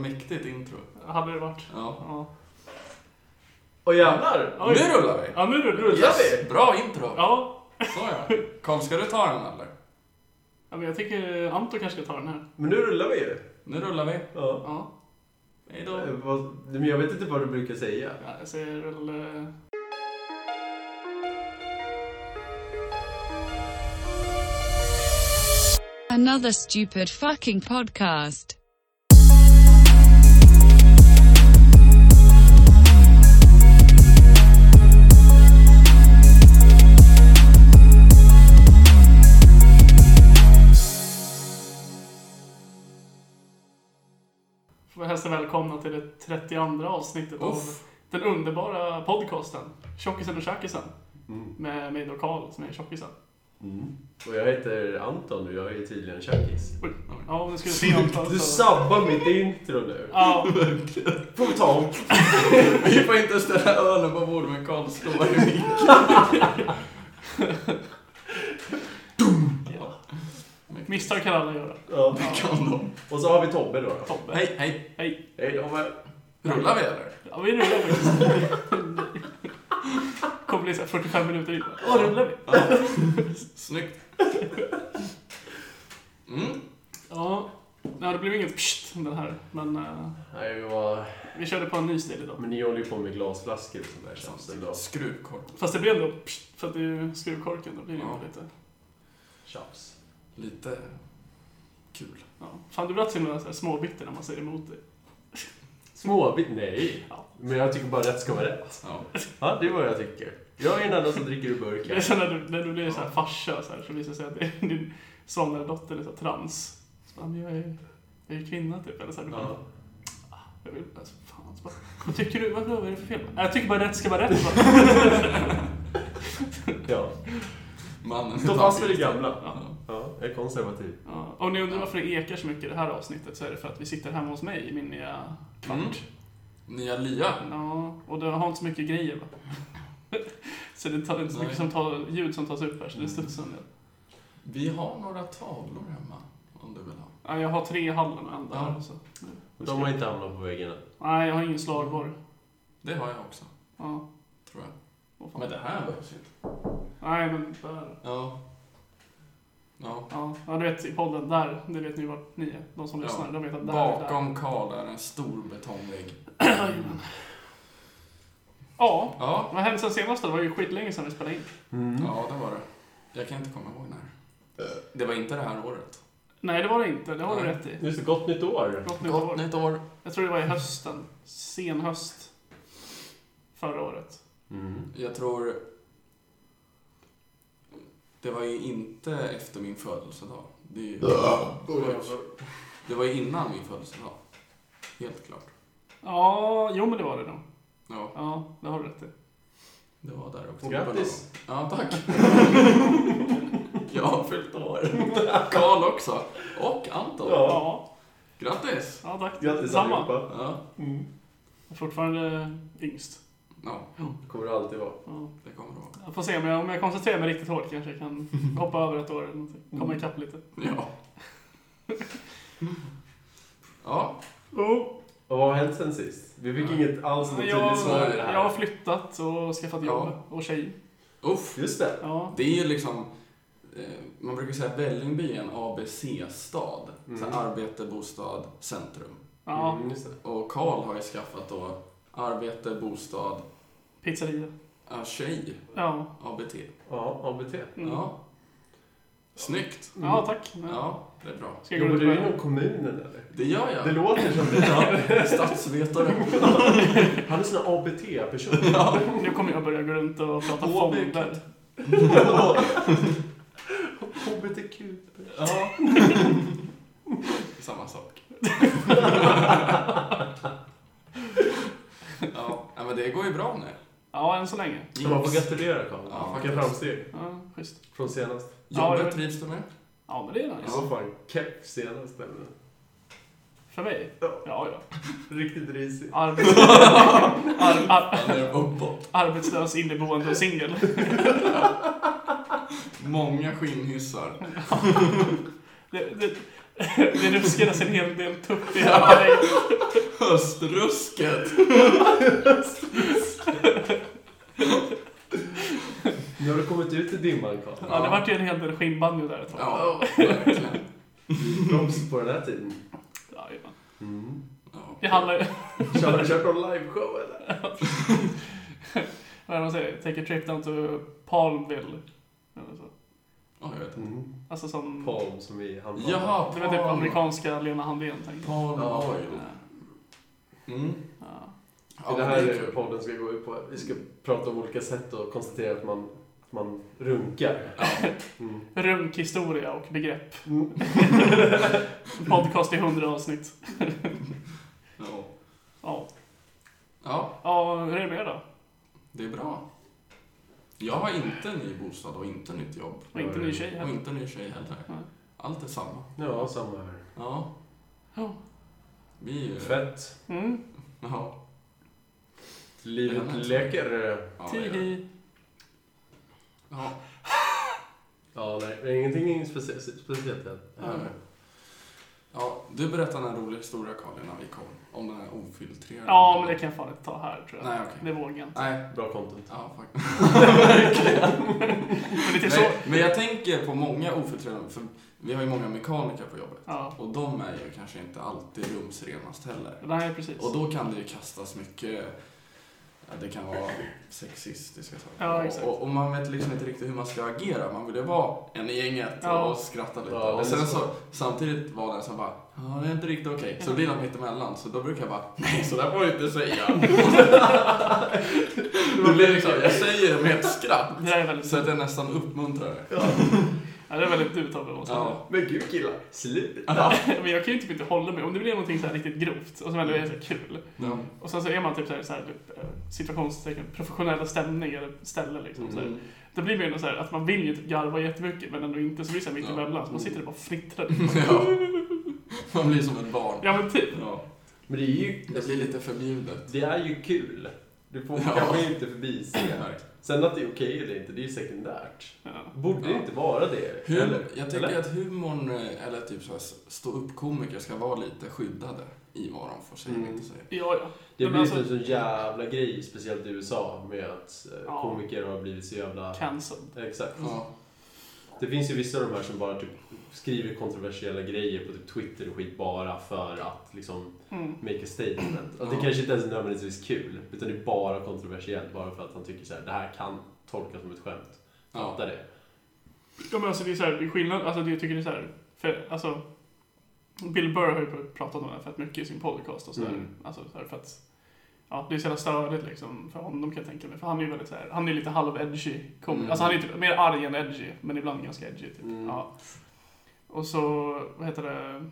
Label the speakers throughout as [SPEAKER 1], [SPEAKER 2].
[SPEAKER 1] mäktigt intro.
[SPEAKER 2] Hade det varit.
[SPEAKER 1] Ja.
[SPEAKER 2] Ja.
[SPEAKER 3] Och jävlar!
[SPEAKER 2] Oj.
[SPEAKER 1] Nu rullar vi!
[SPEAKER 2] Ja, nu rullar det.
[SPEAKER 3] Rullar vi?
[SPEAKER 1] Bra intro!
[SPEAKER 2] Ja.
[SPEAKER 1] Såja. Kom, ska du ta den eller?
[SPEAKER 2] ja, men jag tycker Anton kanske ska ta den här.
[SPEAKER 3] Men nu rullar vi ju.
[SPEAKER 1] Nu rullar vi.
[SPEAKER 3] Ja.
[SPEAKER 2] Ja.
[SPEAKER 1] Hejdå.
[SPEAKER 3] Eh, vad- Men jag vet inte vad du brukar säga.
[SPEAKER 2] Ja, Jag säger väl... eh,
[SPEAKER 4] Another stupid fucking podcast.
[SPEAKER 2] Får jag hälsa välkomna till det 32 avsnittet av
[SPEAKER 1] Uff.
[SPEAKER 2] den underbara podcasten Tjockisen och Tjackisen.
[SPEAKER 3] Mm.
[SPEAKER 2] Med mig då Karl som är tjockisen.
[SPEAKER 3] Och jag heter Anton och jag är tydligen tjackis.
[SPEAKER 2] Oj. Ja, om du skulle
[SPEAKER 3] Du sabbar mitt intro nu.
[SPEAKER 2] Ja,
[SPEAKER 3] Får vi ta om.
[SPEAKER 1] Vi får inte ställa ölen på bordet men Karl slår i micken.
[SPEAKER 2] misstag kan alla göra.
[SPEAKER 3] Ja.
[SPEAKER 1] Kan de.
[SPEAKER 3] Och så har vi Tobbe då. då.
[SPEAKER 2] Tobbe.
[SPEAKER 1] Hej, hej.
[SPEAKER 2] Hej.
[SPEAKER 3] Hej Tobbe.
[SPEAKER 1] Rullar vi eller?
[SPEAKER 2] Ja, vi rullar faktiskt. Kommer bli så här 45 minuter in. Ja, rullar vi.
[SPEAKER 1] Snyggt. Mm.
[SPEAKER 2] Ja, nej, det blev inget pst den här. Men eh,
[SPEAKER 3] Nej, vi var...
[SPEAKER 2] vi körde på en ny stil idag.
[SPEAKER 3] Men ni håller ju på med glasflaskor och sånt där känns det då.
[SPEAKER 1] Skruvkorv.
[SPEAKER 2] Fast det blev ändå pst, för att det är ju skruvkorken. Då blir det ju
[SPEAKER 1] Ja.
[SPEAKER 2] lite...
[SPEAKER 3] Tjafs.
[SPEAKER 1] Lite kul.
[SPEAKER 2] Ja. Fan, du blir alltid så himla så här småbitter när man säger emot dig.
[SPEAKER 3] Småbit? Nej.
[SPEAKER 2] Ja.
[SPEAKER 3] Men jag tycker bara rätt ska vara rätt.
[SPEAKER 1] Ja.
[SPEAKER 3] Ja, det är vad jag tycker. Jag är den enda som dricker ur burk
[SPEAKER 2] Det är
[SPEAKER 3] här.
[SPEAKER 2] så när du, när du blir så här farsa så, här, så visar det sig att det är din son eller dotter är så här trans. Så bara, men jag är, jag är kvinna typ. Eller så här, du bara,
[SPEAKER 3] Ja.
[SPEAKER 2] jag vill, alltså, fan, så bara, vad tycker du? Vad, vad är det för fel? Jag tycker bara rätt ska vara rätt. bara.
[SPEAKER 3] ja.
[SPEAKER 1] Mannen
[SPEAKER 3] Stå fast vid det gamla.
[SPEAKER 2] Ja.
[SPEAKER 3] Ja, jag är konservativ.
[SPEAKER 2] Ja, om ni undrar varför det ekar så mycket i det här avsnittet så är det för att vi sitter hemma hos mig i min nya kvart.
[SPEAKER 1] Mm. Nya Lia.
[SPEAKER 2] Ja, och det har inte så mycket grejer va? så det tar inte så mycket
[SPEAKER 1] Nej. Mm.
[SPEAKER 2] som tar, ljud som tas upp här, så det studsar en del.
[SPEAKER 1] Vi har några tavlor hemma. Om du vill ha.
[SPEAKER 2] Ja, jag har tre i hallen och en där.
[SPEAKER 1] Ja.
[SPEAKER 2] Så.
[SPEAKER 3] De har inte hamnat på väggarna.
[SPEAKER 2] Nej, jag har ingen slagborr.
[SPEAKER 1] Mm. Det har jag också.
[SPEAKER 2] Ja,
[SPEAKER 1] Tror jag.
[SPEAKER 2] vad fan.
[SPEAKER 1] Men det här behövs inte.
[SPEAKER 2] Nej, men där.
[SPEAKER 1] Ja. Ja.
[SPEAKER 2] Ja, ja, du vet i podden, där, det vet ni vart ni är. De som
[SPEAKER 1] Ja.
[SPEAKER 2] lyssnar, de vet att där är där.
[SPEAKER 1] Bakom Karl är en stor betongvägg.
[SPEAKER 2] Ja,
[SPEAKER 1] Ja.
[SPEAKER 2] vad hände sen senast då? Det var ju skitlänge sedan vi spelade in.
[SPEAKER 3] Mm.
[SPEAKER 1] Ja, det var det. Jag kan inte komma ihåg när. Det var inte det här året.
[SPEAKER 2] Nej, det var det inte. Det har du
[SPEAKER 1] Nej.
[SPEAKER 2] rätt i.
[SPEAKER 3] Just det, gott nytt år.
[SPEAKER 2] Gott nytt år.
[SPEAKER 1] Gott nytt år.
[SPEAKER 2] Jag tror det var i hösten. Sen höst. Förra året.
[SPEAKER 3] Mm.
[SPEAKER 1] Jag tror... Det var ju inte efter min födelsedag. Det, är ju... det var ju innan min födelsedag. Helt klart.
[SPEAKER 2] Ja, jo men det var det nog.
[SPEAKER 1] Ja,
[SPEAKER 2] Ja, det har du rätt i.
[SPEAKER 1] det var där också.
[SPEAKER 3] Och grattis.
[SPEAKER 1] Ja, tack. Jag har fyllt år. Karl också. Och Anton.
[SPEAKER 3] Ja.
[SPEAKER 2] Ja,
[SPEAKER 1] Grattis!
[SPEAKER 2] ja tack.
[SPEAKER 3] Grattis
[SPEAKER 2] Samma. Mm.
[SPEAKER 3] allihopa.
[SPEAKER 1] Ja.
[SPEAKER 2] Jag är Fortfarande yngst.
[SPEAKER 1] ja,
[SPEAKER 3] Kommer det alltid vara.
[SPEAKER 2] Ja.
[SPEAKER 1] det kommer det vara.
[SPEAKER 2] Jag får se, men jag- om jag koncentrerar mig riktigt hårt kanske jag kan hoppa över ett år eller någonting.
[SPEAKER 3] Mm.
[SPEAKER 2] Komma ikapp lite.
[SPEAKER 1] Ja. Ja,
[SPEAKER 2] Oh,
[SPEAKER 3] Och vad har hänt sen sist? Vi fick
[SPEAKER 1] Ja.
[SPEAKER 3] inget alls något
[SPEAKER 2] jag,
[SPEAKER 3] tydligt svar i alltså, det
[SPEAKER 2] jag har
[SPEAKER 3] här.
[SPEAKER 2] flyttat och skaffat jobb
[SPEAKER 1] Ja.
[SPEAKER 2] och tjej.
[SPEAKER 1] uff.
[SPEAKER 3] Just det.
[SPEAKER 2] Ja.
[SPEAKER 1] Det är ju liksom, eh, man brukar säga att Vällingby är en ABC-stad. Så här, arbete, bostad, centrum.
[SPEAKER 2] ja.
[SPEAKER 3] Mm, just det.
[SPEAKER 1] Och Karl har ju skaffat då arbete, bostad,
[SPEAKER 2] Pizzeria.
[SPEAKER 1] äh, tjej,
[SPEAKER 2] Ja.
[SPEAKER 1] ABT.
[SPEAKER 3] Ja, ABT.
[SPEAKER 2] Mm.
[SPEAKER 1] Ja. Snyggt!
[SPEAKER 3] Mm.
[SPEAKER 2] Ja, tack. Ja.
[SPEAKER 1] Ja, det är bra.
[SPEAKER 2] Ska jag gå
[SPEAKER 3] Jobbar
[SPEAKER 2] runt
[SPEAKER 3] du
[SPEAKER 2] med-
[SPEAKER 3] inom kommunen eller?
[SPEAKER 1] Det gör
[SPEAKER 3] Det
[SPEAKER 1] jag.
[SPEAKER 3] låter som det.
[SPEAKER 1] Ja, statsvetare.
[SPEAKER 3] Han är sån här ABT-person.
[SPEAKER 2] Nu kommer jag börja gå runt och prata
[SPEAKER 1] Åh,
[SPEAKER 2] fonder.
[SPEAKER 3] HBTQ.
[SPEAKER 1] Ja. Samma sak. ja, nej, men det går ju bra nu.
[SPEAKER 2] Ja, än så länge.
[SPEAKER 3] Man får gratulera Karl.
[SPEAKER 1] Ja,
[SPEAKER 3] Vilka
[SPEAKER 1] faktiskt.
[SPEAKER 3] framsteg
[SPEAKER 2] Ja, schysst.
[SPEAKER 3] från senast.
[SPEAKER 2] Ja,
[SPEAKER 1] Jobbet
[SPEAKER 2] jag-
[SPEAKER 1] trivs du med?
[SPEAKER 2] Ja, men det är
[SPEAKER 3] Det
[SPEAKER 2] nice.
[SPEAKER 3] var fan keff senast. nämligen.
[SPEAKER 2] För mig?
[SPEAKER 3] Ja.
[SPEAKER 2] Ja, ja.
[SPEAKER 3] Riktigt risig.
[SPEAKER 2] Arbets... ar- ar-
[SPEAKER 1] Han är uppåt.
[SPEAKER 2] arbetslös, inneboende och singel.
[SPEAKER 1] Många skinnhissar.
[SPEAKER 2] Det, det, det ruskeras en hel del tupp i det här
[SPEAKER 1] Röstrusket!
[SPEAKER 3] Nu har du kommit ut i dimman Karl.
[SPEAKER 2] Ja, det vart ju en hel del skinnbanjo där ett tag.
[SPEAKER 1] Ja, verkligen.
[SPEAKER 3] Proffs på den här tiden.
[SPEAKER 2] Ja, ja.
[SPEAKER 3] Mm.
[SPEAKER 1] Ja.
[SPEAKER 2] Det handlar ju...
[SPEAKER 3] Kör, kör någon liveshow eller?
[SPEAKER 2] När de säger take a trip down to Palmville. Eller så.
[SPEAKER 1] Ja, jag vet inte.
[SPEAKER 3] Mm.
[SPEAKER 2] Alltså som...
[SPEAKER 3] Palm som vi hann på.
[SPEAKER 1] Jaha,
[SPEAKER 2] Det var typ
[SPEAKER 1] Palm.
[SPEAKER 2] amerikanska Lena Handén tänkte jag.
[SPEAKER 1] Palm
[SPEAKER 3] Ja.
[SPEAKER 1] Oil. Mm.
[SPEAKER 2] Ja.
[SPEAKER 1] Ja,
[SPEAKER 3] det här
[SPEAKER 1] är
[SPEAKER 3] är
[SPEAKER 1] kul.
[SPEAKER 3] det podden ska gå ut på. Vi ska prata om olika sätt att konstatera att man, att man runkar. Mm.
[SPEAKER 2] Runkhistoria och begrepp.
[SPEAKER 3] Mm.
[SPEAKER 2] Podcast i hundra avsnitt.
[SPEAKER 1] Ja.
[SPEAKER 2] Ja.
[SPEAKER 1] ja,
[SPEAKER 2] Ja, hur är det med er då?
[SPEAKER 1] det är bra. Jag har inte en ny bostad och inte nytt jobb.
[SPEAKER 2] Och inte ny tjej
[SPEAKER 1] Och
[SPEAKER 2] heller.
[SPEAKER 1] inte en ny tjej heller.
[SPEAKER 2] Nej.
[SPEAKER 1] Allt är samma.
[SPEAKER 3] Ja, samma här.
[SPEAKER 1] Ja.
[SPEAKER 2] Ja.
[SPEAKER 1] Vi...
[SPEAKER 3] Fett.
[SPEAKER 2] Mm.
[SPEAKER 1] Ja.
[SPEAKER 3] Livet leker.
[SPEAKER 1] ja, ja.
[SPEAKER 2] Tihi.
[SPEAKER 1] ja.
[SPEAKER 3] Ja, nej. det är Ingenting specie- speciellt här.
[SPEAKER 1] Mm. ja. Du berättade en rolig historia, Karl, innan vi kom. Om den här ofiltrerade...
[SPEAKER 2] Ja, men det kan jag fan inte ta här tror jag.
[SPEAKER 1] Nej, okej.
[SPEAKER 2] Det vågar jag inte.
[SPEAKER 1] Nej.
[SPEAKER 3] Bra content.
[SPEAKER 1] Ja, faktiskt.
[SPEAKER 2] Men det är typ så...
[SPEAKER 1] Nej, men jag tänker på många ofiltrerade, för vi har ju många mekaniker på jobbet.
[SPEAKER 2] Ja.
[SPEAKER 1] Och de är ju kanske inte alltid rumsrenast heller.
[SPEAKER 2] Nej, precis.
[SPEAKER 1] Och då kan det ju kastas mycket, ja, det kan vara sexistiska saker.
[SPEAKER 2] Ja, exakt.
[SPEAKER 1] Och, och man vet liksom inte riktigt hur man ska agera. Man vill ju vara en i gänget
[SPEAKER 2] Ja.
[SPEAKER 1] och skratta lite.
[SPEAKER 3] Ja,
[SPEAKER 1] och
[SPEAKER 3] men
[SPEAKER 1] sen
[SPEAKER 3] det-
[SPEAKER 1] så, samtidigt var den som bara, ja det är inte riktigt okej. Så blir de mittemellan. Så då brukar jag bara, nej så där får du inte säga. det blir liksom, jag säger det med ett skratt.
[SPEAKER 2] Det där är väldigt...
[SPEAKER 1] Så att jag nästan uppmuntrar det.
[SPEAKER 2] Ja, det är väldigt du Tobbe, måste jag säga.
[SPEAKER 1] Ja.
[SPEAKER 3] Men gud killar, sluta!
[SPEAKER 1] Ja.
[SPEAKER 2] Men jag kan ju typ inte hålla mig. Om det blir någonting så här riktigt grovt och som ändå är så här kul.
[SPEAKER 1] Ja.
[SPEAKER 2] Och sen så är man typ så här, så här typ, eh, situationstecken, professionella stämning eller ställe liksom. Så
[SPEAKER 1] Mm.
[SPEAKER 2] här. Då blir det ju ändå så här att man vill ju typ garva jättemycket men ändå inte. Så blir det såhär mitt
[SPEAKER 1] Ja.
[SPEAKER 2] emellan. Så man sitter där och bara fnittrar.
[SPEAKER 1] Ja. Man blir som ett barn.
[SPEAKER 2] Mm. Ja men typ.
[SPEAKER 1] Ja.
[SPEAKER 3] Men det är ju...
[SPEAKER 1] Det blir lite förbjudet.
[SPEAKER 3] Det är ju kul. Du får
[SPEAKER 1] Ja.
[SPEAKER 3] kanske inte förbise. Sen att det är okej eller inte, det är ju sekundärt.
[SPEAKER 2] Ja.
[SPEAKER 3] Borde
[SPEAKER 1] Ja.
[SPEAKER 3] det inte vara det?
[SPEAKER 1] Hur,
[SPEAKER 3] eller?
[SPEAKER 1] jag tänker
[SPEAKER 3] Eller?
[SPEAKER 1] att humorn, eh, eller typ såhär ståuppkomiker ska vara lite skyddade i vad de får säga och
[SPEAKER 3] Mm.
[SPEAKER 1] inte säga.
[SPEAKER 2] Ja, ja.
[SPEAKER 3] Det
[SPEAKER 2] Men
[SPEAKER 3] blir
[SPEAKER 2] alltså-
[SPEAKER 3] alltså... en sån jävla grej, speciellt i USA, med att eh,
[SPEAKER 2] Ja.
[SPEAKER 3] komiker har blivit så jävla...
[SPEAKER 2] Cancelled.
[SPEAKER 3] Exakt.
[SPEAKER 1] Ja,
[SPEAKER 3] Det finns ju vissa av de här som bara typ skriver kontroversiella grejer på typ Twitter och skit bara för att liksom
[SPEAKER 2] Mm.
[SPEAKER 3] make a statement. Att
[SPEAKER 1] Ja.
[SPEAKER 3] det kanske inte ens är nödvändigtvis kul, utan det är bara kontroversiellt bara för att han tycker så här, det här kan tolkas som ett skämt.
[SPEAKER 1] ja.
[SPEAKER 3] Fattar det?
[SPEAKER 2] Ja men alltså det är såhär, det är skillnad. Alltså det, jag tycker det är såhär. För alltså. Bill Burr har ju pratat om det här fett mycket i sin podcast och sådär.
[SPEAKER 3] Mm.
[SPEAKER 2] Alltså såhär för att. Ja, det är så jävla störigt liksom för honom kan jag tänka mig. För han är ju väldigt såhär, han är lite halv-edgy. Kom,
[SPEAKER 1] Mm.
[SPEAKER 2] Alltså han är typ mer arg än edgy, men ibland ganska edgy typ.
[SPEAKER 3] Mm.
[SPEAKER 2] Ja. Och så, vad heter det?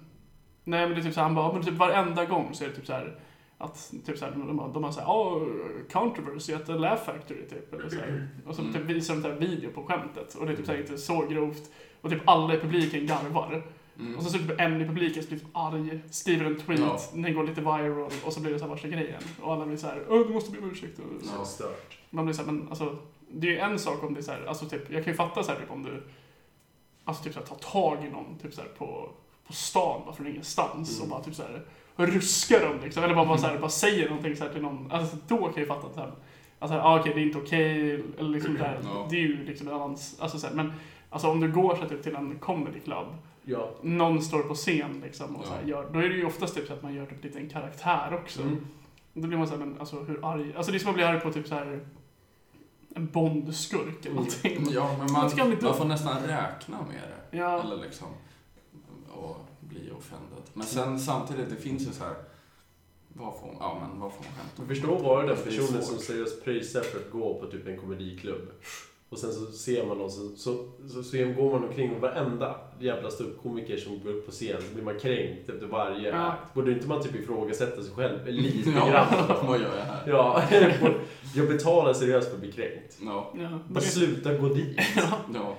[SPEAKER 2] Nej men det är typ såhär, han bara, men typ varenda gång så är det typ såhär. Att typ såhär, de, de, de har såhär, oh, controversy at the laugh factory typ. Eller såhär. Och så
[SPEAKER 1] Mm.
[SPEAKER 2] typ visar de såhär video på skämtet. Och det är typ såhär inte så grovt. Och typ alla i publiken garvar.
[SPEAKER 1] Mm.
[SPEAKER 2] Och så, så typ en i publiken som blir arg, skriver en tweet,
[SPEAKER 1] Ja.
[SPEAKER 2] den går lite viral och så blir det så här värsta grejen. Och alla blir så här, åh du måste be om ursäkt. Och så.
[SPEAKER 1] Ja.
[SPEAKER 3] Stört.
[SPEAKER 2] Man blir så här, men alltså, det är ju en sak om det är så här, alltså typ, jag kan ju fatta så här typ om du, alltså typ så här, tar tag i någon, typ så här på, på stan bara från ingenstans
[SPEAKER 3] Mm.
[SPEAKER 2] och bara typ så här ruskar dem liksom. Eller bara, bara, så här, bara säger någonting så här till någon. Alltså då kan jag ju fatta att så här, alltså, ah, okej det är inte okej, eller liksom så här,
[SPEAKER 1] Ja.
[SPEAKER 2] det är ju liksom en annan, alltså så här, men alltså om du går så här, typ till en comedy club
[SPEAKER 3] Ja.
[SPEAKER 2] någon står på scen liksom och
[SPEAKER 1] Ja.
[SPEAKER 2] så här gör, då är det ju oftast typ så att man gör typ lite en karaktär också.
[SPEAKER 3] Mm.
[SPEAKER 2] Då blir man såhär, men alltså hur arg, alltså det är som att bli arg på typ så här en Bondskurk eller
[SPEAKER 3] Mm.
[SPEAKER 2] någonting.
[SPEAKER 1] ja, men
[SPEAKER 2] Man
[SPEAKER 1] man,
[SPEAKER 2] ska bli dum.
[SPEAKER 1] man får nästan räkna med det.
[SPEAKER 2] Ja,
[SPEAKER 1] Eller liksom, och bli offended. Men sen samtidigt, det finns ju så här. Vad får, ja, men vad får man skämta
[SPEAKER 3] Jag
[SPEAKER 1] om?
[SPEAKER 3] förstår bara den
[SPEAKER 1] Det är
[SPEAKER 3] personen
[SPEAKER 1] svårt.
[SPEAKER 3] som seriöst pröjsar för att gå på typ en komediklubb. Och sen så ser man någon, så, så, så, så går man omkring och varenda jävla ståuppkomiker som går upp på scen så blir man kränkt efter varje
[SPEAKER 2] Ja.
[SPEAKER 3] akt. Borde inte man typ ifrågasätta sig själv lite
[SPEAKER 1] Ja,
[SPEAKER 3] grann?
[SPEAKER 1] vad gör jag här?
[SPEAKER 3] Ja, jag betalar seriöst för att bli kränkt.
[SPEAKER 1] Ja,
[SPEAKER 2] ja men,
[SPEAKER 3] Bara
[SPEAKER 2] det,
[SPEAKER 3] sluta gå dit.
[SPEAKER 1] ja.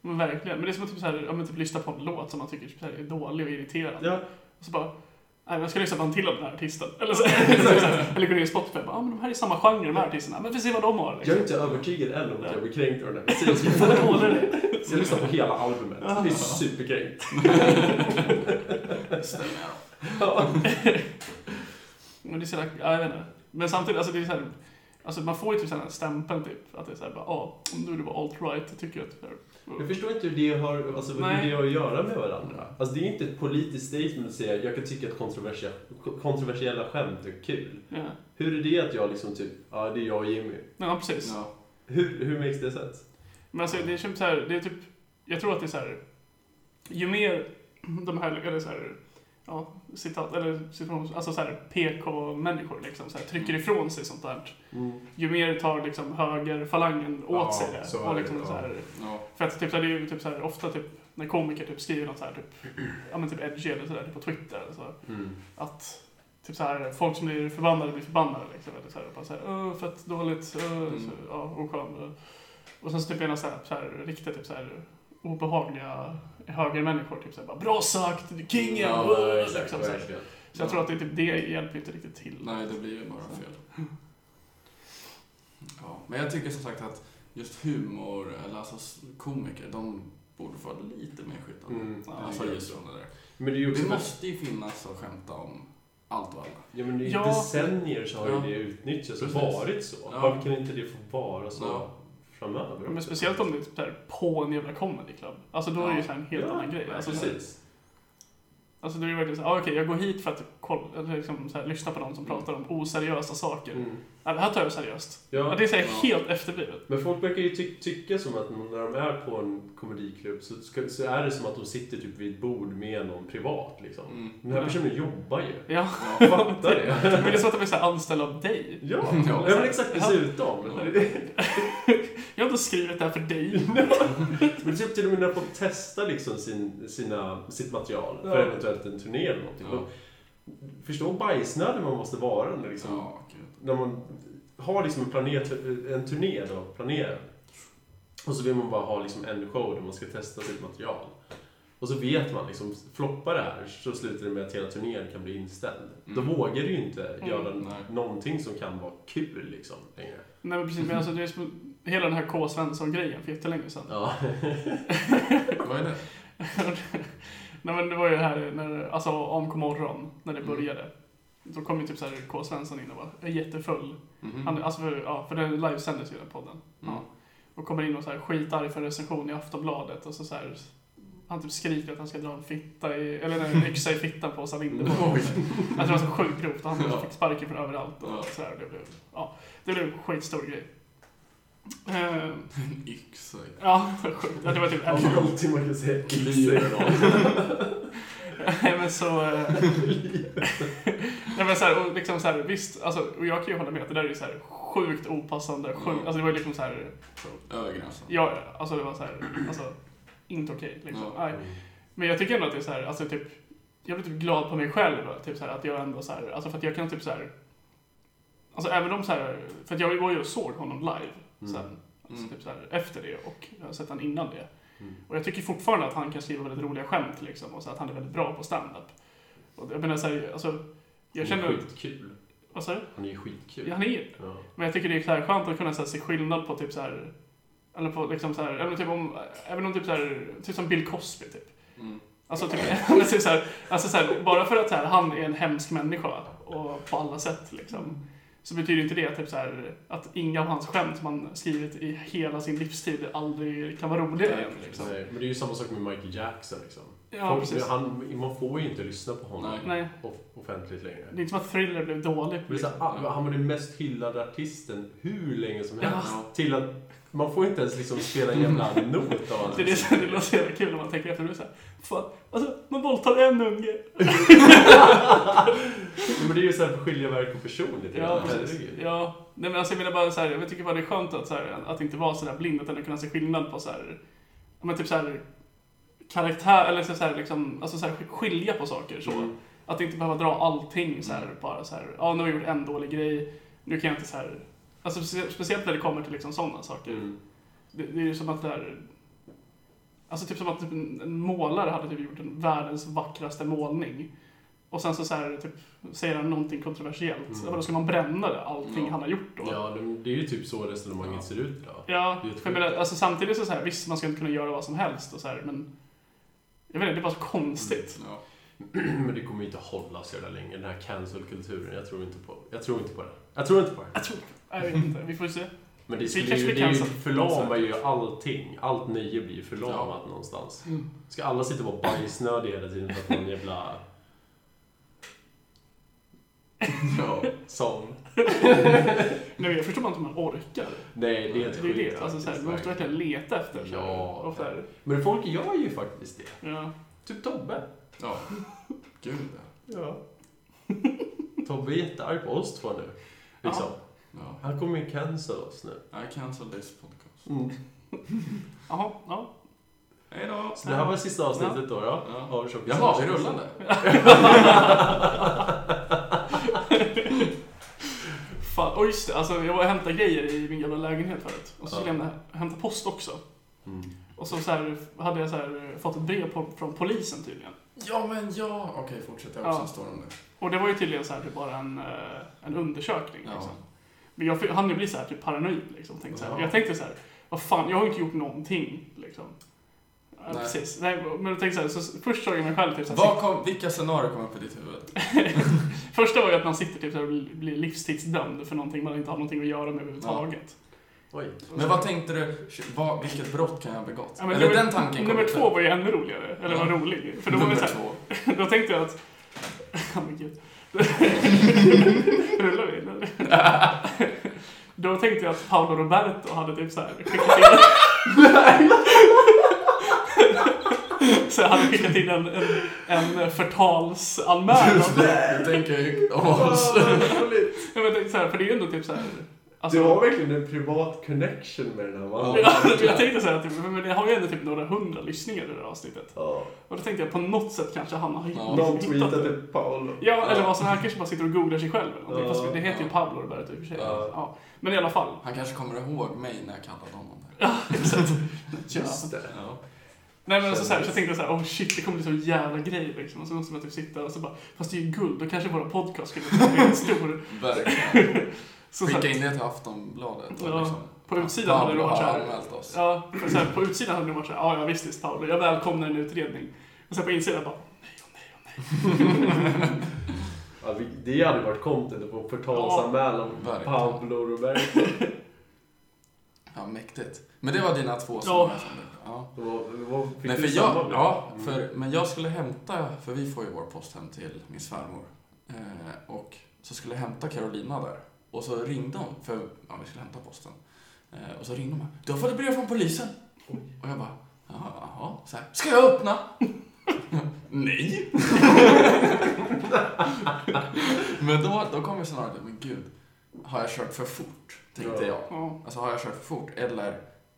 [SPEAKER 2] men verkligen. Men det är som att typ så här, ja, men typ lyssna på en låt som man tycker typ så här är dålig och irriterande.
[SPEAKER 3] Ja,
[SPEAKER 2] Och så bara, nej men jag ska lyssna på en till av den här artisten. Eller, så, så här, eller gå ner i Spotify och bara, ah, men de här är samma genre de här artisterna. Men vi får se vad de har.
[SPEAKER 3] jag är
[SPEAKER 2] Liksom.
[SPEAKER 3] inte övertygad än om att jag blir kränkt av den här
[SPEAKER 2] Fan,
[SPEAKER 3] musiken.
[SPEAKER 2] vad dålig den är.
[SPEAKER 3] Jag lyssnar på hela albumet. Jag
[SPEAKER 1] Ah.
[SPEAKER 3] är superkränkt.
[SPEAKER 1] Stämmer jag då.
[SPEAKER 3] Ja.
[SPEAKER 2] men det är så jävla, ja, jag vet inte. Men samtidigt, alltså det är så här, alltså man får ju typ sån här stämpeln typ, att det är såhär bara, ja, nu är det bara alt-right, tycker jag typ.
[SPEAKER 3] Jag förstår inte hur det har, alltså, vad
[SPEAKER 2] Nej.
[SPEAKER 3] det har att göra med varandra. Alltså, det är inte ett politiskt statement att säga jag kan tycka att kontroversiella, kontroversiella skämt är kul.
[SPEAKER 2] Ja,
[SPEAKER 3] Hur är det att jag liksom typ, ja det är jag och Jimmy.
[SPEAKER 2] ja precis.
[SPEAKER 1] Ja.
[SPEAKER 3] Hur, hur makes det sense?
[SPEAKER 2] Men alltså det är typ så här, det är typ, jag tror att det är så här, ju mer de här, eller så här, ja, citat, eller citat, alltså så här PK-människor liksom så här, trycker
[SPEAKER 5] Mm.
[SPEAKER 2] ifrån sig sånt där, ju mer tar liksom högerfalangen åt
[SPEAKER 5] Ja,
[SPEAKER 2] sig det.
[SPEAKER 5] så är
[SPEAKER 2] och
[SPEAKER 5] det,
[SPEAKER 2] liksom
[SPEAKER 5] ja.
[SPEAKER 2] så här,
[SPEAKER 1] Ja.
[SPEAKER 2] För att typ, det är ju typ så här, ofta typ, när komiker typ skriver något så här, typ, ja men typ edgy eller sådär typ på Twitter eller så,
[SPEAKER 3] Mm.
[SPEAKER 2] att typ så här, folk som blir förbannade blir förbannade liksom, eller så här, bara så här, "Åh, fett dåligt, uh, så,
[SPEAKER 1] Mm.
[SPEAKER 2] ja, oskön. eh." Och sen så typ ena så här, så här riktigt typ så här obehagliga högermänniskor typ så här, bara bra sagt, du är kingen,
[SPEAKER 1] Ja,
[SPEAKER 2] uh, liksom, så, här.
[SPEAKER 3] verkligen.
[SPEAKER 2] så jag tror att det, är typ, det hjälper ju inte riktigt till.
[SPEAKER 1] Nej, det blir ju bara fel. Ja, men jag tycker som sagt att just humor, eller alltså s- komiker, de borde få lite mer skit av
[SPEAKER 3] Mm.
[SPEAKER 1] det. Alltså just från det där.
[SPEAKER 3] Men det är ju också
[SPEAKER 1] Det måste ju finnas att skämta om allt och alla.
[SPEAKER 3] Ja, men i
[SPEAKER 2] Ja.
[SPEAKER 3] decennier så har ju
[SPEAKER 1] Ja.
[SPEAKER 3] det utnyttjats och
[SPEAKER 1] Precis.
[SPEAKER 3] varit så.
[SPEAKER 1] Ja.
[SPEAKER 3] Varför kan inte det få vara så
[SPEAKER 1] Ja.
[SPEAKER 3] framöver?
[SPEAKER 2] Ja, Men
[SPEAKER 3] också?
[SPEAKER 2] speciellt om det är typ så här, på en jävla comedy club. Alltså då är det ju så här en helt
[SPEAKER 3] Ja,
[SPEAKER 2] annan grej. Alltså, så här,
[SPEAKER 3] precis.
[SPEAKER 2] Alltså det är ju verkligen såhär, ah, okej jag går hit för att kolla, eller liksom, så här, lyssna på någon som
[SPEAKER 1] Mm.
[SPEAKER 2] pratar om oseriösa saker.
[SPEAKER 3] Mm.
[SPEAKER 2] Ja, det här tar jag seriöst. Ja,
[SPEAKER 3] Ja.
[SPEAKER 2] det är såhär
[SPEAKER 1] Ja.
[SPEAKER 2] helt efterblivet.
[SPEAKER 3] Men folk verkar ju ty- tycka som att när de är på en komediklubb så, ska, så är det som att de sitter typ vid ett bord med någon privat. Liksom.
[SPEAKER 1] Mm.
[SPEAKER 3] Den här
[SPEAKER 2] Ja.
[SPEAKER 3] personen jobbar ju.
[SPEAKER 2] Ja.
[SPEAKER 1] Ja.
[SPEAKER 3] Fattar det?
[SPEAKER 2] Men det är så att de är såhär anställda av dig.
[SPEAKER 3] Ja,
[SPEAKER 1] Ja.
[SPEAKER 3] ja men exakt
[SPEAKER 2] Ja.
[SPEAKER 3] dessutom.
[SPEAKER 1] Ja.
[SPEAKER 2] Jag har inte skrivit det här för dig.
[SPEAKER 3] Men typ till och med när folk testar liksom sin, sina, sitt material för
[SPEAKER 2] Ja.
[SPEAKER 3] eventuellt en turné eller någonting.
[SPEAKER 1] Ja.
[SPEAKER 3] Då- Förstå bajsnödig man måste vara när, liksom,
[SPEAKER 1] Ja, gud.
[SPEAKER 3] när man har liksom en, planet, en turné då, planerad. Och så vill man bara ha liksom en show där man ska testa sitt material. Och så vet man liksom, floppar det här så slutar det med att hela turnén kan bli inställd. Då
[SPEAKER 1] Mm.
[SPEAKER 3] vågar du ju inte
[SPEAKER 2] Mm.
[SPEAKER 3] göra
[SPEAKER 1] Nej.
[SPEAKER 3] någonting som kan vara kul liksom längre.
[SPEAKER 2] Nej men precis, men alltså det är som, hela den här K. Svensson-grejen för jättelänge sedan.
[SPEAKER 3] Ja.
[SPEAKER 1] Vad är det?
[SPEAKER 2] Nej men det var ju här när, alltså AMK morgon, när
[SPEAKER 3] Mm.
[SPEAKER 2] det började. Då kom ju typ såhär K. Svensson in och bara, jag är jättefull.
[SPEAKER 3] Mm-hmm. Mm.
[SPEAKER 1] Mhm.
[SPEAKER 2] Han, alltså för, ja, för den livesändes ju den podden. Ja.
[SPEAKER 1] Mm.
[SPEAKER 2] Och kommer in och så här skitarg för en recension i Aftonbladet och så, så här, han typ skriker att han ska dra en fitta i, eller nej, en yxa i fittan på Åsa Linderborg.
[SPEAKER 1] Oj.
[SPEAKER 2] Alltså det var så sjukt grovt och han
[SPEAKER 1] Ja.
[SPEAKER 2] fick sparken från överallt och
[SPEAKER 1] Ja.
[SPEAKER 2] så här, det blev, ja, det blev en skitstor grej. Eh,
[SPEAKER 1] En yxa.
[SPEAKER 2] ja, sjukt. Ja, det var typ en
[SPEAKER 3] Allting man kan säga
[SPEAKER 1] Lyra någon.
[SPEAKER 2] Nej men så... eh, Nej men så här, och liksom så här, visst, alltså, och jag kan ju hålla med att det där är ju så här sjukt opassande, sjukt,
[SPEAKER 1] Mm.
[SPEAKER 2] alltså det var ju liksom så här
[SPEAKER 1] Över gränsen.
[SPEAKER 2] Ja, alltså det var så här, alltså inte okej liksom.
[SPEAKER 1] Ja.
[SPEAKER 2] Nej. Men jag tycker ändå att det är så här, alltså typ, jag blir typ glad på mig själv, typ så här, att jag ändå så här, alltså för att jag kan typ så här, alltså även om så här, för att jag var ju och såg honom live sen, alltså
[SPEAKER 1] Mm.
[SPEAKER 2] typ så här efter det och jag har sett han innan det.
[SPEAKER 3] Mm.
[SPEAKER 2] Och jag tycker fortfarande att han kan skriva väldigt roliga skämt liksom och så att han är väldigt bra på stand-up. Och jag menar så här, alltså, jag känner,
[SPEAKER 3] Han är skitkul.
[SPEAKER 2] vad sa du?
[SPEAKER 3] Han är ju skitkul.
[SPEAKER 2] Ja, Han är
[SPEAKER 3] Ja.
[SPEAKER 2] men jag tycker det är så här skönt att kunna så här, se skillnad på typ så här eller på liksom så här, även typ om, även om typ så här, typ som Bill Cosby typ.
[SPEAKER 1] Mm.
[SPEAKER 2] Alltså typ, eller typ så här, alltså så här, bara för att så här, han är en hemsk människa och på alla sätt liksom. Så betyder inte det att typ så här, att inga av hans skämt som han skrivit i hela sin livstid aldrig kan vara roliga igen liksom.
[SPEAKER 3] Nej, men det är ju samma sak med Michael Jackson. Liksom.
[SPEAKER 2] Ja,
[SPEAKER 3] Folk-
[SPEAKER 2] precis.
[SPEAKER 3] han, man får ju inte lyssna på honom
[SPEAKER 1] Nej.
[SPEAKER 2] Nej,
[SPEAKER 3] off- offentligt längre.
[SPEAKER 2] det är inte som att Thriller blev dålig.
[SPEAKER 3] Men det är så här, ah, han var den mest hyllade artisten hur länge som helst.
[SPEAKER 1] Ja.
[SPEAKER 3] Till att man får inte ens liksom spela en jävla not av
[SPEAKER 2] Mm.
[SPEAKER 3] hans
[SPEAKER 2] Det, är det, som- det låter så jävla kul när man tänker efter. Det är så här, fan, alltså, man våldtar en unge.
[SPEAKER 3] Men det är ju såhär för skilja verk och person lite
[SPEAKER 2] Ja,
[SPEAKER 3] grann.
[SPEAKER 2] precis.
[SPEAKER 3] Herregud.
[SPEAKER 2] Ja, nej, men alltså jag menar bara så här, jag tycker bara det är skönt att, så här, att inte vara så där blind, att ändå kunna se skillnad på så här, ja, men typ så här, karaktär, eller så här, liksom, alltså så här, skilja på saker så.
[SPEAKER 3] Mm.
[SPEAKER 2] Att inte behöva dra allting så här, bara så här, ja nu har jag gjort en dålig grej, nu kan jag inte så här, alltså spe- speciellt när det kommer till liksom sådana saker.
[SPEAKER 3] Mm.
[SPEAKER 2] Det, det är ju som att det är, alltså typ som att typ en en målare hade typ gjort en världens vackraste målning. Och sen så, så här, typ, säger han någonting kontroversiellt.
[SPEAKER 3] Mm.
[SPEAKER 2] Mm. Då ska man bränna det, allting
[SPEAKER 1] Ja.
[SPEAKER 2] han har gjort då.
[SPEAKER 3] ja det, det är ju typ så resonemanget
[SPEAKER 1] Ja.
[SPEAKER 3] ser ut idag.
[SPEAKER 2] Ja,
[SPEAKER 3] Det är ett
[SPEAKER 2] för jag menar, alltså samtidigt
[SPEAKER 3] Mm.
[SPEAKER 2] så, så här, visst man ska inte kunna göra vad som helst och så här, men jag vet inte, det är bara så konstigt.
[SPEAKER 1] Ja.
[SPEAKER 3] Men det kommer ju inte hålla så jävla länge, den här cancelkulturen. Jag tror inte på Jag tror inte på det. Jag tror inte på det.
[SPEAKER 2] Jag tror Jag vet inte, vi får se.
[SPEAKER 3] Men det,
[SPEAKER 2] Vi
[SPEAKER 3] skulle
[SPEAKER 2] kanske
[SPEAKER 3] ju,
[SPEAKER 2] blir
[SPEAKER 3] det är ju
[SPEAKER 2] cancelled.
[SPEAKER 3] förlamar ju allting. Allt nöje blir ju förlamat någonstans.
[SPEAKER 2] Mm.
[SPEAKER 3] Ska alla sitta och vara bajsnödiga hela tiden för att någon jävla
[SPEAKER 1] Ja.
[SPEAKER 3] sång?
[SPEAKER 2] Nej, jag förstår bara inte hur man orkar.
[SPEAKER 3] Nej, det är ett
[SPEAKER 2] Det är
[SPEAKER 3] skit
[SPEAKER 2] det. Alltså, så här, man måste
[SPEAKER 3] verkligen.
[SPEAKER 2] verkligen leta efter. Så här,
[SPEAKER 3] Ja.
[SPEAKER 2] och så här,
[SPEAKER 3] Men folk gör ju faktiskt det.
[SPEAKER 2] ja.
[SPEAKER 3] Typ Tobbe.
[SPEAKER 1] ja. Gud ja.
[SPEAKER 3] Ja. Tobbe är jättearg på oss två nu. Liksom.
[SPEAKER 1] ja.
[SPEAKER 3] Han kommer ju cancel oss nu.
[SPEAKER 1] I cancel this podcast.
[SPEAKER 2] Jaha, ja.
[SPEAKER 1] Hej då!
[SPEAKER 3] Så det här var sista avsnittet då. då.
[SPEAKER 1] Ja.
[SPEAKER 3] Av Tjockis-
[SPEAKER 1] Jaha, vi rullar nu.
[SPEAKER 2] Fan, och just det, alltså, jag var och hämtade grejer i min gamla lägenhet förut. Och så
[SPEAKER 3] Ja.
[SPEAKER 2] skulle jag lämna- hämta post också.
[SPEAKER 3] Mm.
[SPEAKER 2] Och så, så här, hade jag så här, fått ett brev på, från polisen tydligen.
[SPEAKER 1] Ja, men ja! Okej, fortsätt. Jag har också
[SPEAKER 2] Ja.
[SPEAKER 1] en story om det.
[SPEAKER 2] Och det var ju tydligen så här, typ bara en, eh, en undersökning.
[SPEAKER 1] Ja.
[SPEAKER 2] Liksom. Men jag hann ju bli så här, typ paranoid. Liksom. Tänkte så
[SPEAKER 1] Ja.
[SPEAKER 2] här. Jag tänkte så här, vad fan, jag har ju inte gjort någonting. Liksom. Ja,
[SPEAKER 1] Nej.
[SPEAKER 2] Precis. Nej, men jag tänkte så här, så först såg jag mig själv typ så här,
[SPEAKER 1] Vad kom, vilka scenarier kom upp i ditt huvud?
[SPEAKER 2] Första var ju att man sitter typ så här, och blir livstidsdömd för någonting man inte har någonting att göra med överhuvudtaget.
[SPEAKER 3] Oj.
[SPEAKER 1] Men vad tänkte du? Vad, vilket brott kan jag ha begått?
[SPEAKER 2] Ja, men
[SPEAKER 1] Eller
[SPEAKER 2] nummer-
[SPEAKER 1] den tanken kom
[SPEAKER 2] Nummer
[SPEAKER 1] upp.
[SPEAKER 2] två var ju ännu roligare. Eller
[SPEAKER 1] Ja.
[SPEAKER 2] var rolig. För då var det
[SPEAKER 1] Nummer
[SPEAKER 2] så här,
[SPEAKER 1] två.
[SPEAKER 2] Då tänkte jag att... Ja, men gud. Rullar vi? Eller? Då tänkte jag att Paolo Roberto hade typ såhär skickat in... så jag hade skickat in en, en, en förtalsanmälan.
[SPEAKER 1] Nu tänker jag ju om oss.
[SPEAKER 2] Jag men tänkte så här, för det är ju ändå typ såhär... Alltså,
[SPEAKER 3] Du har verkligen en privat connection med den här mannen.
[SPEAKER 2] Ja, jag tänkte såhär, typ, men det har ju ändå typ några hundra lyssningar i det här avsnittet.
[SPEAKER 3] Ja.
[SPEAKER 2] Och då tänkte jag på något sätt kanske han har
[SPEAKER 1] Ja.
[SPEAKER 2] liksom
[SPEAKER 3] Någon
[SPEAKER 2] hittat det.
[SPEAKER 3] tweetade till Paolo.
[SPEAKER 2] Ja, eller vad som han kanske bara sitter och googlar sig själv eller någonting.
[SPEAKER 3] Ja.
[SPEAKER 2] Fast det heter ju Pablo Roberto i och för sig.
[SPEAKER 3] Ja.
[SPEAKER 2] Ja. Men i alla fall.
[SPEAKER 1] Han kanske kommer ihåg mig när jag kallade honom det.
[SPEAKER 2] Ja, exakt. Ja.
[SPEAKER 3] Just det.
[SPEAKER 1] Ja.
[SPEAKER 2] Nej men alltså, så, här, så tänkte jag så här, oh shit det kommer bli så jävla grej liksom. Och så måste man typ sitta och så bara, fast det är ju guld, då kanske våra podcast skulle bli en stor.
[SPEAKER 1] Verkligen.
[SPEAKER 2] Så, så
[SPEAKER 1] Skicka
[SPEAKER 2] här,
[SPEAKER 1] in det till Aftonbladet.
[SPEAKER 2] Ja.
[SPEAKER 1] Och liksom,
[SPEAKER 2] På utsidan hade det varit så
[SPEAKER 1] Pablo
[SPEAKER 2] här.
[SPEAKER 1] har anmält oss.
[SPEAKER 2] ja, så här, på utsidan hade det varit så här, ja ja visst visst Paolo, jag välkomnar en utredning. Och sen på insidan bara,
[SPEAKER 3] Ja, vi- det hade varit content på förtalsanmälan.
[SPEAKER 1] Ja, verkligen.
[SPEAKER 3] Pablo Roberto.
[SPEAKER 1] Ja, mäktigt. Men det var dina två som
[SPEAKER 2] Ja.
[SPEAKER 1] var som det- ja.
[SPEAKER 3] Det var- det var- fick
[SPEAKER 1] Nej,
[SPEAKER 3] du
[SPEAKER 1] för
[SPEAKER 3] samma
[SPEAKER 1] jag,
[SPEAKER 3] bild?
[SPEAKER 1] ja,
[SPEAKER 3] Mm.
[SPEAKER 1] för, men jag skulle hämta, för vi får ju vår post hem till min svärmor. Eh, och så skulle jag hämta Carolina där. Och så ringde hon, för ja, vi skulle hämta posten. Eh, och så ringde hon mig. Du har fått ett brev från polisen. Och jag bara, jaha, jaha. Så här, ska jag öppna? Nej. men då, då kom jag snarare, men gud, har jag kört för fort? Tänkte
[SPEAKER 3] Ja.
[SPEAKER 1] jag.
[SPEAKER 2] ja.
[SPEAKER 1] Alltså har jag kört för fort eller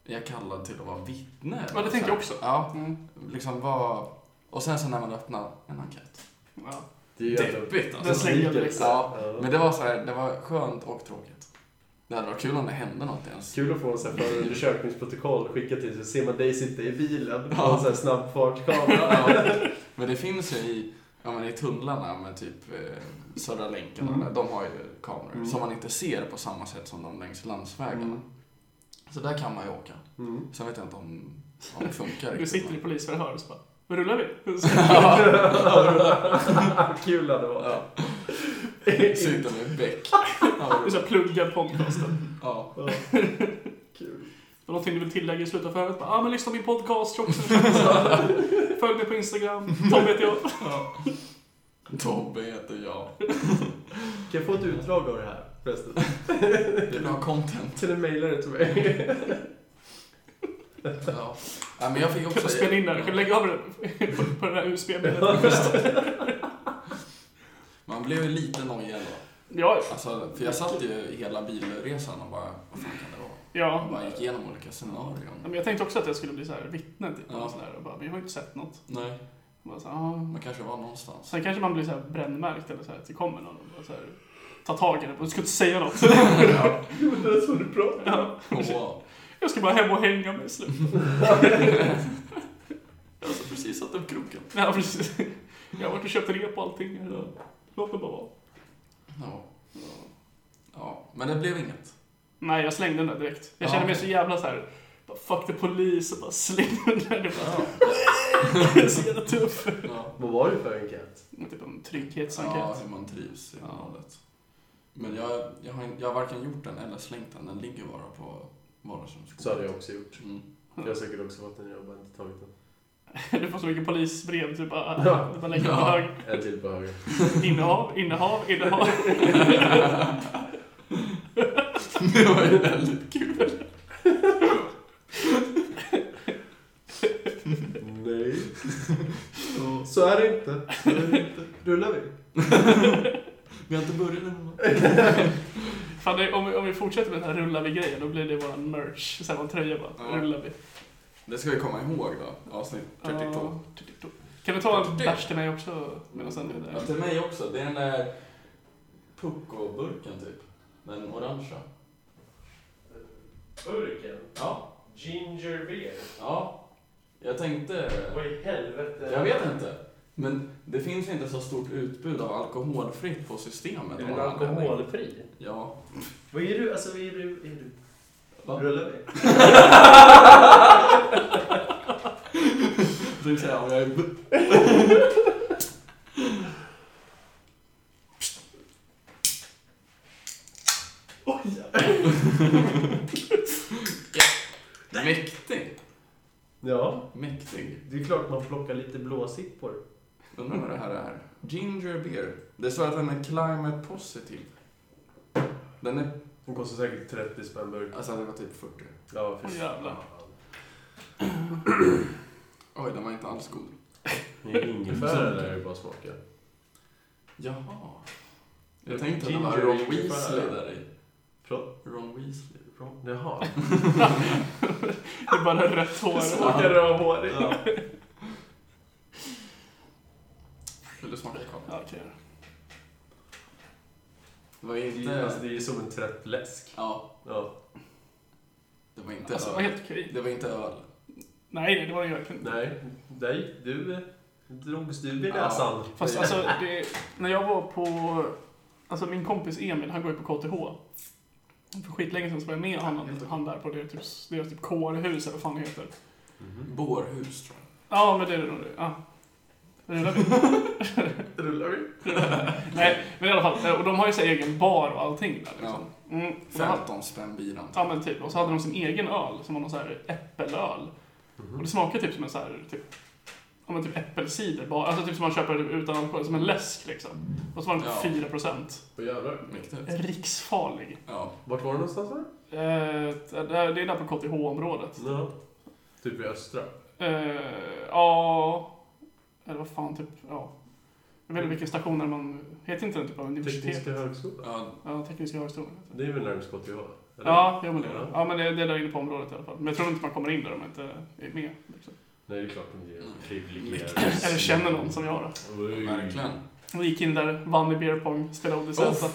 [SPEAKER 1] är jag kallad till att vara vittne?
[SPEAKER 2] Ja, det tänkte jag också.
[SPEAKER 1] Ja,
[SPEAKER 2] Mm,
[SPEAKER 1] liksom vad... Och sen så när man öppnar en enkät.
[SPEAKER 2] ja.
[SPEAKER 3] Det är ju ändå-
[SPEAKER 1] Deppigt
[SPEAKER 2] Den
[SPEAKER 1] alltså.
[SPEAKER 2] slänger jag
[SPEAKER 3] sneaker.
[SPEAKER 2] direkt.
[SPEAKER 1] Ja, men det var så här, det var skönt och tråkigt. Det hade varit kul om det hände något ens.
[SPEAKER 3] Kul att få en sån här förundersökningsprotokoll skickat till sig. Ser man dig sitta i bilen på
[SPEAKER 1] Ja.
[SPEAKER 3] en sån här snabbfartskamera.
[SPEAKER 1] Ja, men det finns ju i, ja, men i tunnlarna med typ eh, Södra länken och
[SPEAKER 3] Mm.
[SPEAKER 1] där, de har ju kameror
[SPEAKER 3] Mm.
[SPEAKER 1] som man inte ser på samma sätt som de längs landsvägarna.
[SPEAKER 3] Mm.
[SPEAKER 1] Så där kan man ju åka.
[SPEAKER 3] Mm.
[SPEAKER 1] Sen vet jag inte om, om det funkar
[SPEAKER 2] Du sitter i polisförhör och så bara, vad rullar vi? Så,
[SPEAKER 3] Kul hade det varit.
[SPEAKER 1] Ja. Sitter med bäck.
[SPEAKER 2] du så här, pluggar podcasten.
[SPEAKER 1] Ja.
[SPEAKER 3] Ja. Kul.
[SPEAKER 2] Var någonting du vill tillägga i slutet av förhöret? Ja, ah, men lyssna på min podcast, Tjocksen. Följ mig på Instagram, Tom heter jag.
[SPEAKER 1] Tobbe heter jag.
[SPEAKER 3] Kan jag få ett utdrag av det här förresten?
[SPEAKER 1] Vill du ha content?
[SPEAKER 3] Kan du mejla det till mig?
[SPEAKER 1] Ja. ja men jag fick
[SPEAKER 2] Kan
[SPEAKER 1] också...
[SPEAKER 2] du spela in den? Lägg över den på, på den här USB-bilden.
[SPEAKER 1] Man blev ju lite nojig ändå.
[SPEAKER 2] Ja,
[SPEAKER 1] Alltså, för jag satt ju hela bilresan och bara, vad fan kan det vara?
[SPEAKER 2] ja.
[SPEAKER 1] Jag bara gick igenom olika
[SPEAKER 2] Ja,
[SPEAKER 1] scenarion.
[SPEAKER 2] Men jag tänkte också att jag skulle bli så här vittne typ.
[SPEAKER 1] Ja.
[SPEAKER 2] Och så där, och bara, men jag har ju inte sett något.
[SPEAKER 1] Nej,
[SPEAKER 2] Och Bara så här, ah.
[SPEAKER 1] man kanske var någonstans.
[SPEAKER 2] Sen kanske man blir så här brännmärkt eller så här, att det kommer någon och bara så här, tar tag i det. Du ska inte säga något.
[SPEAKER 1] ja.
[SPEAKER 3] Jo, men det är så du pratar.
[SPEAKER 2] Ja.
[SPEAKER 1] Wow.
[SPEAKER 2] Jag ska bara hem och hänga mig i slutet. alltså
[SPEAKER 1] Jag har precis satt upp kroken.
[SPEAKER 2] Ja, precis. Jag har varit och köpt rep och allting. Låt mig bara vara.
[SPEAKER 1] Ja. ja, men det blev inget.
[SPEAKER 2] Nej, jag slängde den där direkt. Jag
[SPEAKER 1] Ja.
[SPEAKER 2] kände mig så jävla så här. bara, Fuck the police och bara slängde den där. Det var-
[SPEAKER 1] Ja.
[SPEAKER 2] Det är så jävla tuff.
[SPEAKER 1] Ja.
[SPEAKER 3] Vad var det för enkät?
[SPEAKER 2] Typ en trygghetsenkät.
[SPEAKER 1] ja, hur man trivs i
[SPEAKER 2] Ja.
[SPEAKER 1] valet. Men jag, jag, har, jag har varken gjort den eller slängt den. Den ligger bara på vardagsrumsbordet.
[SPEAKER 3] Så hade jag också gjort.
[SPEAKER 1] Mm.
[SPEAKER 3] Jag har säkert också fått den, jag har bara inte tagit den.
[SPEAKER 2] Du får så mycket polisbrev, typ bara,
[SPEAKER 3] Ja.
[SPEAKER 2] du bara lägger på
[SPEAKER 1] Ja.
[SPEAKER 2] hög.
[SPEAKER 3] En till på höger.
[SPEAKER 2] Innehav, innehav, innehav.
[SPEAKER 1] det var ju väldigt kul.
[SPEAKER 3] Nej. Så är det inte. Så är det inte. Rullar vi?
[SPEAKER 1] Vi har inte börjat än.
[SPEAKER 2] Fan, det, om, vi, om vi fortsätter med den här rullar vi-grejen, då blir det våran merch. Sen en tröja bara.
[SPEAKER 1] Ja.
[SPEAKER 2] Rullar vi.
[SPEAKER 1] Det ska vi komma ihåg då, avsnitt 32.
[SPEAKER 2] Ja, 32. Typ. Kan du ta en
[SPEAKER 1] 32?
[SPEAKER 2] bärs till mig också? Medan sen är
[SPEAKER 1] Ja,
[SPEAKER 2] där.
[SPEAKER 1] till mig också. Det är den där pucko-burken typ. Den orangea.
[SPEAKER 3] Burken?
[SPEAKER 1] Ja.
[SPEAKER 3] Ginger beer?
[SPEAKER 1] Ja. Jag tänkte...
[SPEAKER 3] Vad i helvete?
[SPEAKER 1] Jag vet inte. Men det finns inte så stort utbud av alkoholfritt på systemet.
[SPEAKER 3] Är
[SPEAKER 1] av
[SPEAKER 3] den
[SPEAKER 1] någon anledning.
[SPEAKER 3] alkoholfri?
[SPEAKER 1] Ja.
[SPEAKER 3] Vad är du? Alltså vad är du? Är du?
[SPEAKER 1] Va?
[SPEAKER 3] Rullar vi?
[SPEAKER 1] Du säger om jag är... bu- Ja. Mäktig.
[SPEAKER 3] Ja,
[SPEAKER 1] Mäktig.
[SPEAKER 3] det är klart man plockar lite blåsippor.
[SPEAKER 1] Undrar vad det här är. Ginger beer. Det står att den är climate positive. Den är...
[SPEAKER 3] Den kostar säkert 30 spänn burken.
[SPEAKER 1] Alltså det var typ 40.
[SPEAKER 3] Ja,
[SPEAKER 2] Åh, jävlar.
[SPEAKER 1] Oj, den var inte alls god.
[SPEAKER 3] Det är ingefära där det bara smakar.
[SPEAKER 1] Jaha.
[SPEAKER 3] Det är
[SPEAKER 1] Jag tänkte att det
[SPEAKER 3] ginger
[SPEAKER 1] var Ron
[SPEAKER 3] ale
[SPEAKER 1] Weasley
[SPEAKER 3] ungefär.
[SPEAKER 1] där i.
[SPEAKER 3] Förlåt?
[SPEAKER 1] Ron Weasley.
[SPEAKER 3] Jaha.
[SPEAKER 2] Det är bara rött hår.
[SPEAKER 1] Smakar
[SPEAKER 3] rödhårig.
[SPEAKER 1] Vill du smaka Karl?
[SPEAKER 2] Ja, okej.
[SPEAKER 1] Det var
[SPEAKER 3] Det är, alltså,
[SPEAKER 1] inte...
[SPEAKER 3] det är ju som en trött läsk.
[SPEAKER 1] Ja,
[SPEAKER 3] Ja.
[SPEAKER 1] det var inte
[SPEAKER 2] Alltså, det var
[SPEAKER 1] öl.
[SPEAKER 2] helt okej.
[SPEAKER 1] Det var inte öl.
[SPEAKER 2] Nej, nej, det var det verkligen inte.
[SPEAKER 3] Nej, nej, du eh, drogs du i
[SPEAKER 1] Ja.
[SPEAKER 3] näsan.
[SPEAKER 2] Fast alltså, det, när jag var på... Alltså min kompis Emil, han går ju på KTH. För skitlänge sedan så var jag med honom, han där på deras typ, deras typ kårhus eller vad fan det heter.
[SPEAKER 3] Mhm.
[SPEAKER 1] Bårhus tror jag.
[SPEAKER 2] Ja, men det är det nog. det. Ja. Rullar vi?
[SPEAKER 3] Rullar vi?
[SPEAKER 2] Nej, men i alla fall. Och de har ju sin egen bar och allting där liksom. Mm, och då hade-
[SPEAKER 1] 15 spänn biran.
[SPEAKER 2] Ja men typ, och så hade de sin egen öl som var någon så här äppelöl. Och
[SPEAKER 3] Mhm.
[SPEAKER 2] det smakade typ som en så här, typ, ja men typ äppelcider bara. Alltså typ som man köper utan alkohol, som en läsk liksom. Och så var den
[SPEAKER 1] Ja.
[SPEAKER 2] typ 4%.
[SPEAKER 3] Vad jävlar.
[SPEAKER 1] Mäktigt.
[SPEAKER 2] Riksfarlig.
[SPEAKER 1] Ja.
[SPEAKER 3] Vart var det någonstans? va?
[SPEAKER 2] Eh, det är- det är där på KTH-området.
[SPEAKER 3] Ja. Typ vid Östra.
[SPEAKER 2] Eh, ja... Eller vad fan, typ, ja. Jag vet inte vilken station är man... Heter inte den typ av universitet?
[SPEAKER 3] Tekniska högskolan.
[SPEAKER 1] ja.
[SPEAKER 2] Ja, Tekniska högskolan.
[SPEAKER 3] Det är väl närmast KTH? eller?
[SPEAKER 2] Ja, jo, men det är
[SPEAKER 3] Ja.
[SPEAKER 2] det. Ja, men det, det är där inne på området i alla fall. Men jag tror inte man kommer in där om man inte är med. Liksom.
[SPEAKER 3] Nej, det är klart de ger
[SPEAKER 1] Mm.
[SPEAKER 3] privilegierade.
[SPEAKER 2] Eller känner någon som jag då.
[SPEAKER 3] Oj.
[SPEAKER 1] Verkligen.
[SPEAKER 2] Vi gick in där, vann i beer pong, spelade Odyssensa.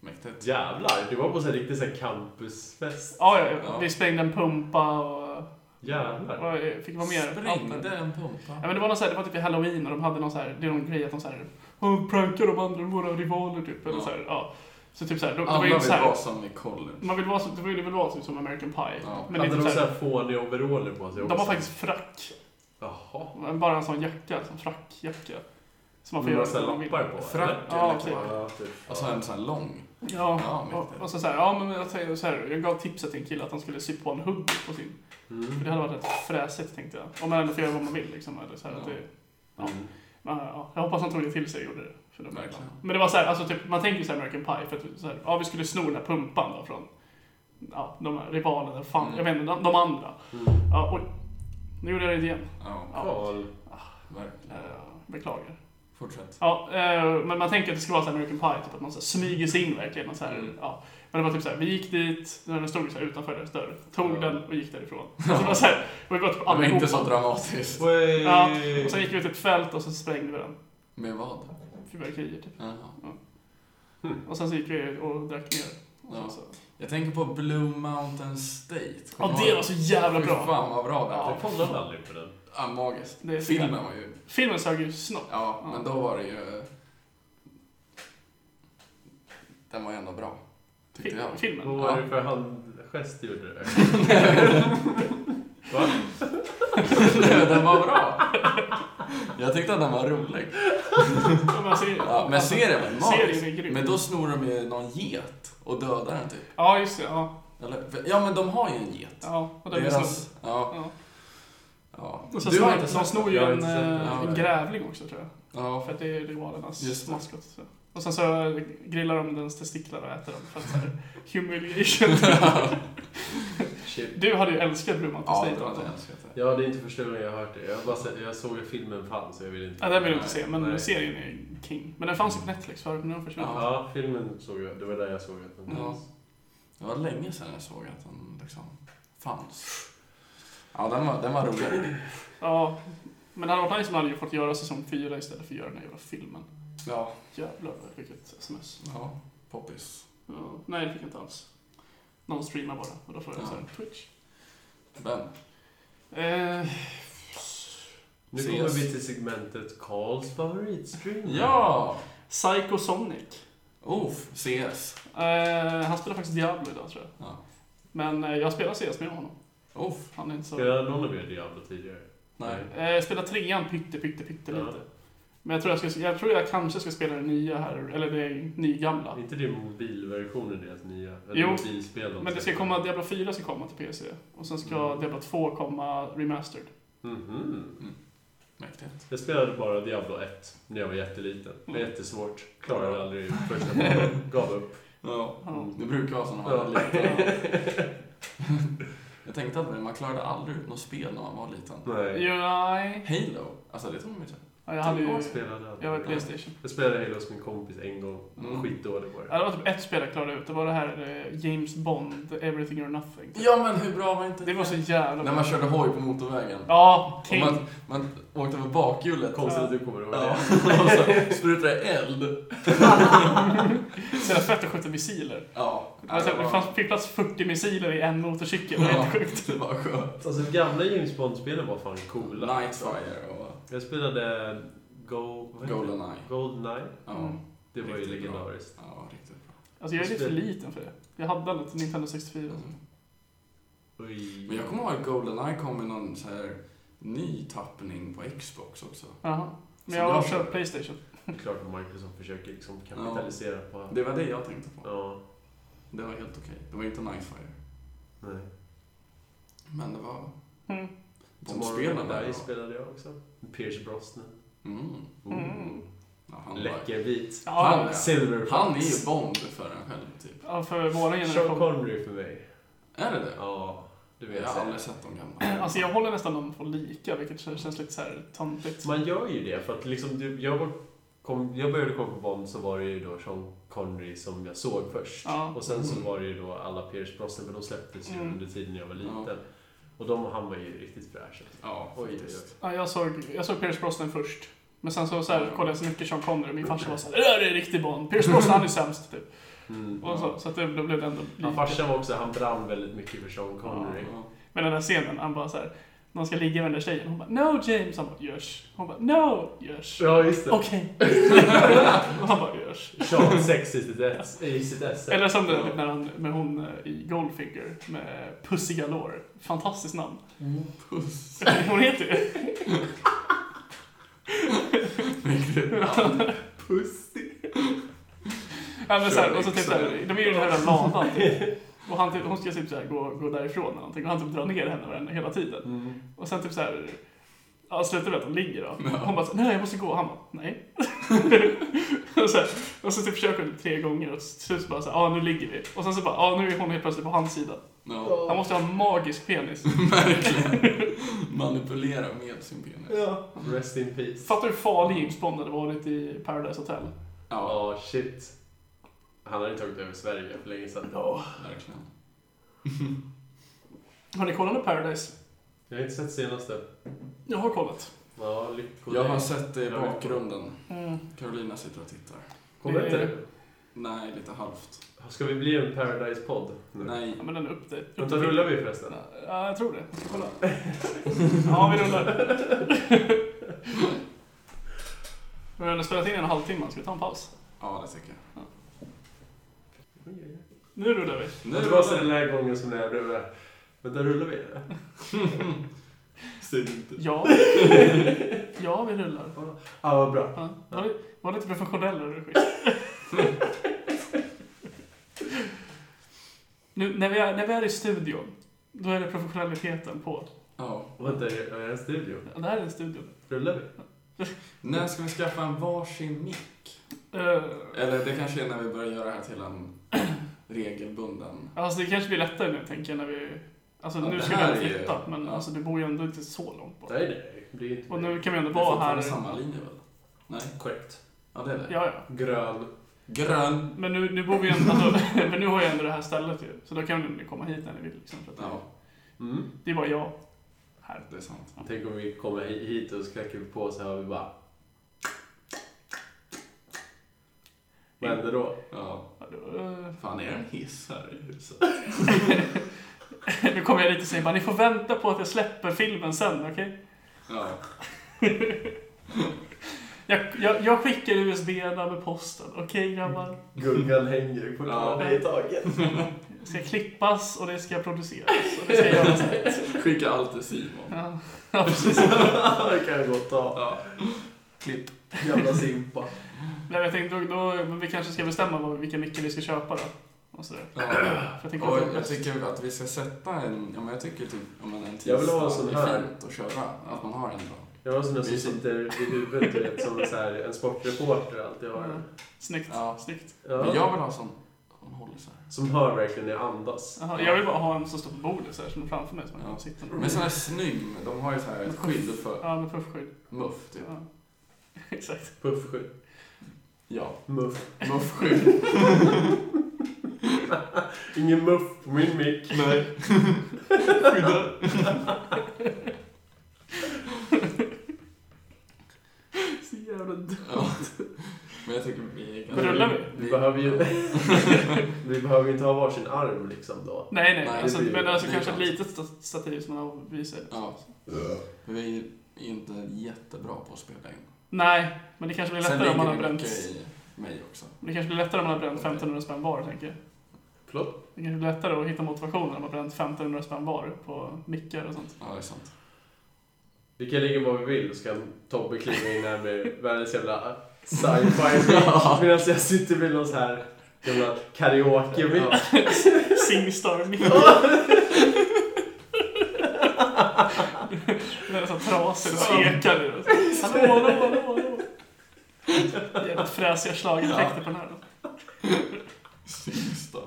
[SPEAKER 1] Mäktigt.
[SPEAKER 3] Jävlar, det var på en riktig så här campusfest.
[SPEAKER 2] Ja, ja, ja,
[SPEAKER 1] Ja.
[SPEAKER 2] vi sprängde en pumpa och...
[SPEAKER 3] Jävlar.
[SPEAKER 2] och jag fick vara med.
[SPEAKER 1] Sprängde
[SPEAKER 2] Allt.
[SPEAKER 1] en pumpa.
[SPEAKER 2] Ja, men det var någon så här, det var typ i halloween och de hade någon så här, det är någon grej att de så här, "Åh, prankar de andra, våra rivaler typ. Eller
[SPEAKER 1] Ja.
[SPEAKER 2] så här, ja. Så typ så här, de, det
[SPEAKER 1] Alla
[SPEAKER 2] var ju
[SPEAKER 1] vill
[SPEAKER 2] inte så här,
[SPEAKER 1] vara som i college.
[SPEAKER 2] man vill vara, så- det ville väl vara typ som American Pie.
[SPEAKER 1] Ja.
[SPEAKER 2] Men det är
[SPEAKER 3] Hade
[SPEAKER 2] typ
[SPEAKER 3] de
[SPEAKER 2] så här,
[SPEAKER 3] såhär fåniga overaller på sig
[SPEAKER 2] de
[SPEAKER 3] också?
[SPEAKER 2] har faktiskt frack.
[SPEAKER 3] Jaha.
[SPEAKER 2] Men Bara en sån jacka, en frackjacka. Som man får
[SPEAKER 3] Med
[SPEAKER 2] göra
[SPEAKER 3] massa
[SPEAKER 2] som man vill.
[SPEAKER 3] lappar på?
[SPEAKER 1] Frack
[SPEAKER 2] Ja,
[SPEAKER 1] eller
[SPEAKER 2] typ.
[SPEAKER 1] kvar.
[SPEAKER 3] Ja, typ.
[SPEAKER 1] Och så Alltså, en sån här lång.
[SPEAKER 2] Ja,
[SPEAKER 1] Ja, men
[SPEAKER 2] och,
[SPEAKER 1] det-
[SPEAKER 2] och så, så här, ja men jag, tänkte så här, jag gav tipset till en kille att han skulle sy på en hoodie på sin.
[SPEAKER 3] Mm.
[SPEAKER 2] För det hade varit rätt fräsigt tänkte jag. Om man ändå får göra vad man vill liksom. Eller så här, att det, ja.
[SPEAKER 3] Mm.
[SPEAKER 2] Men, ja, jag hoppas han tog det till sig och gjorde det. För det var
[SPEAKER 1] Verkligen.
[SPEAKER 2] men det var så här, alltså typ, man tänker ju så här American Pie, för att så här, ja vi skulle sno den här pumpan då från ja, de här rivalerna, fan,
[SPEAKER 1] Mm.
[SPEAKER 2] jag vet inte, de, de andra.
[SPEAKER 3] Mm.
[SPEAKER 2] Ja, oj, nu gjorde jag det igen.
[SPEAKER 1] Ja,
[SPEAKER 2] Ja.
[SPEAKER 3] Karl.
[SPEAKER 2] Eh,
[SPEAKER 1] verkligen.
[SPEAKER 2] beklagar.
[SPEAKER 1] Fortsätt.
[SPEAKER 2] Ja, eh, men man tänker att det ska vara så här American Pie, typ att man så här, smyger sig in verkligen. Och så här,
[SPEAKER 1] Mm.
[SPEAKER 2] ja. Men det var typ så här, vi gick dit, den stod så här utanför deras dörr, tog
[SPEAKER 3] Ja.
[SPEAKER 2] den och gick därifrån. Och så var så här, och vi var typ
[SPEAKER 1] Det var inte så
[SPEAKER 2] allihopa.
[SPEAKER 1] dramatiskt.
[SPEAKER 2] Ja, och sen gick vi ut i ett fält och så sprängde vi den.
[SPEAKER 1] Med vad?
[SPEAKER 2] Fyrverkerier typ.
[SPEAKER 1] Jaha.
[SPEAKER 2] Och sen så gick vi och drack ner. Och sen
[SPEAKER 1] Ja.
[SPEAKER 2] så.
[SPEAKER 1] Jag tänker på Blue Mountain State.
[SPEAKER 2] Ja, det var så jävla
[SPEAKER 1] Fy
[SPEAKER 2] bra!
[SPEAKER 1] fan vad bra det
[SPEAKER 2] Ja.
[SPEAKER 1] var.
[SPEAKER 3] Jag kollade aldrig på den.
[SPEAKER 1] Ja, magiskt.
[SPEAKER 2] Det är så
[SPEAKER 1] Filmen
[SPEAKER 2] jävla-
[SPEAKER 1] var ju...
[SPEAKER 2] Filmen sög ju snopp.
[SPEAKER 1] Ja,
[SPEAKER 2] Ja.
[SPEAKER 1] men då var det ju... Den var ju ändå bra. Tyckte
[SPEAKER 2] Fil-
[SPEAKER 1] jag. Mm.
[SPEAKER 2] Filmen.
[SPEAKER 3] Vad var det för handgest du gjorde? Va?
[SPEAKER 1] Nej, den var bra. Jag tyckte att den var rolig.
[SPEAKER 2] Ja, men serien, alltså,
[SPEAKER 1] Ja, men Alltså, serien var magisk.
[SPEAKER 2] serien är grym.
[SPEAKER 1] Men då snor de ju någon get och dödar den typ.
[SPEAKER 2] Ja, just det. Ja.
[SPEAKER 1] Eller? Ja, men de har ju en get.
[SPEAKER 2] ja och den blir snor.
[SPEAKER 1] Deras, ja,
[SPEAKER 2] Ja.
[SPEAKER 1] ja.
[SPEAKER 2] Och så
[SPEAKER 3] Du har
[SPEAKER 2] snor,
[SPEAKER 3] inte
[SPEAKER 2] de
[SPEAKER 3] sett
[SPEAKER 2] snor
[SPEAKER 3] den.
[SPEAKER 2] ju
[SPEAKER 3] Jag har
[SPEAKER 2] en,
[SPEAKER 3] inte sett den.
[SPEAKER 2] eh,
[SPEAKER 1] Ja,
[SPEAKER 2] en
[SPEAKER 1] det-
[SPEAKER 2] grävling också tror jag.
[SPEAKER 1] ja.
[SPEAKER 2] För att det är rivalernas
[SPEAKER 1] Just det.
[SPEAKER 2] maskot. Så. Och sen så eh, grillar de dens testiklar och äter dem för att så här, humiliation.
[SPEAKER 3] Shit.
[SPEAKER 2] Du hade ju älskat Romantic
[SPEAKER 1] Ja,
[SPEAKER 2] State. alltså.
[SPEAKER 1] det var
[SPEAKER 2] Anton.
[SPEAKER 1] det jag älskade.
[SPEAKER 3] Ja, det är inte första gången jag har hört det. Jag, bara, sett- jag såg att filmen fanns och jag ville inte...
[SPEAKER 2] Ja, den vill jag inte se, men
[SPEAKER 3] Nej.
[SPEAKER 2] serien är king. Men den fanns ju på Netflix förut, men den försvann.
[SPEAKER 1] Mm. Ja.
[SPEAKER 3] Ja, filmen såg jag. Det var där jag såg att den
[SPEAKER 1] Ja.
[SPEAKER 3] fanns.
[SPEAKER 1] Det var länge sedan jag såg att den liksom fanns. Ja, den var, den var rolig.
[SPEAKER 2] Ja, men det hade varit nice om man hade fått göra säsong 4 istället för att göra den här jävla filmen.
[SPEAKER 1] Ja,
[SPEAKER 2] Jävlar vad jag fick ett sms.
[SPEAKER 1] ja. Poppis.
[SPEAKER 2] Ja, nej, det fick jag inte alls. Någon streamar bara och då får jag
[SPEAKER 1] Ja.
[SPEAKER 2] så här Twitch.
[SPEAKER 1] Vem?
[SPEAKER 2] Eh,
[SPEAKER 3] Nu
[SPEAKER 1] Ses.
[SPEAKER 3] kommer vi till segmentet Karls favoritstream.
[SPEAKER 1] Ja!
[SPEAKER 2] Psycho Sonic.
[SPEAKER 1] Oof, CS.
[SPEAKER 2] Eh, han spelar faktiskt Diablo idag tror jag.
[SPEAKER 1] Ja.
[SPEAKER 2] Men eh, jag spelar CS med honom.
[SPEAKER 1] Oof.
[SPEAKER 2] Han är inte så...
[SPEAKER 3] Spelade någon av er Diablo tidigare?
[SPEAKER 1] Nej.
[SPEAKER 2] Eh, jag spelar trean pytte, pytte, pytte
[SPEAKER 3] Ja.
[SPEAKER 2] lite. Men jag tror jag, ska, jag tror jag kanske ska spela den nya här, eller det nygamla.
[SPEAKER 3] Inte det mobilversionen, deras nya? Eller
[SPEAKER 2] Jo,
[SPEAKER 3] mobilspel de
[SPEAKER 2] Men det ska
[SPEAKER 3] släpper.
[SPEAKER 2] komma, Diablo 4 ska komma till PC. Och sen ska
[SPEAKER 3] Mm.
[SPEAKER 2] Diablo 2 komma remastered.
[SPEAKER 3] Mhm.
[SPEAKER 1] Mäktigt.
[SPEAKER 3] Jag spelade bara Diablo 1 när jag var jätteliten. Det var
[SPEAKER 2] Mm.
[SPEAKER 3] jättesvårt. Klarade aldrig första banan. Gav upp.
[SPEAKER 1] Ja.
[SPEAKER 2] Ja.
[SPEAKER 1] Det brukar vara så när man
[SPEAKER 3] Ja.
[SPEAKER 1] är liten. Jag tänkte aldrig, man klarade aldrig ut något spel när man var liten.
[SPEAKER 3] Nej.
[SPEAKER 2] Jo, nej.
[SPEAKER 1] Halo, alltså det tog mig tid.
[SPEAKER 2] Ja, Jag hade ju...
[SPEAKER 3] Jag spelade aldrig.
[SPEAKER 2] Jag var i Playstation.
[SPEAKER 3] Jag spelade Halo hos min kompis en gång.
[SPEAKER 1] Mm.
[SPEAKER 3] Skitdålig var
[SPEAKER 2] Ja,
[SPEAKER 3] det.
[SPEAKER 2] det var typ ett spel jag klarade ut. Det var det här eh, James Bond, Everything or Nothing.
[SPEAKER 1] Ja men hur bra var inte
[SPEAKER 2] Det var så jävla
[SPEAKER 1] När man körde hoj på motorvägen.
[SPEAKER 2] Ja,
[SPEAKER 1] Och
[SPEAKER 2] king.
[SPEAKER 1] man, man åkte över bakhjulet.
[SPEAKER 3] Konstigt att du kommer ihåg
[SPEAKER 1] Ja.
[SPEAKER 3] det.
[SPEAKER 1] Och så sprutade det eld.
[SPEAKER 2] Så jävla fett att skjuta missiler.
[SPEAKER 1] Ja.
[SPEAKER 2] Alltså, det
[SPEAKER 1] var-
[SPEAKER 2] fanns fick plats 40 missiler i en motorcykel. Det var
[SPEAKER 1] Ja,
[SPEAKER 2] helt sjukt.
[SPEAKER 1] det var skönt.
[SPEAKER 3] Alltså gamla James Bond-spelen var fan coola.
[SPEAKER 1] Nightfire och
[SPEAKER 3] Jag spelade Go... vad heter det?
[SPEAKER 1] Goldeneye.
[SPEAKER 3] Goldeneye.
[SPEAKER 1] Ja,
[SPEAKER 2] Mm.
[SPEAKER 3] Det var ju
[SPEAKER 1] Riktigt bra.
[SPEAKER 3] legendariskt.
[SPEAKER 1] ja riktigt bra.
[SPEAKER 2] Alltså jag är
[SPEAKER 3] Jag
[SPEAKER 2] lite för
[SPEAKER 3] spel-
[SPEAKER 2] liten för det. Jag hade aldrig till Nintendo 64.
[SPEAKER 1] Mm.
[SPEAKER 3] Oj.
[SPEAKER 1] Men jag kommer ihåg att Goldeneye kom i någon så här ny tappning på Xbox också.
[SPEAKER 2] Jaha. Men
[SPEAKER 1] Så
[SPEAKER 2] jag
[SPEAKER 1] det
[SPEAKER 2] har
[SPEAKER 1] var-
[SPEAKER 2] kört Playstation.
[SPEAKER 3] Det är klart att Microsoft försöker liksom kapitalisera på...
[SPEAKER 1] Det var det jag tänkte på.
[SPEAKER 3] Ja.
[SPEAKER 1] Det var helt okej. Det var inte Nightfire.
[SPEAKER 3] Nej.
[SPEAKER 1] Men det var...
[SPEAKER 2] Mm.
[SPEAKER 1] De spelen där
[SPEAKER 3] där
[SPEAKER 1] då.
[SPEAKER 3] spelade jag också. Pierce Brosnan.
[SPEAKER 1] Mm.
[SPEAKER 2] Mm.
[SPEAKER 1] Ja, han, var-
[SPEAKER 3] Läcker bit.
[SPEAKER 1] Han,
[SPEAKER 2] Ja,
[SPEAKER 1] ja.
[SPEAKER 3] Silver
[SPEAKER 1] han är ju Bond för en själv, typ.
[SPEAKER 2] ja, för våran
[SPEAKER 3] Sean
[SPEAKER 2] generation.
[SPEAKER 3] Connery för mig.
[SPEAKER 1] Är det det?
[SPEAKER 3] Ja, du vet.
[SPEAKER 1] Jag har aldrig sett de gamla.
[SPEAKER 2] Alltså jag håller nästan dem för lika, vilket kän- känns lite så här töntigt.
[SPEAKER 3] Man gör ju det för att liksom, du- jag, var, kom, jag började kolla på Bond så var det ju då Sean Connery som jag såg först.
[SPEAKER 2] Ja.
[SPEAKER 3] Och sen så
[SPEAKER 1] Mm.
[SPEAKER 3] var det ju då alla Pierce Brosnan, för de släpptes ju
[SPEAKER 2] Mm.
[SPEAKER 3] under tiden jag var liten.
[SPEAKER 1] Ja.
[SPEAKER 3] Och de, han var ju riktigt fräsch.
[SPEAKER 1] Ja,
[SPEAKER 3] Oj, oj, oj.
[SPEAKER 1] faktiskt.
[SPEAKER 2] Ja, jag, såg, jag såg Pierce Brosnan först. Men sen så, så här, kollade jag så mycket Sean Connery. Min farsa var såhär, det där är riktig Bond. Pierce Brosnan han är sämst, typ.
[SPEAKER 3] Mm.
[SPEAKER 2] Och så, så att det, då blev det ändå
[SPEAKER 3] Han
[SPEAKER 2] lika.
[SPEAKER 3] farsan var också, han brann väldigt mycket för Sean Connery.
[SPEAKER 1] Ja,
[SPEAKER 2] Men den där scenen, han bara såhär, någon ska ligga med den där tjejen. Hon bara, no James. Han bara, görs. Hon bara, no, görs.
[SPEAKER 3] Ja, just det.
[SPEAKER 2] Okej. Och han bara, görs.
[SPEAKER 3] Sean sex i sitt ess- i sitt esse.
[SPEAKER 2] Eller som det där när han, med hon eh, i Goldfinger, med Pussy Galore. Fantastiskt namn.
[SPEAKER 1] Puss.
[SPEAKER 2] Hon heter ju...
[SPEAKER 3] Pussy.
[SPEAKER 2] Ja, men så här,
[SPEAKER 1] Kör
[SPEAKER 2] och så typ
[SPEAKER 1] Excel.
[SPEAKER 2] så här, de är ju i den här ladan typ. Och han typ, hon ska typ så här gå, gå därifrån eller någonting. Och han typ drar ner henne med den hela tiden.
[SPEAKER 3] Mm.
[SPEAKER 2] Och sen typ så här, ja slutar med att de ligger då. Hon bara så här, nej jag måste gå. Han bara, nej. och, så här, och så typ försöker hon typ tre gånger och till slut så bara så här, ja nu ligger vi. Och sen så bara, ja nu är hon helt plötsligt på hans sida.
[SPEAKER 1] Ja,
[SPEAKER 2] Han måste ha en magisk penis.
[SPEAKER 1] verkligen. Manipulera med sin penis.
[SPEAKER 3] Ja. Rest in peace.
[SPEAKER 2] Fattar hur farlig James Bond hade varit i Paradise Hotel.
[SPEAKER 1] Ja,
[SPEAKER 3] Ja, shit. Han hade ju tagit över Sverige för länge sedan.
[SPEAKER 2] Ja.
[SPEAKER 1] verkligen.
[SPEAKER 2] Har ni kollat på Paradise?
[SPEAKER 3] Jag har inte sett senaste.
[SPEAKER 2] Jag har kollat.
[SPEAKER 3] Ja, lycko
[SPEAKER 1] Jag
[SPEAKER 3] dig.
[SPEAKER 1] har sett det i
[SPEAKER 3] Jag vet.
[SPEAKER 1] bakgrunden.
[SPEAKER 2] Mm.
[SPEAKER 1] Carolina sitter och tittar.
[SPEAKER 3] Kommer inte
[SPEAKER 2] Eh,
[SPEAKER 3] det?
[SPEAKER 1] Nej, lite halvt.
[SPEAKER 3] Ska vi bli en Paradise-podd?
[SPEAKER 2] Ja,
[SPEAKER 1] Nej.
[SPEAKER 2] men den är upp dig.
[SPEAKER 3] Vänta, rullar vi förresten?
[SPEAKER 2] Ja, jag tror det. Jag ska kolla. Ja, vi rullar. Vi har ändå spelat in en halvtimme, ska vi ta en paus?
[SPEAKER 1] Ja, det tycker jag.
[SPEAKER 2] Nu rullar vi.
[SPEAKER 1] Nu
[SPEAKER 3] Det var så den här gången som när jag blev... Vänta, rullar vi? Säg det inte.
[SPEAKER 2] Ja. ja, vi rullar.
[SPEAKER 3] Ja, vad bra.
[SPEAKER 2] Ja. Var, li- var lite professionell eller skit. nu, när, vi är, när vi är i studion, då är det professionaliteten på.
[SPEAKER 1] Ja.
[SPEAKER 3] Vänta, är är det en studio?
[SPEAKER 2] Det här är en studio.
[SPEAKER 3] Rullar vi?
[SPEAKER 1] När ska vi skaffa en varsin mick?
[SPEAKER 2] Eh,
[SPEAKER 1] Eller det kanske är när vi börjar göra det här till en regelbunden...
[SPEAKER 2] Alltså det kanske blir lättare nu tänker jag när vi... Alltså
[SPEAKER 1] Ja,
[SPEAKER 2] nu
[SPEAKER 1] det
[SPEAKER 2] ska vi
[SPEAKER 1] här
[SPEAKER 2] ändå
[SPEAKER 1] är ju-
[SPEAKER 2] flytta, men
[SPEAKER 1] ja.
[SPEAKER 2] alltså det bor ju ändå inte så långt bort.
[SPEAKER 3] Nej, nej. Det är inte
[SPEAKER 2] Och nu kan vi ändå
[SPEAKER 1] Det är
[SPEAKER 2] vara här.
[SPEAKER 1] fortfarande samma linje väl? Nej?
[SPEAKER 3] Korrekt.
[SPEAKER 1] Ja, det är det.
[SPEAKER 2] Ja, ja.
[SPEAKER 3] Grön.
[SPEAKER 1] Grön!
[SPEAKER 2] Men nu, nu bor vi ju ändå... Alltså, men nu har jag ändå det här stället ju. Så då kan ni komma hit när ni vill liksom. För att
[SPEAKER 1] Ja,
[SPEAKER 3] Mm.
[SPEAKER 2] Det är bara jag här.
[SPEAKER 1] det är sant.
[SPEAKER 3] Tänk om vi kommer hi- hit och så knackar vi på så här och vi bara... Vad händer då?
[SPEAKER 1] Ja,
[SPEAKER 2] Ja, då, eh,
[SPEAKER 1] fan är det en hiss här i huset?
[SPEAKER 2] nu kommer jag lite säga bara, ni får vänta på att jag släpper filmen sen, okej?
[SPEAKER 1] Ja.
[SPEAKER 2] Jag, jag, jag skickar USB-erna med posten, okej grabbar?
[SPEAKER 3] Gungan hänger fortfarande i taget.
[SPEAKER 2] Det ska klippas och det ska produceras och det ska göras.
[SPEAKER 1] Skicka allt till Simon.
[SPEAKER 2] Ja, ja precis.
[SPEAKER 3] det kan jag gott ta.
[SPEAKER 1] Ja. Klipp.
[SPEAKER 3] Jävla simpa.
[SPEAKER 2] Nej, men jag tänkte då, då, men vi kanske ska bestämma vad, vilka mickar vi ska köpa då. Och sådär.
[SPEAKER 1] Ja.
[SPEAKER 2] För jag tänker
[SPEAKER 1] Och
[SPEAKER 2] att det
[SPEAKER 1] jag
[SPEAKER 2] är bäst.
[SPEAKER 1] tycker att vi ska sätta en, ja men jag tycker typ, ja men en tisdag
[SPEAKER 3] Jag vill ha en sån här.
[SPEAKER 1] är fint att köra. Att man har en dag.
[SPEAKER 3] Jag har sådana som sitter i huvudet, du vet, som en, så här, en sportreporter alltid har.
[SPEAKER 2] Ja. Mm. Snyggt.
[SPEAKER 1] Ja.
[SPEAKER 2] Snyggt.
[SPEAKER 1] Men
[SPEAKER 3] Ja.
[SPEAKER 1] jag vill ha en sån, hon håller så här.
[SPEAKER 3] Som hör verkligen när jag andas.
[SPEAKER 2] Jaha, jag vill bara ha en som står på bordet så här, som är framför mig. Som jag
[SPEAKER 1] Ja.
[SPEAKER 2] kan sitta med.
[SPEAKER 1] Men sån här snygg, de har ju så här ett skydd för
[SPEAKER 2] Ja, med puffskydd.
[SPEAKER 1] muff typ.
[SPEAKER 2] Ja. Exakt.
[SPEAKER 3] Puffskydd.
[SPEAKER 1] Ja,
[SPEAKER 3] Muff.
[SPEAKER 1] muffskydd.
[SPEAKER 3] Ingen muff på min mick.
[SPEAKER 1] Nej.
[SPEAKER 2] Så jävla dumt.
[SPEAKER 1] Ja. Men jag tycker vi är
[SPEAKER 2] Men rullar vi?
[SPEAKER 3] Vi behöver ju vi behöver ju inte ha varsin arm liksom då.
[SPEAKER 2] Nej, nej.
[SPEAKER 1] Nej,
[SPEAKER 2] alltså,
[SPEAKER 3] det blir-
[SPEAKER 2] men alltså
[SPEAKER 1] det är
[SPEAKER 2] kanske ett
[SPEAKER 1] sant.
[SPEAKER 2] litet sta- stativ som man har vid sig.
[SPEAKER 1] Ja. Men vi är ju inte jättebra på att spela in.
[SPEAKER 2] Nej, men det kanske blir lättare om man har
[SPEAKER 1] det
[SPEAKER 2] bränt...
[SPEAKER 1] mycket i mig också.
[SPEAKER 2] Men det kanske blir lättare om man har bränt 1500 spänn var, tänker jag.
[SPEAKER 3] Förlåt?
[SPEAKER 2] Det kanske blir lättare att hitta motivationen om man har bränt 1500 spänn var på mickar och sånt.
[SPEAKER 1] Ja, det är sant.
[SPEAKER 3] Vi kan ligga var vi vill så kan Tobbe kliva in här med världens jävla sci-fi mick. Medan jag sitter med någon så här jävla karaoke mick.
[SPEAKER 1] Ja.
[SPEAKER 2] Singstar-mick. Den är så trasig och ekar i den. Hallå, hallå, hallå, hallå. Jävligt fräsiga schlagereffekter på den här. då.
[SPEAKER 1] Sista.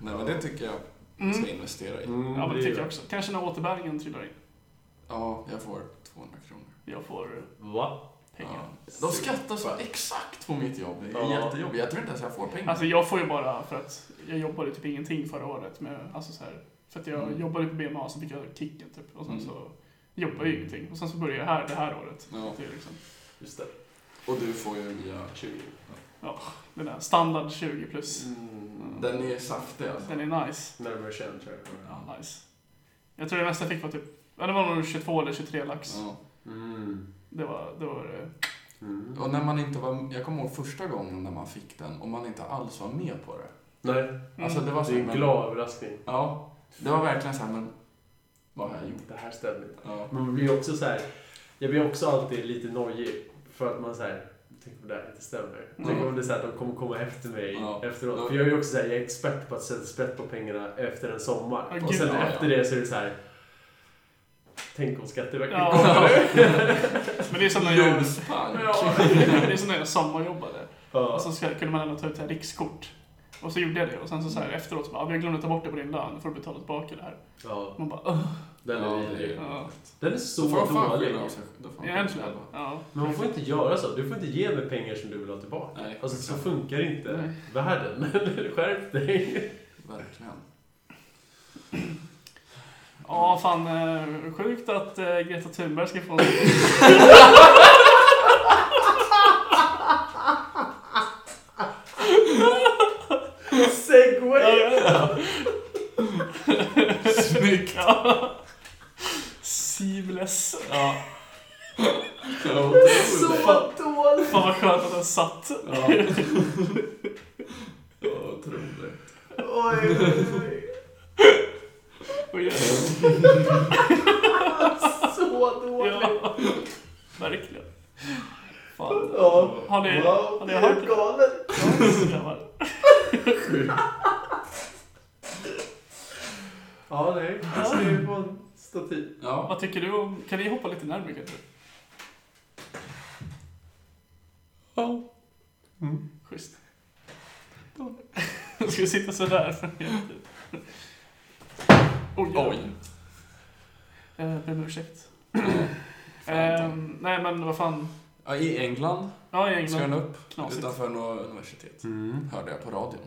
[SPEAKER 1] Nej, men det tycker jag vi ska investera i.
[SPEAKER 3] Mm,
[SPEAKER 2] Ja, men det tycker jag
[SPEAKER 3] gör
[SPEAKER 2] också. Kanske när återbäringen trillar in.
[SPEAKER 1] Ja, jag får 200 kronor.
[SPEAKER 2] Jag får
[SPEAKER 3] Va?
[SPEAKER 2] pengar.
[SPEAKER 1] Ja. De skattar så exakt på mitt jobb. Det är
[SPEAKER 3] Ja.
[SPEAKER 1] jättejobbigt. Jag tror inte ens jag får pengar.
[SPEAKER 2] Alltså jag får ju bara för att jag jobbade typ ingenting förra året. Med, alltså så här, för att jag
[SPEAKER 1] Mm.
[SPEAKER 2] jobbade på BMA så fick jag kicken typ. Och sen
[SPEAKER 1] Mm.
[SPEAKER 2] så jobbade jag ju ingenting. Och sen så började jag här det här året.
[SPEAKER 1] Ja.
[SPEAKER 2] Det är liksom
[SPEAKER 3] Just det.
[SPEAKER 1] Och du får ju via...
[SPEAKER 3] 20.
[SPEAKER 2] den där standard 20 plus.
[SPEAKER 3] Mm.
[SPEAKER 1] Den är saftig alltså.
[SPEAKER 2] Den är nice.
[SPEAKER 3] Närmare 21 tror jag.
[SPEAKER 2] Ja, nice. Jag tror det mesta jag fick var typ, ja, det var nog 22 eller 23 lax.
[SPEAKER 1] Ja.
[SPEAKER 3] Mm.
[SPEAKER 2] Det var, det var eh, det.
[SPEAKER 3] Mm.
[SPEAKER 1] Och när man inte var... Jag kommer ihåg första gången när man fick den och man inte alls var med på det.
[SPEAKER 3] Nej,
[SPEAKER 2] Mm.
[SPEAKER 1] Alltså det var så
[SPEAKER 3] det är
[SPEAKER 1] här,
[SPEAKER 3] en
[SPEAKER 1] men-
[SPEAKER 3] glad överraskning.
[SPEAKER 1] Ja. Det var verkligen så här, men... Vad har jag gjort?
[SPEAKER 3] Det här stämmer inte.
[SPEAKER 1] Ja.
[SPEAKER 3] Men man blir också så här, jag blir också alltid lite nojig för att man så här, tänk om det här inte stämmer. Tänk om det är så här, att de kommer komma efter mig
[SPEAKER 1] Mm. Ja.
[SPEAKER 3] efteråt. För jag är ju också så här, jag är expert på att sätta sprätt på pengarna efter en sommar.
[SPEAKER 2] Ja,
[SPEAKER 3] och
[SPEAKER 2] gud,
[SPEAKER 3] sen
[SPEAKER 1] ja,
[SPEAKER 3] efter
[SPEAKER 1] ja.
[SPEAKER 3] det så är det så här, tänk om Skatteverket
[SPEAKER 2] Ja.
[SPEAKER 3] kommer.
[SPEAKER 2] Men det är som när jag,
[SPEAKER 1] Ljuspank!
[SPEAKER 2] ja, det är som när jag sommarjobbade.
[SPEAKER 3] Ja.
[SPEAKER 2] Och så ska- kunde man ändå ta ut så här rikskort. Och så gjorde jag det och sen så, så här, efteråt så bara, "Ah, jag glömde ta bort det på din lön, får du betala tillbaka det här.
[SPEAKER 3] ja,
[SPEAKER 2] Man bara, "Ugh."
[SPEAKER 3] den är
[SPEAKER 1] Ja,
[SPEAKER 3] vidrig.
[SPEAKER 1] det är-
[SPEAKER 2] ja.
[SPEAKER 3] Den är
[SPEAKER 1] Så får
[SPEAKER 3] så
[SPEAKER 1] de fan
[SPEAKER 3] dålig.
[SPEAKER 1] skylla av sig då får de skylla sig
[SPEAKER 2] Egentligen.
[SPEAKER 1] själva.
[SPEAKER 2] Ja.
[SPEAKER 3] Men man får inte göra så. Du får inte ge mig pengar som du vill ha tillbaka.
[SPEAKER 1] Nej,
[SPEAKER 3] Alltså så funkar inte
[SPEAKER 2] Nej.
[SPEAKER 3] världen. Skärp dig.
[SPEAKER 1] verkligen.
[SPEAKER 2] Ja, fan. eh, Sjukt att eh, Greta Thunberg ska få en...
[SPEAKER 3] Segway!
[SPEAKER 1] Snyggt!
[SPEAKER 2] Seamless.
[SPEAKER 1] Ja.
[SPEAKER 3] Så
[SPEAKER 2] Fan
[SPEAKER 3] dåligt!
[SPEAKER 2] vad skönt att den satt.
[SPEAKER 1] Ja, otroligt.
[SPEAKER 3] Oj, oj, oj. Wow,
[SPEAKER 2] Har ni-
[SPEAKER 3] wow,
[SPEAKER 2] har ni hört
[SPEAKER 3] jag
[SPEAKER 2] det?
[SPEAKER 3] galer.
[SPEAKER 2] Grabbar.
[SPEAKER 3] Ja, nej. Jag ser på en staty.
[SPEAKER 1] Ja.
[SPEAKER 2] Vad tycker du om... Kan vi hoppa lite närmare kanske? Ja.
[SPEAKER 3] Mm.
[SPEAKER 2] Schysst. Ska vi sitta sådär för hela tiden? Oj.
[SPEAKER 1] Oj.
[SPEAKER 2] Eh, ber om ursäkt.
[SPEAKER 1] Fan.
[SPEAKER 2] Eh, nej men vad fan.
[SPEAKER 1] Ja, I England
[SPEAKER 2] Ja, i England.
[SPEAKER 1] ska den upp
[SPEAKER 2] Knasigt.
[SPEAKER 1] utanför något universitet.
[SPEAKER 3] Mm.
[SPEAKER 1] Hörde jag på radion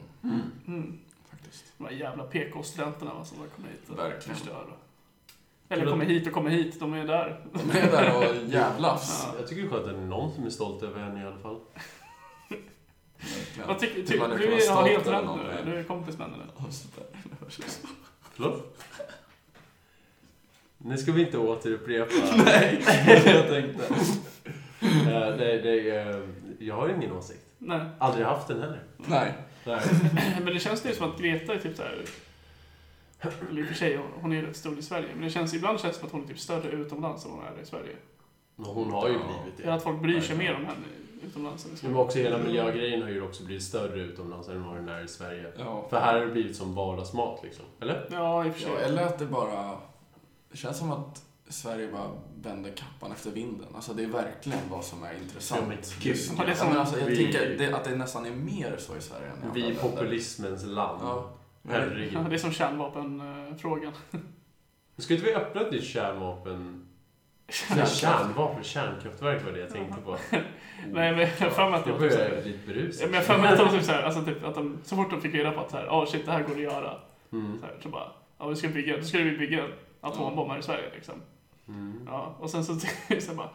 [SPEAKER 2] Mm.
[SPEAKER 1] faktiskt.
[SPEAKER 2] De här jävla PK-studenterna va, som bara kommer hit och
[SPEAKER 1] Verkligen.
[SPEAKER 2] förstör. Eller kommer hit och kommer hit, de är där.
[SPEAKER 1] De är där och jävlas.
[SPEAKER 2] Ja.
[SPEAKER 3] Jag tycker det är skönt att det är någon som är stolt över henne i alla fall.
[SPEAKER 1] Verkligen.
[SPEAKER 2] Vad tycker
[SPEAKER 1] Hur
[SPEAKER 2] ty,
[SPEAKER 1] man
[SPEAKER 2] du?
[SPEAKER 1] kan vara
[SPEAKER 2] Du har
[SPEAKER 1] stolt
[SPEAKER 2] helt
[SPEAKER 1] över
[SPEAKER 2] rätt
[SPEAKER 1] någon,
[SPEAKER 2] nu.
[SPEAKER 1] men-
[SPEAKER 2] Du är kompis med henne nu.
[SPEAKER 1] Ja, sådär. Det hörs ju så.
[SPEAKER 3] Förlåt? Nu ska vi inte återupprepa
[SPEAKER 1] Nej.
[SPEAKER 3] det jag tänkte. Eh, nej, det, är, eh, jag har ingen åsikt.
[SPEAKER 2] Nej.
[SPEAKER 3] Aldrig haft den heller.
[SPEAKER 1] Nej.
[SPEAKER 3] Nej.
[SPEAKER 2] Men det känns ju som att Greta är typ såhär... Eller i och för sig, hon är ju rätt stor i Sverige. Men det känns, ibland känns det som att hon är typ större utomlands än hon är i Sverige.
[SPEAKER 3] Men hon har ju blivit
[SPEAKER 2] Eller
[SPEAKER 3] det.
[SPEAKER 2] att folk bryr sig mer om henne utomlands än i
[SPEAKER 3] Men
[SPEAKER 2] Sverige.
[SPEAKER 3] också hela miljögrejen har ju också blivit större utomlands än vad den är i Sverige.
[SPEAKER 1] Ja.
[SPEAKER 3] För här har det blivit som vardagsmat liksom. Eller?
[SPEAKER 2] Ja, i och för
[SPEAKER 1] Ja,
[SPEAKER 2] sig.
[SPEAKER 1] eller att det bara... Det känns som att Sverige bara vänder kappan efter vinden. Alltså det är verkligen vad som är intressant.
[SPEAKER 3] Ja, men gud.
[SPEAKER 1] Som-
[SPEAKER 2] Ja, det är som-
[SPEAKER 1] men alltså, jag
[SPEAKER 3] vi-
[SPEAKER 1] tänker det, att det nästan är mer så i Sverige än i andra
[SPEAKER 3] Vi
[SPEAKER 1] länder.
[SPEAKER 3] populismens land.
[SPEAKER 1] Ja.
[SPEAKER 3] Herregud.
[SPEAKER 2] Ja, det är som kärnvapenfrågan.
[SPEAKER 3] Ska inte vi öppna ett nytt kärnvapen...
[SPEAKER 1] Kärnkraft.
[SPEAKER 3] Kärnvapen? Kärnkraftverk var det jag tänkte på.
[SPEAKER 2] Nej, men jag har för mig att det
[SPEAKER 3] Jag
[SPEAKER 2] var typ
[SPEAKER 3] börjar
[SPEAKER 2] såhär...
[SPEAKER 3] jag bli lite
[SPEAKER 2] Ja,
[SPEAKER 3] berusad.
[SPEAKER 2] men jag har för mig att de typ såhär, alltså typ att de, så fort de fick reda på att såhär, oh shit det här går att göra.
[SPEAKER 3] Mm.
[SPEAKER 2] Så, här, så bara, ja vi ska bygga, då skulle vi bygga atombomb här i Sverige liksom.
[SPEAKER 3] Mm.
[SPEAKER 2] Ja, och sen så, så bara,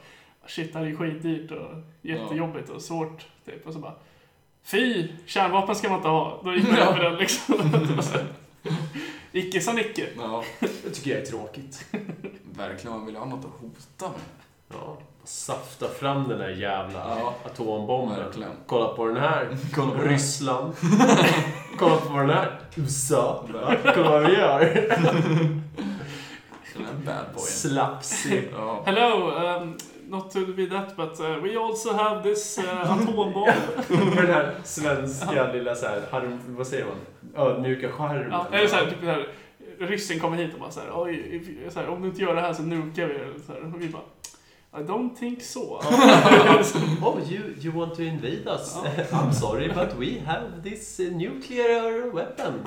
[SPEAKER 2] shit det här är ju skitdyrt och jättejobbigt och svårt. Typ. Och så bara, fy, kärnvapen ska man inte ha. Då gick man
[SPEAKER 1] Ja.
[SPEAKER 2] över den liksom. Icke sa Nicke.
[SPEAKER 1] Ja,
[SPEAKER 3] Det tycker jag är tråkigt.
[SPEAKER 1] verkligen. Man vill ju ha något att hota med.
[SPEAKER 3] Ja. Safta fram den där jävla
[SPEAKER 1] Ja.
[SPEAKER 3] atombomben.
[SPEAKER 1] Verkligen.
[SPEAKER 3] Kolla på den här.
[SPEAKER 1] Kolla på den här.
[SPEAKER 3] Ryssland. Kolla på den här. USA. Kolla vad vi gör.
[SPEAKER 1] Den här bad boyen.
[SPEAKER 3] Slapsig.
[SPEAKER 1] Ja.
[SPEAKER 2] Hello, um, not to be that but uh, we also have this uh, atombomb.
[SPEAKER 3] På den här svenska lilla så här, harm, vad säger man? Ödmjuka charmen.
[SPEAKER 2] ja, eller såhär, typ såhär, ryssen kommer hit och bara såhär, Oj, if- så här, om du inte gör det här så nukar vi er. Så här, och vi bara, I don't think so.
[SPEAKER 3] Oh, you, you want to invade us? I'm sorry, but we have this eh, nuclear weapon.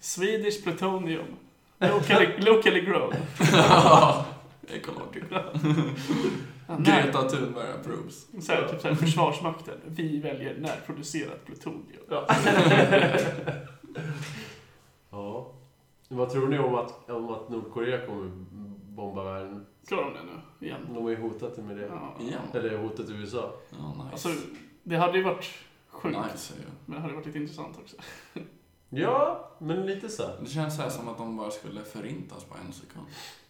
[SPEAKER 2] Swedish plutonium. Locally, locally grown.
[SPEAKER 1] Ekologiskt.
[SPEAKER 2] Ja, när-
[SPEAKER 1] Greta Thunberg approves.
[SPEAKER 2] Så här, typ så här, Försvarsmakten, vi väljer närproducerat plutonium.
[SPEAKER 3] Ja. ja. Vad tror ni om att, om att Nordkorea kommer bomba världen?
[SPEAKER 2] Klarar de det nu? Igen?
[SPEAKER 3] De har ju hotat med det.
[SPEAKER 2] Ja.
[SPEAKER 1] Igen.
[SPEAKER 3] Eller hotat USA.
[SPEAKER 1] Ja, nice.
[SPEAKER 2] Alltså, det hade ju varit sjukt,
[SPEAKER 1] nice är ju.
[SPEAKER 2] men det hade varit lite intressant också.
[SPEAKER 3] Ja, men lite så.
[SPEAKER 1] Det känns så här som att de bara skulle förintas på en sekund.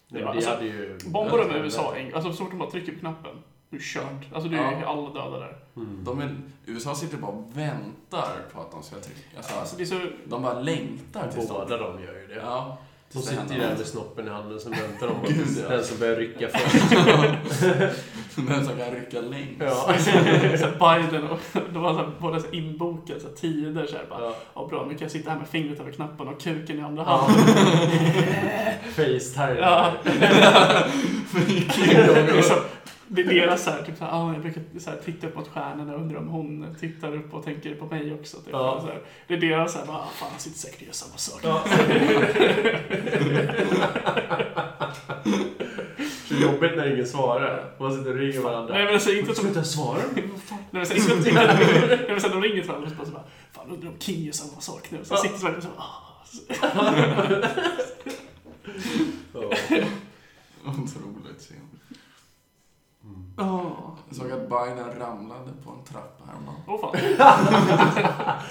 [SPEAKER 3] Det,
[SPEAKER 2] Ja,
[SPEAKER 3] det
[SPEAKER 2] alltså,
[SPEAKER 3] hade ju...
[SPEAKER 2] Bombar de med USA en alltså så fort de bara trycker på knappen, nu kört. Alltså det är ju
[SPEAKER 1] Ja.
[SPEAKER 2] alla döda där.
[SPEAKER 3] Mm.
[SPEAKER 1] De är, USA sitter bara och väntar på att de ska trycka.
[SPEAKER 2] Alltså
[SPEAKER 1] Alltså,
[SPEAKER 2] det är så...
[SPEAKER 1] de bara längtar tills de...
[SPEAKER 3] Båda de gör ju det.
[SPEAKER 1] Ja.
[SPEAKER 3] De
[SPEAKER 1] tills det
[SPEAKER 3] sitter ju
[SPEAKER 1] händer
[SPEAKER 3] där med snoppen i handen, sen väntar de på
[SPEAKER 1] Gud, ja.
[SPEAKER 3] den som börjar rycka först.
[SPEAKER 1] Den som kan rycka längst.
[SPEAKER 3] Ja.
[SPEAKER 2] så här, Biden och de var så här, båda så här inbokade så här, tider såhär bara.
[SPEAKER 3] Ja.
[SPEAKER 2] Ja bra, nu kan jag sitta här med fingret över knappen och kuken i andra
[SPEAKER 3] Ja.
[SPEAKER 2] handen.
[SPEAKER 3] Facetime.
[SPEAKER 2] Ja.
[SPEAKER 1] Kim Jong-Un.
[SPEAKER 2] Det är som- Det är deras såhär, typ såhär, ah, jag brukar såhär, titta upp mot stjärnorna och undrar om hon tittar upp och tänker på mig också. Typ.
[SPEAKER 3] Ja.
[SPEAKER 2] Så här, det är deras såhär, bara, ah, fan han sitter säkert och gör samma sak.
[SPEAKER 3] Ja. Så jobbigt när ingen svarar. Man sitter och ringer varandra.
[SPEAKER 2] Nej men alltså inte som... Nej
[SPEAKER 3] inte svara.
[SPEAKER 2] men så- inte som... Nej men sen de ringer till varandra och så bara, så bara, fan undrar om King gör samma sak nu. Så
[SPEAKER 3] Ja.
[SPEAKER 2] sitter Sverige och så bara, ah.
[SPEAKER 1] Otroligt synd.
[SPEAKER 2] ah.
[SPEAKER 1] Jag såg att Biden ramlade på en trappa häromdagen.
[SPEAKER 2] Åh fan.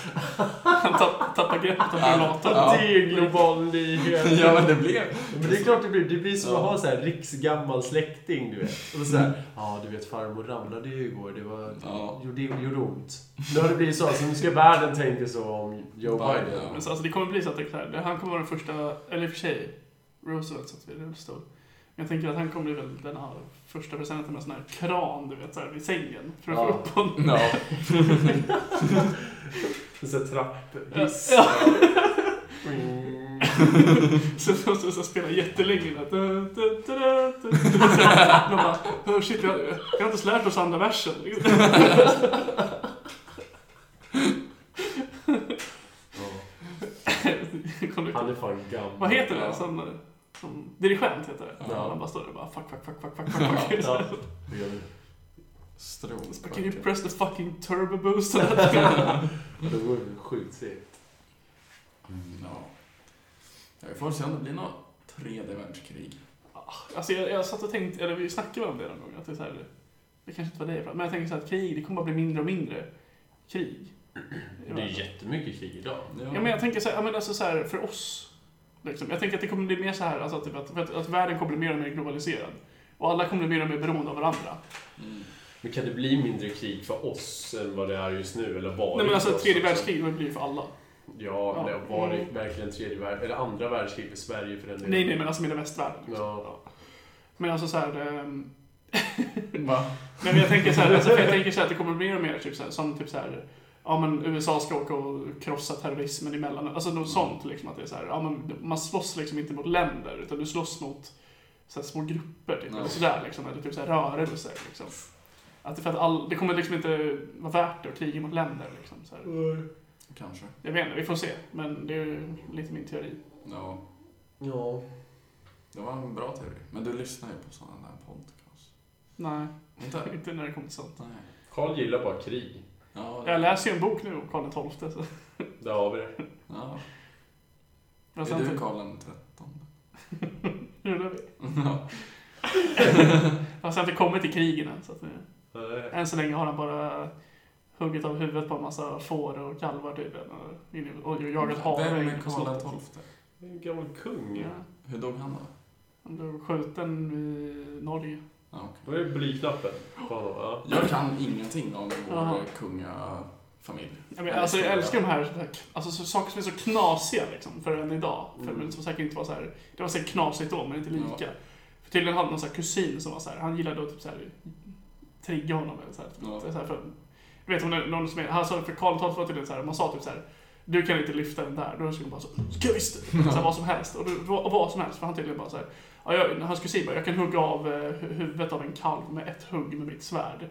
[SPEAKER 2] Han tapp, tappar greppet om rullatorn.
[SPEAKER 1] Ja.
[SPEAKER 3] Det är global nyhet.
[SPEAKER 1] Ja, men det blev...
[SPEAKER 3] Men det är klart det blir. Det blir som att
[SPEAKER 1] Ja.
[SPEAKER 3] ha så här riksgammal släkting, du vet. Och så här, ja du vet farmor ramlade ju igår. Det var...
[SPEAKER 1] Ja.
[SPEAKER 3] Gjorde, gjorde ont. Nu har det blivit så. Alltså, nu ska världen tänka så om Joe
[SPEAKER 1] Biden,
[SPEAKER 3] Biden.
[SPEAKER 1] ja.
[SPEAKER 2] Men så, alltså, det kommer bli så att det, är så här, han kommer vara den första, eller i och för sig, Roosevelt satt vid rullstol. Jag tänker att han kommer väl den här första presenten med en sån här kran, du vet, så här vid sängen. För att
[SPEAKER 3] Ja.
[SPEAKER 2] få upp honom.
[SPEAKER 1] Ja.
[SPEAKER 3] En sån här trapphiss.
[SPEAKER 2] Ja.
[SPEAKER 3] Mm.
[SPEAKER 2] Så så, så, så spelar jättelänge. där. Du, du, du, du, du. Det var så här, Man bara, oh shit, jag, jag har inte ens lärt oss andra versen. liksom.
[SPEAKER 3] Ja.
[SPEAKER 2] Kommer du-
[SPEAKER 3] Han är fan gammal.
[SPEAKER 2] Vad heter det?
[SPEAKER 1] Ja.
[SPEAKER 2] Som, som dirigent heter det.
[SPEAKER 3] Ja.
[SPEAKER 2] Han bara står där och bara fuck, fuck, fuck, fuck, fuck, fuck. fuck.
[SPEAKER 3] Ja, det gör vi.
[SPEAKER 1] Strop.
[SPEAKER 2] But can you press the fucking turbo boost? on that?
[SPEAKER 3] Ja, Det vore sjukt segt.
[SPEAKER 1] Mm, ja. Ja, Vi får se om det blir något tredje världskrig.
[SPEAKER 2] alltså jag, jag satt och tänkte, eller vi snackade om det någon gång, att det är så här, det kanske inte var det jag pratade- men jag tänker så här att krig, det kommer bara bli mindre och mindre krig.
[SPEAKER 3] Det är jättemycket krig idag.
[SPEAKER 2] Ja men jag tänker så här, ja, men alltså så här för oss. Liksom. Jag tänker att det kommer bli mer så här, alltså typ att, för att, att världen kommer bli mer och mer globaliserad. Och alla kommer bli mer och mer beroende av varandra.
[SPEAKER 1] Mm.
[SPEAKER 3] Men kan det bli mindre krig för oss än vad det är just nu? Eller
[SPEAKER 2] Nej
[SPEAKER 3] varit
[SPEAKER 2] men
[SPEAKER 3] för
[SPEAKER 2] alltså
[SPEAKER 3] oss
[SPEAKER 2] tredje
[SPEAKER 3] också?
[SPEAKER 2] världskriget det blir för alla.
[SPEAKER 3] Ja, men det har varit
[SPEAKER 2] Mm.
[SPEAKER 3] verkligen tredje världskriget. Eller andra världskriget för Sverige för den delen.
[SPEAKER 2] Nej nej men alltså mina västvärlden. Liksom.
[SPEAKER 3] Ja.
[SPEAKER 2] Men alltså så här, ehm,
[SPEAKER 3] Va?
[SPEAKER 2] Nej, men jag tänker så här, alltså, för jag tänker så här att det kommer bli mer och mer typ så här, som typ så här, ja men USA ska åka och krossa terrorismen emellan. Alltså
[SPEAKER 1] Mm.
[SPEAKER 2] något sånt liksom att det är så här, ja men man slåss liksom inte mot länder utan du slåss mot så här, små grupper typ,
[SPEAKER 1] Ja.
[SPEAKER 2] eller sådär liksom, eller typ så här rörelser liksom. Att det, för att all, det kommer liksom inte vara värt det att kriga mot länder liksom. Så här.
[SPEAKER 1] Kanske.
[SPEAKER 2] Jag vet inte, vi får se. Men det är ju lite min teori.
[SPEAKER 1] Ja.
[SPEAKER 3] Ja.
[SPEAKER 1] Det var en bra teori. Men du lyssnar ju på sådana där podcast.
[SPEAKER 2] Nej,
[SPEAKER 1] Inte?
[SPEAKER 2] inte när det kommer till sånt.
[SPEAKER 1] Nej.
[SPEAKER 3] Karl gillar bara krig.
[SPEAKER 1] Ja, det-
[SPEAKER 2] Jag läser ju en bok nu om Karl XII. Så.
[SPEAKER 3] Där har vi det.
[SPEAKER 1] Ja.
[SPEAKER 2] Men
[SPEAKER 1] är
[SPEAKER 2] samtidigt-
[SPEAKER 1] du Karl den trettonde?
[SPEAKER 2] Rullar vi?
[SPEAKER 1] Ja.
[SPEAKER 2] Fast jag har inte kommit till krigen än. Så att, eh,
[SPEAKER 3] Nej.
[SPEAKER 2] än så länge har han bara huggit av huvudet på en massa får och kalvar typ, tydligen. Och, in i- och jagat hare
[SPEAKER 1] Vem
[SPEAKER 2] inne
[SPEAKER 1] är
[SPEAKER 2] på
[SPEAKER 1] Karl
[SPEAKER 2] slottet.
[SPEAKER 1] XII?
[SPEAKER 3] Det är En gammal kung.
[SPEAKER 2] Ja,
[SPEAKER 1] Hur dog han då?
[SPEAKER 2] han blev skjuten i Norge.
[SPEAKER 1] Ja,
[SPEAKER 3] Då
[SPEAKER 1] okej.
[SPEAKER 3] är det blyknappen på honom. Ja.
[SPEAKER 1] Jag kan ingenting om
[SPEAKER 2] Jaha.
[SPEAKER 1] vår kungafamilj.
[SPEAKER 2] Jag, men, alltså, jag älskar de här, så här alltså, så, saker som är så knasiga liksom, för än idag. För,
[SPEAKER 3] Mm.
[SPEAKER 2] men som säkert inte var så här, det var säkert knasigt då, men inte lika.
[SPEAKER 1] Ja.
[SPEAKER 2] För tydligen hade någon så här kusin som var så här, han gillade att typ så här, trigga honom. Eller så här,
[SPEAKER 1] Ja.
[SPEAKER 2] Det är så här för, du vet om det är någon som är, han sa för Karl XII var tydligen så här, man sa typ så här, du kan inte lyfta den där. Då skulle de bara så, ska jag visst! Så här, vad som helst. Och du, vad, vad som helst. För han tydligen bara så här, ja, jag, hans kusin bara, jag kan hugga av eh, hu- huvudet av en kalv med ett hugg med mitt svärd.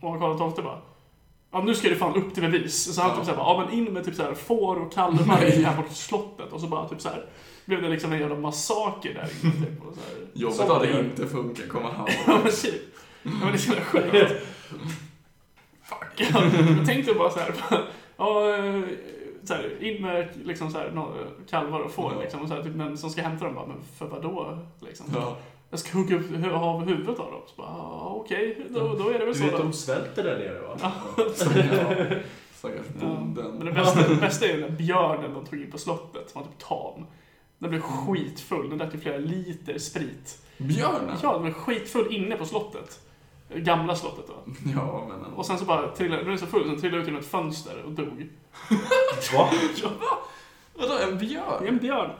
[SPEAKER 2] Och Karl XII bara, ja nu ska det fan upp till bevis. Så han
[SPEAKER 1] Ja.
[SPEAKER 2] typ såhär, bara, ja men in med typ såhär får och kalvar
[SPEAKER 1] Nej.
[SPEAKER 2] in här bort till slottet. Och så bara typ såhär, blev det liksom en jävla massaker där inne typ. Och så här.
[SPEAKER 1] Jobbet
[SPEAKER 3] Som
[SPEAKER 1] hade
[SPEAKER 3] det.
[SPEAKER 1] inte funkat, kommer han
[SPEAKER 2] Ja men shit. Ja men det är så jävla sjukt. Fuck. Ja, Jag tänkte bara såhär, ja eh, såhär, in med liksom såhär, nå- kalvar och får
[SPEAKER 1] Ja.
[SPEAKER 2] liksom. Och såhär, typ den som ska hämta dem bara, men för vadå? Liksom.
[SPEAKER 1] Ja.
[SPEAKER 2] Jag ska hugga upp hu- av huvudet av dem. Så bara, ja, okej, då, då är det väl
[SPEAKER 3] Du
[SPEAKER 2] så.
[SPEAKER 3] vet,
[SPEAKER 2] då.
[SPEAKER 3] de svälter där nere va?
[SPEAKER 1] Stackars- Stackars
[SPEAKER 2] Ja,
[SPEAKER 1] bonden.
[SPEAKER 2] Men det bästa, det bästa är ju den björnen de tog in på slottet, som var typ tam. Den blev skitfull, den drack ju flera liter sprit.
[SPEAKER 1] Björnen?
[SPEAKER 2] Ja, den blev skitfull inne på slottet. Gamla slottet då.
[SPEAKER 1] Ja, men ändå.
[SPEAKER 2] Och sen så bara trillade den, blev så full, sen trillade den ut genom ett fönster och dog.
[SPEAKER 3] Va?
[SPEAKER 1] Vadå, en
[SPEAKER 2] Det är
[SPEAKER 1] björn?
[SPEAKER 2] en björn.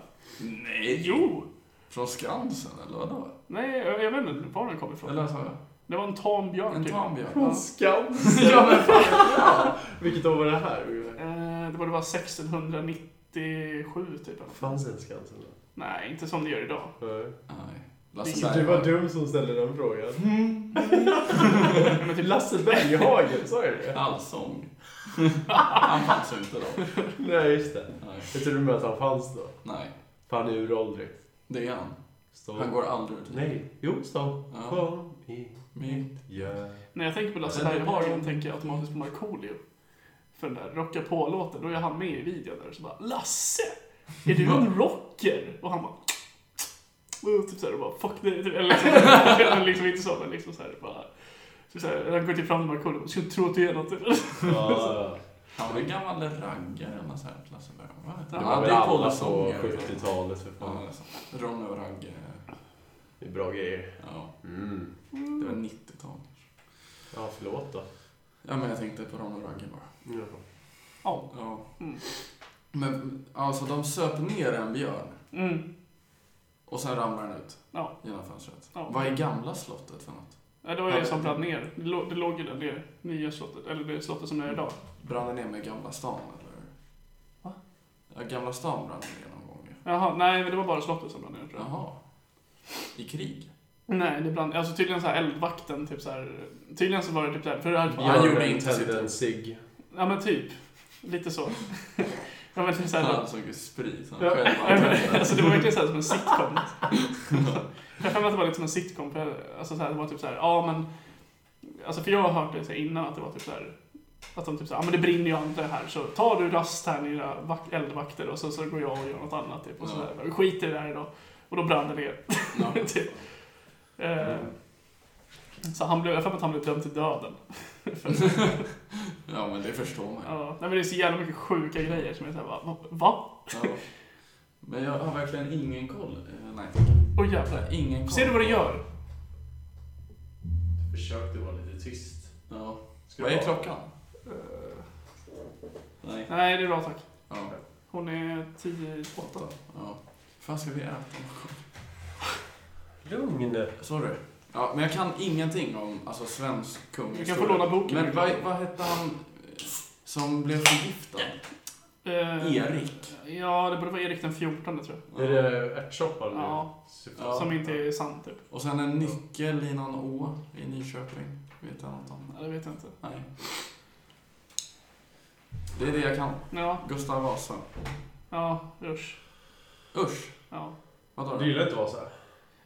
[SPEAKER 1] Nej!
[SPEAKER 2] Jo!
[SPEAKER 1] Från Skansen, eller vadå?
[SPEAKER 2] Nej, jag, jag vet inte var den kommer ifrån.
[SPEAKER 1] Eller så,
[SPEAKER 2] Det var en tam björn
[SPEAKER 1] en
[SPEAKER 2] typ.
[SPEAKER 1] tambjörn?
[SPEAKER 2] Ja.
[SPEAKER 3] Skansen! ja, men fan, ja. Vilket år var det här?
[SPEAKER 2] Eh, Det var det var 1697 typ.
[SPEAKER 3] Fanns ens Skansen då?
[SPEAKER 2] Nej, inte som det gör idag.
[SPEAKER 3] Nej.
[SPEAKER 1] Alltså, Nej.
[SPEAKER 2] Så
[SPEAKER 1] Lasse
[SPEAKER 3] Du var
[SPEAKER 1] Berghagen.
[SPEAKER 3] dum som ställde den frågan.
[SPEAKER 2] Men typ
[SPEAKER 3] Lasse Berghagen, sa jag det?
[SPEAKER 1] Allsång. Han fanns ju inte då.
[SPEAKER 3] Nej, just det.
[SPEAKER 1] Nej.
[SPEAKER 3] Jag trodde med att han fanns då.
[SPEAKER 1] Nej,
[SPEAKER 3] För han är uråldrig.
[SPEAKER 1] det är han.
[SPEAKER 3] Stå.
[SPEAKER 1] Han går aldrig ur tiden.
[SPEAKER 3] Nej, jo, stå.
[SPEAKER 1] Ja.
[SPEAKER 3] Kom i
[SPEAKER 1] Men-
[SPEAKER 3] hjärta.
[SPEAKER 2] När jag tänker på Lasse Berghagen tänker jag automatiskt på Markoolio. För den där Rocka på-låten, då är han med i videon där och så bara Lasse! Är du en rocker? Och han bara och typ såhär och bara fuck det, typ, eller liksom, eller liksom inte så men liksom såhär bara typ såhär, han går till fram till Markoolio och bara, skulle inte tro att du är något.
[SPEAKER 3] Ja,
[SPEAKER 1] Han var en gammal raggare eller så här, Lasse Berghagen. va?
[SPEAKER 2] Ja,
[SPEAKER 1] Han
[SPEAKER 3] var
[SPEAKER 1] hade
[SPEAKER 3] väl
[SPEAKER 1] ju
[SPEAKER 3] alla på
[SPEAKER 1] pollsånger.
[SPEAKER 3] 70-talet för
[SPEAKER 1] Ja,
[SPEAKER 3] fan.
[SPEAKER 1] det är sant. Ronny och Ragge. eh,
[SPEAKER 3] Det är bra grejer.
[SPEAKER 1] Ja,
[SPEAKER 3] Mm.
[SPEAKER 1] det var 90-tal.
[SPEAKER 3] Ja, förlåt då.
[SPEAKER 1] Ja, men jag tänkte på Ronny och Ragge bara.
[SPEAKER 3] Ja.
[SPEAKER 2] Ja.
[SPEAKER 1] Ja.
[SPEAKER 2] Mm.
[SPEAKER 1] Men alltså, de söp ner en björn.
[SPEAKER 2] Mm.
[SPEAKER 1] Och sen ramlar den ut
[SPEAKER 2] Ja.
[SPEAKER 1] genom fönstret.
[SPEAKER 2] Ja.
[SPEAKER 1] Vad är gamla slottet för något?
[SPEAKER 2] Nej, det var ju det som brann ner. Det låg, det låg ju där nere, nya slottet, eller det slottet som det är idag.
[SPEAKER 1] Brann det ner med Gamla stan eller?
[SPEAKER 2] Va?
[SPEAKER 1] Ja, Gamla stan brann ner någon gång ju.
[SPEAKER 2] Jaha, nej men det var bara slottet som brann ner tror jag.
[SPEAKER 1] Jaha. I krig?
[SPEAKER 2] Nej, det brann, alltså tydligen så här eldvakten, typ så här. Tydligen så var det typ så här, för det här
[SPEAKER 1] Ja,
[SPEAKER 3] Björnen
[SPEAKER 1] gjorde inte sitt.
[SPEAKER 3] tände en cigg.
[SPEAKER 2] Ja men typ. Lite så. ja men typ
[SPEAKER 1] Han
[SPEAKER 2] såhär.
[SPEAKER 1] hade så mycket sprit. Han
[SPEAKER 2] Ja,
[SPEAKER 1] själv
[SPEAKER 2] nej, men,
[SPEAKER 1] hade
[SPEAKER 2] alltså det var verkligen såhär som en sitcom. jag har för mig att det var lite som en sitcom. För jag, alltså såhär, det var typ såhär, ja men. Alltså för jag har hört det så här innan att det var typ såhär. Att de typ såhär, ja men det brinner ju inte här så tar du rast här dina vak- eldvakter och så, så går jag och gör något annat typ. Och så
[SPEAKER 1] Ja.
[SPEAKER 2] där, skit i det där idag. Och då brann det ner.
[SPEAKER 1] Ja.
[SPEAKER 2] typ. Eh,
[SPEAKER 1] Mm.
[SPEAKER 2] Så han blev, jag har för mig att han blev dömd till döden.
[SPEAKER 1] ja, men det förstår man ju.
[SPEAKER 2] Ja, nej, men det är så jävla mycket sjuka grejer som är såhär, va? va?
[SPEAKER 1] Ja. Men jag har verkligen ingen koll. Eh, Nej,
[SPEAKER 2] Åh
[SPEAKER 1] jag
[SPEAKER 2] jävlar.
[SPEAKER 1] har ingen koll.
[SPEAKER 2] Ser du vad det gör?
[SPEAKER 3] Försökte vara lite tyst.
[SPEAKER 1] Ja.
[SPEAKER 3] Ska
[SPEAKER 1] Vad
[SPEAKER 3] jag
[SPEAKER 1] är
[SPEAKER 3] vara?
[SPEAKER 1] klockan? Nej.
[SPEAKER 2] Eh, Nej, det är bra tack.
[SPEAKER 1] Ja.
[SPEAKER 2] Hon är 10 i
[SPEAKER 1] Åtta.
[SPEAKER 2] 8.
[SPEAKER 1] Ja. fan ska vi äta?
[SPEAKER 3] Lugn.
[SPEAKER 1] Sorry. Ja, men jag kan ingenting om alltså, svensk kungahistoria.
[SPEAKER 2] Du kan få låna boken.
[SPEAKER 1] Men vad, vad hette han eh, som blev förgiftad? Erik.
[SPEAKER 2] Eh, Ja, det borde vara Erik den 14 tror
[SPEAKER 3] Är det ärtsoppa nu?
[SPEAKER 2] Ja.
[SPEAKER 1] Ja.
[SPEAKER 2] jag. Som inte är sann typ.
[SPEAKER 1] Och sen en nyckel i någon å i Nyköping. Vet jag något om?
[SPEAKER 2] Ja, det vet jag inte.
[SPEAKER 1] Nej. Det är det jag kan.
[SPEAKER 2] Ja,
[SPEAKER 1] Gustav Vasa.
[SPEAKER 2] ja, usch.
[SPEAKER 1] Usch!
[SPEAKER 2] Ja.
[SPEAKER 1] Vadå
[SPEAKER 3] Du
[SPEAKER 1] då?
[SPEAKER 3] gillar inte att vara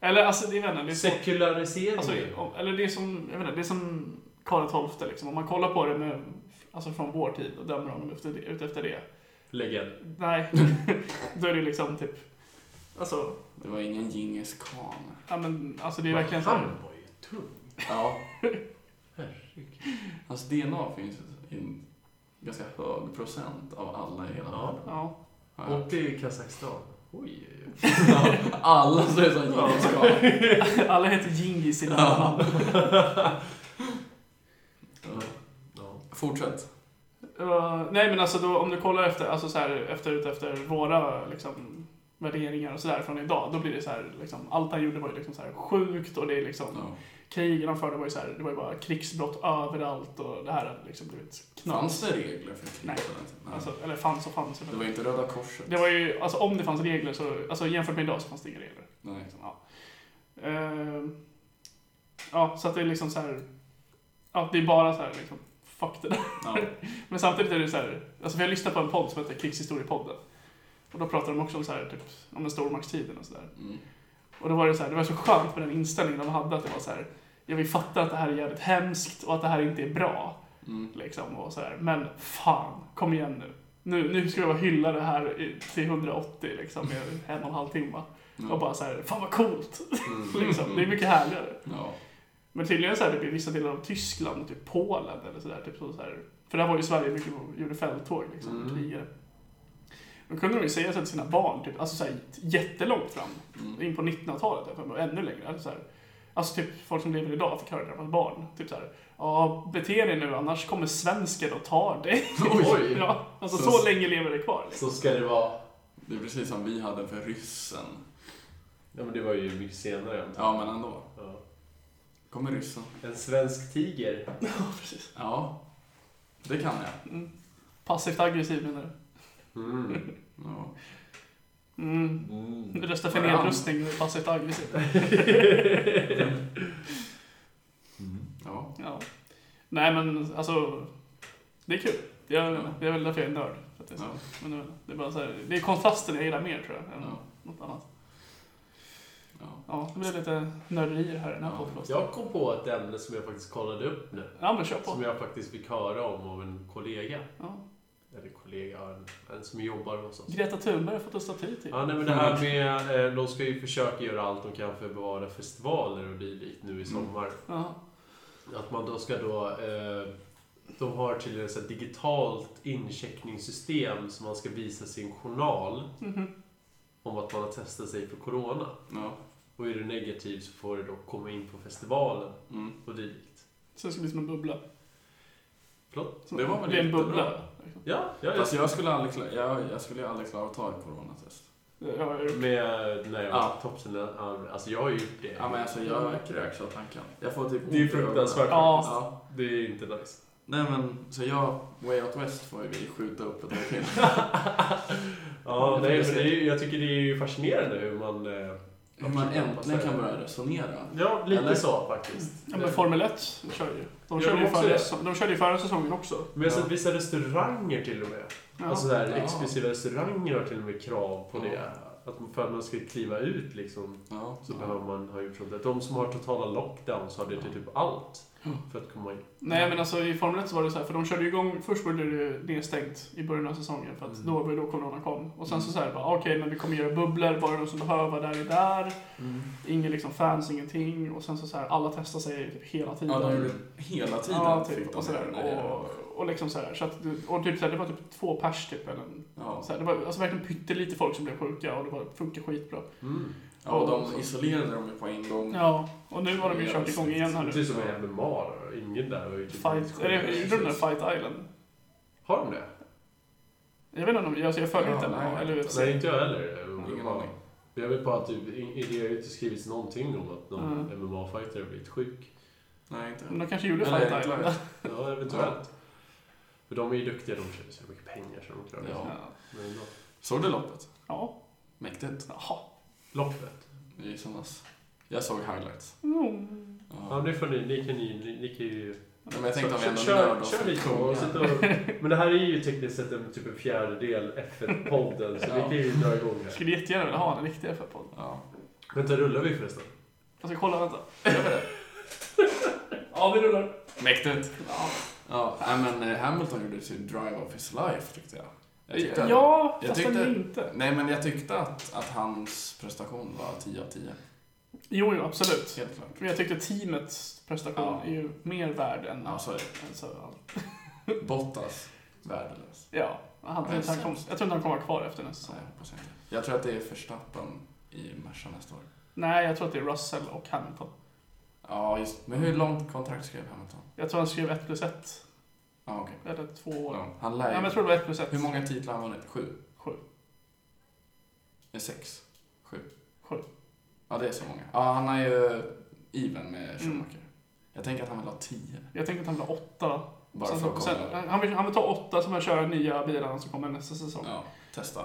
[SPEAKER 2] Eller alltså, det är vänner. Det är
[SPEAKER 3] så
[SPEAKER 2] så,
[SPEAKER 3] Sekularisering.
[SPEAKER 2] alltså, om- eller det är som, jag vet inte, det är som Karl XII liksom. Om man kollar på det med, alltså från vår tid och dömer honom efter det, ut efter det.
[SPEAKER 3] Lägg en.
[SPEAKER 2] Nej, då är det liksom typ, alltså,
[SPEAKER 1] Det var ingen Djingis khan.
[SPEAKER 2] ja men alltså det är verkligen så här,
[SPEAKER 3] Han var ju tung.
[SPEAKER 1] Ja.
[SPEAKER 3] Herregud.
[SPEAKER 1] Hans DNA finns i en ganska hög procent av alla i hela
[SPEAKER 3] Ja.
[SPEAKER 1] världen.
[SPEAKER 2] ja.
[SPEAKER 1] Ja.
[SPEAKER 3] Och i Kazakstan. Oj, oj, oj.
[SPEAKER 1] Ja, alla ser ut som Djingis khan.
[SPEAKER 2] Alla heter Djingis i
[SPEAKER 1] Ja.
[SPEAKER 2] namn.
[SPEAKER 1] Ja.
[SPEAKER 3] Ja.
[SPEAKER 1] Fortsätt.
[SPEAKER 2] Eh, nej men alltså då, om du kollar efter, alltså så här, efter, ut efter våra liksom, värderingar och sådär från idag, då blir det så här, liksom, allt han gjorde var ju liksom så här sjukt och det är liksom,
[SPEAKER 1] Ja.
[SPEAKER 2] krigen han förde var ju så här, det var ju bara krigsbrott överallt och det här hade liksom blivit knas.
[SPEAKER 1] Fanns det regler för krig
[SPEAKER 2] Nej.
[SPEAKER 1] på den tiden? Nej.
[SPEAKER 2] Alltså, eller fanns och fanns.
[SPEAKER 1] Det var inte Röda Korset.
[SPEAKER 2] Det var ju, alltså om det fanns regler så, alltså jämfört med idag så fanns det inga regler.
[SPEAKER 1] Nej.
[SPEAKER 2] Liksom, ja. Eh, ja, så att det är liksom så här, ja det är bara så här liksom, fuck det där.
[SPEAKER 1] Ja.
[SPEAKER 2] Men samtidigt är det så här, alltså vi har lyssnat på en podd som heter Krigshistoriepodden. Och då pratar de också om så här, typ, om den stormaktstiden och sådär.
[SPEAKER 1] Mm.
[SPEAKER 2] Och då var det så här, det var så skönt med den inställningen de hade, att det var så här, ja vi fattar att det här är jävligt hemskt och att det här inte är bra,
[SPEAKER 1] Mm.
[SPEAKER 2] liksom, och så här, men fan, kom igen nu. Nu, nu ska vi bara hylla det här i, till 180 liksom, i en och en halv timme. Och bara så här, fan vad coolt! liksom. Det är mycket härligare.
[SPEAKER 1] Ja.
[SPEAKER 2] Men tydligen så här, typ, i vissa delar av Tyskland och typ Polen eller sådär. Typ så så här, för där var ju Sverige mycket och gjorde fälttåg liksom,
[SPEAKER 3] Mm.
[SPEAKER 2] krigare. Då kunde de ju säga så här till sina barn, typ, alltså så här, jättelångt fram,
[SPEAKER 1] Mm.
[SPEAKER 2] in på 1900-talet jag för mig, och ännu längre. Alltså, så här, alltså typ folk som lever idag fick höra det när de var barn. Typ så här, ja bete dig nu annars kommer svensken och tar dig.
[SPEAKER 3] Oj.
[SPEAKER 2] ja, alltså så,
[SPEAKER 1] Så-
[SPEAKER 2] länge lever det kvar. Liksom.
[SPEAKER 3] Så ska det vara.
[SPEAKER 1] Det är precis som vi hade för ryssen.
[SPEAKER 3] Ja, men det var ju mycket senare. antar jag.
[SPEAKER 1] Ja, men ändå.
[SPEAKER 3] Ja.
[SPEAKER 1] Kommer ryssen.
[SPEAKER 3] En svensk tiger.
[SPEAKER 2] Precis.
[SPEAKER 1] Ja. Det kan jag.
[SPEAKER 2] Mm. Passivt aggressiv menar du?
[SPEAKER 3] Mm.
[SPEAKER 1] Ja.
[SPEAKER 2] Mm.
[SPEAKER 3] Mm.
[SPEAKER 2] Rösta för
[SPEAKER 1] Vad är han?
[SPEAKER 2] nedrustning, men passivt aggressiv.
[SPEAKER 1] ja.
[SPEAKER 2] Ja. Nej men alltså, det är kul. Jag,
[SPEAKER 1] Ja.
[SPEAKER 2] Det är väl därför jag är nörd. För att det, är så.
[SPEAKER 1] ja.
[SPEAKER 2] Men det, är- det är bara så här, det är kontrasten jag gillar mer tror jag, än
[SPEAKER 1] Ja.
[SPEAKER 2] något annat.
[SPEAKER 1] ja.
[SPEAKER 2] Ja, det blir lite nörderier här i den här
[SPEAKER 1] Ja.
[SPEAKER 2] podcasten.
[SPEAKER 3] Jag kom på ett ämne som jag faktiskt kollade upp nu.
[SPEAKER 2] Ja men kör på.
[SPEAKER 3] Som jag faktiskt fick höra om av en kollega.
[SPEAKER 2] Ja.
[SPEAKER 3] Eller kollega, en, en som jobbar hos oss.
[SPEAKER 2] Greta Thunberg har fått en staty typ. till.
[SPEAKER 3] Ja, nej, men det här med, eh, de ska ju försöka göra allt de kan för att bevara festivaler och dylikt nu i
[SPEAKER 1] Mm.
[SPEAKER 3] sommar.
[SPEAKER 2] Ja.
[SPEAKER 3] Att man då ska då, eh, de har till ett digitalt incheckningssystem som man ska visa sin journal
[SPEAKER 2] Mhm.
[SPEAKER 3] om att man har testat sig för corona.
[SPEAKER 1] ja.
[SPEAKER 3] Och är du negativ så får du då komma in på festivalen
[SPEAKER 1] Mm.
[SPEAKER 3] och dylikt.
[SPEAKER 2] Så det ska bli som liksom en bubbla.
[SPEAKER 3] Förlåt?
[SPEAKER 2] Som
[SPEAKER 1] Det var väl
[SPEAKER 2] blir en
[SPEAKER 1] jättebra.
[SPEAKER 2] bubbla. liksom.
[SPEAKER 3] Ja, ja, ja.
[SPEAKER 1] Alltså jag skulle aldrig klara, jag, jag skulle ju aldrig klara att ta ett coronatest.
[SPEAKER 2] Jag har gjort.
[SPEAKER 3] Med när jag var
[SPEAKER 1] Ja.
[SPEAKER 3] topsen, av- alltså jag har ju gjort det.
[SPEAKER 1] Ja, men alltså jag kräks av tanken. Jag får typ
[SPEAKER 3] Det är ju
[SPEAKER 1] ont i ögonen.
[SPEAKER 3] fruktansvärt
[SPEAKER 2] Ja.
[SPEAKER 3] faktiskt.
[SPEAKER 1] Ja.
[SPEAKER 3] Det är inte nice.
[SPEAKER 1] Nej men, så jag, Way Out West får ju vi skjuta upp ett år till.
[SPEAKER 3] Ja,
[SPEAKER 1] Jag tycker
[SPEAKER 3] nej, men det
[SPEAKER 1] det-
[SPEAKER 3] är, ju- jag tycker det är ju fascinerande hur man... eh,
[SPEAKER 1] Hur man äntligen kan
[SPEAKER 3] anpassar.
[SPEAKER 1] börja resonera.
[SPEAKER 3] Ja, lite
[SPEAKER 1] Eller?
[SPEAKER 3] så faktiskt.
[SPEAKER 2] Ja, men Formel 1 kör ju. De
[SPEAKER 3] Ja,
[SPEAKER 2] körde
[SPEAKER 3] de
[SPEAKER 2] ju
[SPEAKER 3] också
[SPEAKER 2] förra,
[SPEAKER 3] det.
[SPEAKER 2] säsong- de körde ju förra säsongen också.
[SPEAKER 3] Men jag har sett
[SPEAKER 1] Ja.
[SPEAKER 3] vissa restauranger till och med.
[SPEAKER 2] Ja.
[SPEAKER 3] Alltså där,
[SPEAKER 1] Ja.
[SPEAKER 3] exklusiva restauranger har till och med krav på
[SPEAKER 1] Ja.
[SPEAKER 3] det. Att man- för att man ska kliva ut liksom,
[SPEAKER 1] Ja,
[SPEAKER 3] så
[SPEAKER 1] ja.
[SPEAKER 3] behöver man ha gjort sånt. där. De som har totala lockdowns har det till typ allt för att komma in.
[SPEAKER 2] Nej men alltså i Formel 1 så var det så här, för de körde ju igång, först var det ju nedstängt i början av säsongen för att
[SPEAKER 1] Mm.
[SPEAKER 2] då var det då corona kom. Och sen så
[SPEAKER 1] Mm.
[SPEAKER 2] såhär bara, "Ah, okej men vi kommer göra bubblor, bara de som behöver där är där.
[SPEAKER 3] Mm.
[SPEAKER 2] Ingen liksom fans, ingenting. Och sen så såhär, alla testar sig typ hela tiden.
[SPEAKER 1] Ja, de gjorde hela tiden.
[SPEAKER 2] Ja,
[SPEAKER 1] fick
[SPEAKER 2] typ.
[SPEAKER 1] de
[SPEAKER 2] Och, sådär.
[SPEAKER 1] göra det.
[SPEAKER 2] och, och liksom såhär, så att, det- och typ såhär, det var typ två pers typ. Eller, en-
[SPEAKER 1] Ja.
[SPEAKER 2] såhär, det var alltså verkligen pyttelite folk som blev sjuka och det var, funkar skitbra.
[SPEAKER 3] Mm.
[SPEAKER 1] ja, och de isolerade dem ju på en gång.
[SPEAKER 2] Ja, och nu har de ju kört igång igen här nu.
[SPEAKER 3] Precis som med MMA då. Ingen där var ju typ...
[SPEAKER 2] Fight, är det, gjorde de den Fight Island?
[SPEAKER 3] Har de det?
[SPEAKER 2] Jag vet inte om, alltså jag följer
[SPEAKER 1] Ja,
[SPEAKER 2] inte
[SPEAKER 1] nej.
[SPEAKER 2] MMA, eller UFC.
[SPEAKER 3] Nej, inte jag heller.
[SPEAKER 1] Ingen aning.
[SPEAKER 3] Jag vet bara att typ, i- det har ju inte skrivits någonting om att någon
[SPEAKER 2] Mm.
[SPEAKER 3] MMA-fighter har blivit sjuk.
[SPEAKER 1] Nej, inte.
[SPEAKER 2] Men de kanske gjorde
[SPEAKER 1] Eller
[SPEAKER 2] Fight
[SPEAKER 1] enklare.
[SPEAKER 2] Island.
[SPEAKER 3] Ja, eventuellt. För de är ju duktiga, de tjänar så mycket pengar så de klarar det.
[SPEAKER 1] Ja.
[SPEAKER 3] Men ändå.
[SPEAKER 1] Såg du loppet?
[SPEAKER 2] Ja.
[SPEAKER 1] Mäktigt.
[SPEAKER 2] Jaha.
[SPEAKER 3] Loppet.
[SPEAKER 1] I söndags. Jag såg highlights.
[SPEAKER 2] Mm.
[SPEAKER 3] Ja,
[SPEAKER 1] Ja.
[SPEAKER 3] det får ni, ni kan ju, ni, ni kan ju...
[SPEAKER 1] Nej, men jag tänkte om vi
[SPEAKER 3] kör,
[SPEAKER 1] ändå
[SPEAKER 3] kör,
[SPEAKER 1] nördar oss
[SPEAKER 3] kör
[SPEAKER 1] lite.
[SPEAKER 3] lite och sitta och... Men det här är ju tekniskt sett en, typ en fjärdedel F1-podden, så vi
[SPEAKER 1] Ja.
[SPEAKER 3] kan ju dra igång
[SPEAKER 2] Jag
[SPEAKER 3] här.
[SPEAKER 2] skulle jättegärna vilja ha en riktig FF-podd.
[SPEAKER 1] Ja.
[SPEAKER 3] Vänta, rullar vi förresten?
[SPEAKER 2] Jag ska kolla, vänta. Gör vi det? ja, vi rullar.
[SPEAKER 1] Mäktigt.
[SPEAKER 2] Ja,
[SPEAKER 1] Ja, nej, men eh, Hamilton gjorde sin drive of his life tyckte jag. jag tyckte,
[SPEAKER 2] ja
[SPEAKER 1] jag
[SPEAKER 2] fast
[SPEAKER 1] tyckte-
[SPEAKER 2] ändå inte.
[SPEAKER 1] Nej, men jag tyckte att, att hans prestation var 10 av 10.
[SPEAKER 2] Jo, jo, absolut.
[SPEAKER 1] Helt klart.
[SPEAKER 2] Men jag tyckte teamets prestation
[SPEAKER 1] Ja.
[SPEAKER 2] är ju mer värd än...
[SPEAKER 1] Ja, så är
[SPEAKER 2] än så, allt.
[SPEAKER 1] det. Bottas, värdelös.
[SPEAKER 2] ja. Han,
[SPEAKER 1] Ja, det är
[SPEAKER 2] han kom, jag tror
[SPEAKER 1] sant.
[SPEAKER 2] inte han kommer vara kvar efter nästa
[SPEAKER 1] Så
[SPEAKER 2] säsong.
[SPEAKER 1] jag hoppas jag inte. Jag tror att det är Verstappen i Merca nästa år.
[SPEAKER 2] Nej, jag tror att det är Russell och Hamilton.
[SPEAKER 1] Ja, just Men hur långt kontrakt skrev Hamilton?
[SPEAKER 2] Jag tror han skrev 1 plus 1.
[SPEAKER 1] Ja, okej.
[SPEAKER 2] Eller 2 år. Ja,
[SPEAKER 1] Ja, han lär
[SPEAKER 2] men
[SPEAKER 1] ju-
[SPEAKER 2] jag tror det var 1 plus 1.
[SPEAKER 1] Hur många titlar har han vunnit? Sju?
[SPEAKER 2] Sju.
[SPEAKER 1] Eh, Sex? Sju?
[SPEAKER 2] Sju.
[SPEAKER 1] Ja, det är så många. Ja, han är ju even
[SPEAKER 2] Mm.
[SPEAKER 1] med Schumacher. Jag tänker att han vill ha tio.
[SPEAKER 2] Jag tänker att han vill ha 8
[SPEAKER 1] Bara
[SPEAKER 2] Sen,
[SPEAKER 1] för att
[SPEAKER 2] så-
[SPEAKER 1] kolla.
[SPEAKER 2] sen, han, vill, han vill ta åtta som han kör nya bilarna som kommer nästa säsong. Ja.
[SPEAKER 1] ja, testa.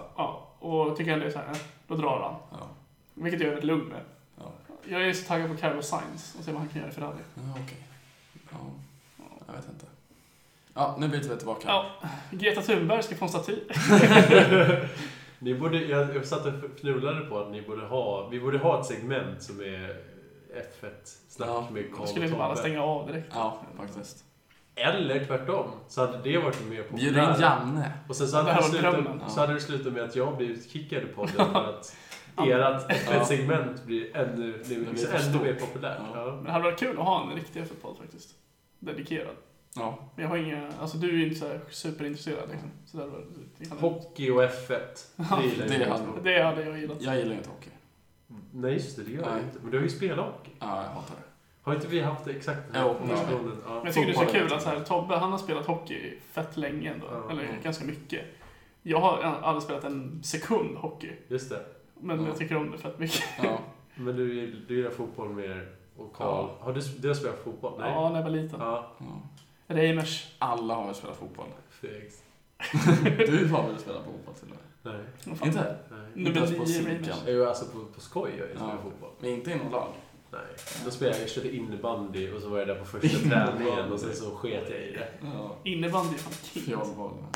[SPEAKER 2] och tycker jag det är så här, eh, då drar han.
[SPEAKER 1] Ja.
[SPEAKER 2] Vilket jag är väldigt lugn med.
[SPEAKER 1] Ja,
[SPEAKER 2] Jag är så taggad på Carlos Sainz och se vad han kan göra för Ferrari.
[SPEAKER 1] ja okej. Ja, jag vet inte. Ja, nu byter vi tillbaka.
[SPEAKER 2] Ja, Greta Thunberg ska få en staty.
[SPEAKER 3] Ni borde, jag, jag satt och fnulade på att ni borde ha, vi borde ha ett segment som är F1-snack
[SPEAKER 1] Ja.
[SPEAKER 3] med
[SPEAKER 2] Då
[SPEAKER 3] Karl
[SPEAKER 2] skulle vi bara
[SPEAKER 3] Tobbe.
[SPEAKER 2] stänga av direkt.
[SPEAKER 1] Ja, faktiskt.
[SPEAKER 3] Eller tvärtom, så hade det varit mer
[SPEAKER 1] Bjud in
[SPEAKER 3] populärt.
[SPEAKER 1] Janne.
[SPEAKER 3] Och sen så hade
[SPEAKER 2] Det
[SPEAKER 3] det,
[SPEAKER 2] här var drömmen.
[SPEAKER 3] slutat, så hade det slutat med att jag blir utkickad i podden för att ert F1-segment blir ännu, det
[SPEAKER 1] blir
[SPEAKER 3] blir liksom
[SPEAKER 1] för stort.
[SPEAKER 3] ännu mer populärt.
[SPEAKER 1] Ja.
[SPEAKER 3] Ja.
[SPEAKER 2] Men det hade varit kul att ha en riktig F1-podd faktiskt. Dedikerad.
[SPEAKER 1] Ja.
[SPEAKER 2] Men jag har inga, alltså du är ju inte så här superintresserad liksom. Så där, var- det, kan,
[SPEAKER 3] Hockey och F1, det gillar
[SPEAKER 1] det
[SPEAKER 3] jag.
[SPEAKER 1] hade-
[SPEAKER 3] inte.
[SPEAKER 2] det hade jag gillat.
[SPEAKER 1] Jag gillar inte hockey.
[SPEAKER 3] Nej, just det, det gör jag
[SPEAKER 1] Nej.
[SPEAKER 3] inte. Men du har ju spelat hockey.
[SPEAKER 1] Ja, jag hatar det.
[SPEAKER 3] Har inte vi haft exakt den här
[SPEAKER 1] Jo,
[SPEAKER 3] diskussionen? Ja.
[SPEAKER 2] Men jag tycker det är så
[SPEAKER 1] Fotboll.
[SPEAKER 2] kul att så här, Tobbe han har spelat hockey fett länge ändå,
[SPEAKER 3] Ja.
[SPEAKER 2] eller
[SPEAKER 1] Mm.
[SPEAKER 2] ganska mycket. Jag har aldrig spelat en sekund hockey,
[SPEAKER 3] Just det.
[SPEAKER 2] men
[SPEAKER 1] Ja.
[SPEAKER 2] jag tycker om det fett mycket.
[SPEAKER 1] Ja.
[SPEAKER 3] Men du, du gillar fotboll mer och Karl.
[SPEAKER 1] Ja.
[SPEAKER 3] Har du, du har spelat fotboll? Nej.
[SPEAKER 2] Ja, när jag var liten.
[SPEAKER 3] Ja,
[SPEAKER 1] ja.
[SPEAKER 2] Reimers.
[SPEAKER 1] Alla har väl spelat fotboll?
[SPEAKER 3] fegt.
[SPEAKER 1] Du har väl spelat fotboll till och med?
[SPEAKER 3] Nej.
[SPEAKER 2] Vad fan.
[SPEAKER 1] Inte?
[SPEAKER 3] Nej.
[SPEAKER 1] Inte
[SPEAKER 2] Nummer
[SPEAKER 1] ens på
[SPEAKER 2] nio
[SPEAKER 1] cirkeln.
[SPEAKER 2] Reimers.
[SPEAKER 3] Jag är ju alltså på, på skoj jag spelar
[SPEAKER 1] Ja.
[SPEAKER 3] fotboll.
[SPEAKER 1] Men inte i något lag?
[SPEAKER 3] Nej. Då spelade jag, jag körde innebandy och så var jag där på första
[SPEAKER 1] Innebandy.
[SPEAKER 3] träningen och sen så sket jag i det.
[SPEAKER 1] Ja.
[SPEAKER 2] Innebandy är fan king.
[SPEAKER 1] Fjolboll.
[SPEAKER 3] Ja,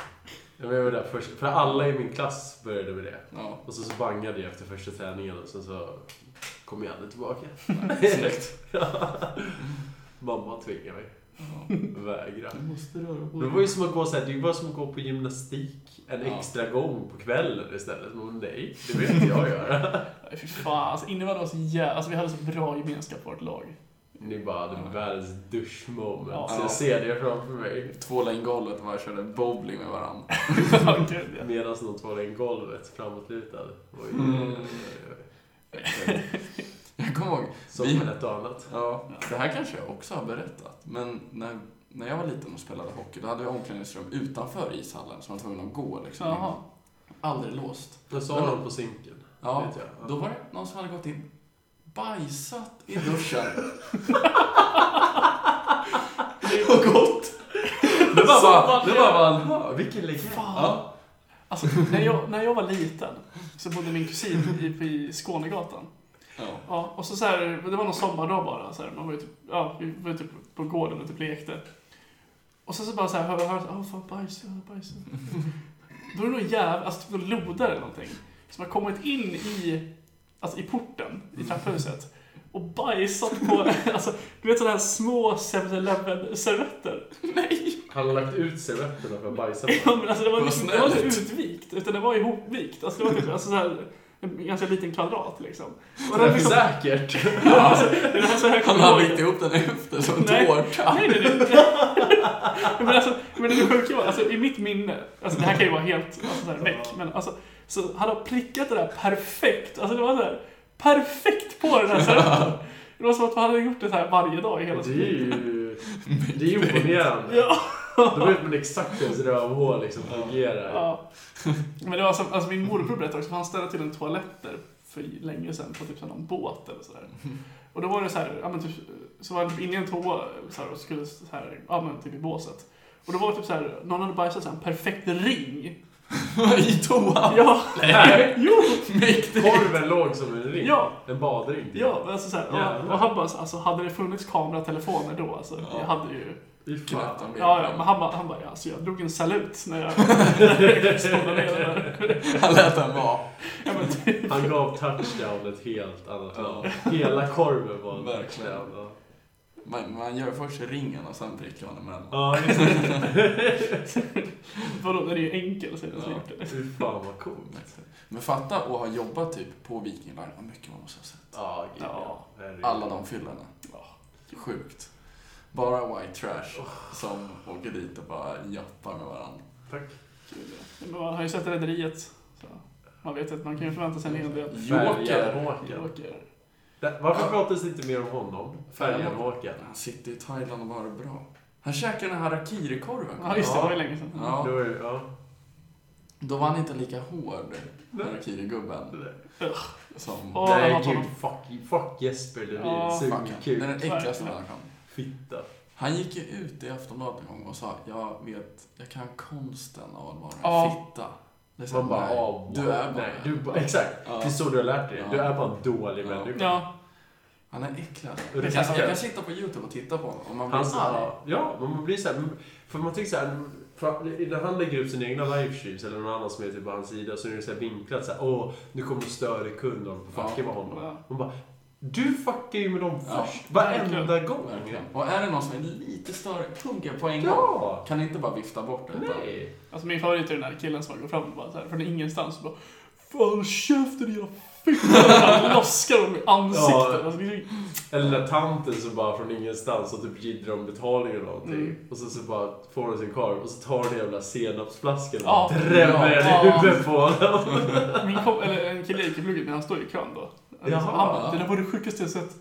[SPEAKER 3] men Jag var där först, för alla i min klass började med det.
[SPEAKER 1] Ja.
[SPEAKER 3] Och så, så bangade jag efter första träningen och sen så kom jag aldrig tillbaka.
[SPEAKER 1] Nej, Snyggt.
[SPEAKER 3] Mamma tvingade mig.
[SPEAKER 1] Ja.
[SPEAKER 3] Vägra.
[SPEAKER 1] Du måste röra på
[SPEAKER 3] Det var ju som att gå, så här, det var som att gå på gymnastik en
[SPEAKER 1] Ja.
[SPEAKER 3] extra gång på kvällen istället. Men nej, det vill inte jag göra.
[SPEAKER 2] Nej, Fy fan, alltså innebandy var så jävla... Alltså vi hade så bra gemenskap på vårt lag.
[SPEAKER 3] Ni bara hade världens duschmoment.
[SPEAKER 2] Ja.
[SPEAKER 3] Så jag ser det framför mig.
[SPEAKER 1] Tvåla in golvet och bara körde bowling med varandra.
[SPEAKER 2] Fan, gud, ja.
[SPEAKER 3] Medan de tvålade in golvet framåtlutad. Oj,
[SPEAKER 1] Mm.
[SPEAKER 3] oj, oj.
[SPEAKER 1] Jag kommer ihåg,
[SPEAKER 3] Som
[SPEAKER 1] Vi-
[SPEAKER 3] med ett och annat.
[SPEAKER 1] ja, det här kanske jag också har berättat, men när, när jag var liten och spelade hockey, då hade vi omklädningsrum utanför ishallen som man var tvungen att gå liksom.
[SPEAKER 2] Jaha.
[SPEAKER 1] Aldrig låst.
[SPEAKER 3] Vad sa
[SPEAKER 1] Men-
[SPEAKER 3] de på sinken?
[SPEAKER 1] Ja,
[SPEAKER 3] Vet jag.
[SPEAKER 1] då var det någon som hade gått in, bajsat i duschen och gått. Det var bara, det var bara, "Jaha, vilken legend.
[SPEAKER 2] Fan.
[SPEAKER 1] Ja.
[SPEAKER 2] Alltså, när jag, när jag var liten så bodde min kusin i, i Skånegatan.
[SPEAKER 1] Ja.
[SPEAKER 2] Ja, och så, så här, det var någon sommardag bara. Så här, man var ju typ, ja, vi var ju typ på gården och typ lekte. Och sen så bara så här, hör jag hör, åh fan bajs, jag hör bajs. Då är det någon jävla, alltså typ någon lodare eller någonting. Som har kommit in i, alltså i porten i trapphuset. Och bajsat på, alltså du vet sådana här små 7-Eleven-servetter. Nej!
[SPEAKER 3] Han har lagt ut servetterna för att bajsa
[SPEAKER 2] Ja,
[SPEAKER 3] på.
[SPEAKER 2] men alltså det var,
[SPEAKER 1] Vad
[SPEAKER 2] liksom, det var inte
[SPEAKER 1] snällt.
[SPEAKER 2] utvikt, utan det var ihopvikt. Alltså det var typ, alltså så här, en ganska liten kvadrat liksom. Och
[SPEAKER 3] Det
[SPEAKER 2] den
[SPEAKER 3] är
[SPEAKER 2] liksom
[SPEAKER 3] säkert.
[SPEAKER 2] Alltså, det är så här jag
[SPEAKER 1] Han
[SPEAKER 2] kommer
[SPEAKER 1] hade
[SPEAKER 2] ihåg
[SPEAKER 1] inte ihop den efter som
[SPEAKER 2] Nej.
[SPEAKER 1] tårta.
[SPEAKER 2] Nej, nej, nej. men, alltså, men det sjuka var, alltså, i mitt minne, alltså det här kan ju vara helt alltså, så här, väck, men alltså, så han har prickat det där perfekt. Alltså det var så här, perfekt på den här servetten. Det var som att han hade gjort det så här varje dag i hela
[SPEAKER 3] Det
[SPEAKER 2] sitt
[SPEAKER 3] är
[SPEAKER 2] liv.
[SPEAKER 3] ju... Det är ju imponerande.
[SPEAKER 2] Ja.
[SPEAKER 3] Då vet man exakt hur ens rövhål liksom fungerar.
[SPEAKER 2] Ja. Men det var som, alltså min morbror berättade också, för han ställde till en toalett där för länge sedan på typ så här någon båt eller sådär. Och då var det så här, ja men typ, så var han typ inne i en toa så här, och skulle så här, ja men typ i båset. Och då var det typ så här, någon hade bajsat så här, en perfekt ring.
[SPEAKER 1] I toan.
[SPEAKER 2] Ja!
[SPEAKER 3] Nej.
[SPEAKER 2] Jo!
[SPEAKER 1] Mäktigt.
[SPEAKER 3] Korven låg som en ring.
[SPEAKER 2] Ja.
[SPEAKER 3] En badring.
[SPEAKER 2] Ja, men alltså så här, och,
[SPEAKER 3] Jävlar.
[SPEAKER 2] och han bara, så- alltså hade det funnits kameratelefoner då alltså,
[SPEAKER 1] Ja.
[SPEAKER 2] jag hade ju...
[SPEAKER 3] Fy
[SPEAKER 1] Knappt
[SPEAKER 3] fan.
[SPEAKER 1] en bild.
[SPEAKER 2] Ja, ja, men han bara, han bara, ja, alltså jag drog en salut när jag, när jag stod där nere.
[SPEAKER 1] Han lät den vara.
[SPEAKER 2] Ja, men typ.
[SPEAKER 3] Han gav touchdown ett helt annat
[SPEAKER 1] Ja.
[SPEAKER 3] namn. Hela korven var en
[SPEAKER 1] Verkligen.
[SPEAKER 3] touchdown. ja.
[SPEAKER 1] Man, man gör först ringen och sen prickar man emellan.
[SPEAKER 3] Ja, just det.
[SPEAKER 2] Vadå, den är ju enkel så är det
[SPEAKER 1] Ja.
[SPEAKER 2] snyggt.
[SPEAKER 3] Fy fan vad coolt.
[SPEAKER 1] Men fatta att ha jobbat typ på Viking Line, vad mycket man måste ha sett.
[SPEAKER 3] Ja, gud,
[SPEAKER 2] Ja.
[SPEAKER 3] Herregud.
[SPEAKER 1] Alla de fyllorna.
[SPEAKER 2] Ja.
[SPEAKER 1] Sjukt. Bara white trash som åker dit och bara jappar med varandra.
[SPEAKER 3] Tack.
[SPEAKER 2] Kul, ja. Men man har ju sett Rederiet. Så man vet att man kan ju förvänta sig en hel del. eh,
[SPEAKER 1] Joker.
[SPEAKER 3] Färjan-Håkan.
[SPEAKER 2] Joker.
[SPEAKER 3] Där- Varför pratas det inte mer om honom? Färjan-Håkan.
[SPEAKER 1] Han sitter i Thailand och bara är bra. Han käkade den här harakiri-korven.
[SPEAKER 2] Ja, just det. Det var ju länge sedan.
[SPEAKER 1] Ja.
[SPEAKER 3] Då är det- ja.
[SPEAKER 1] Då var han inte lika hård,
[SPEAKER 3] Nej.
[SPEAKER 1] harakiri-gubben. Som...
[SPEAKER 2] Åh, jag
[SPEAKER 3] Nej,
[SPEAKER 2] hatar
[SPEAKER 3] gud.
[SPEAKER 2] honom.
[SPEAKER 3] Fuck, you. fuck Jesper Levin.
[SPEAKER 2] Ja.
[SPEAKER 1] Fuck han. Det är
[SPEAKER 3] Sugkuk.
[SPEAKER 1] den äckligaste
[SPEAKER 2] Verkligen.
[SPEAKER 1] människan.
[SPEAKER 3] Fitta.
[SPEAKER 1] Han gick ju ut i Aftonbladet en gång och sa jag vet, jag kan konsten av att vara en
[SPEAKER 2] Ja.
[SPEAKER 1] fitta. Det är så här,
[SPEAKER 3] Man bara,
[SPEAKER 1] nej,
[SPEAKER 3] ah,
[SPEAKER 1] du är bara
[SPEAKER 3] nej, du, bara- Exakt.
[SPEAKER 1] Ja.
[SPEAKER 3] Det är så du har lärt dig.
[SPEAKER 1] Ja.
[SPEAKER 3] Du är bara en dålig
[SPEAKER 1] Ja.
[SPEAKER 3] människa.
[SPEAKER 2] Ja,
[SPEAKER 1] Han är äcklad.
[SPEAKER 3] Och det
[SPEAKER 1] Jag
[SPEAKER 3] kanske-
[SPEAKER 1] kan, jag kan sitta på YouTube och titta på honom om man blir
[SPEAKER 3] Han
[SPEAKER 1] arg.
[SPEAKER 3] sa, ja, men man blir så här, för man tänker så här, för när han lägger upp sina egna livestreams eller någon annan som är typ på hans sida så är det så här vinklat så här, åh, nu kommer en större kund och
[SPEAKER 1] Ja.
[SPEAKER 3] fucka med honom.
[SPEAKER 2] Ja.
[SPEAKER 3] Man bara, du fuckar ju med dem
[SPEAKER 1] Ja.
[SPEAKER 3] först, varenda gång.
[SPEAKER 1] Verkligen. Och är det någon som är lite större, punka på en gång.
[SPEAKER 3] Ja!
[SPEAKER 1] Kan inte bara vifta bort det. utan-
[SPEAKER 3] Nej!
[SPEAKER 2] alltså min favorit är den där killen som går fram och bara så här, från ingenstans och bara Fan käften jävla fitta! Han loskar dem i ansiktet.
[SPEAKER 3] Ja.
[SPEAKER 2] Alltså, det är ju-
[SPEAKER 3] Eller den där tanten som bara från ingenstans och typ jiddrar om betalning eller någonting.
[SPEAKER 2] Mm.
[SPEAKER 3] Och så, så bara får hon sin korv och så tar hon den jävla senapsflaskan och
[SPEAKER 2] Ja.
[SPEAKER 3] drämmer den
[SPEAKER 2] Ja.
[SPEAKER 3] i huvudet på honom.
[SPEAKER 2] Min kom, eller en kille i Ikeplugget, men han står i kön då.
[SPEAKER 3] Jaha.
[SPEAKER 2] Han bara, det där var det sjukaste jag sett.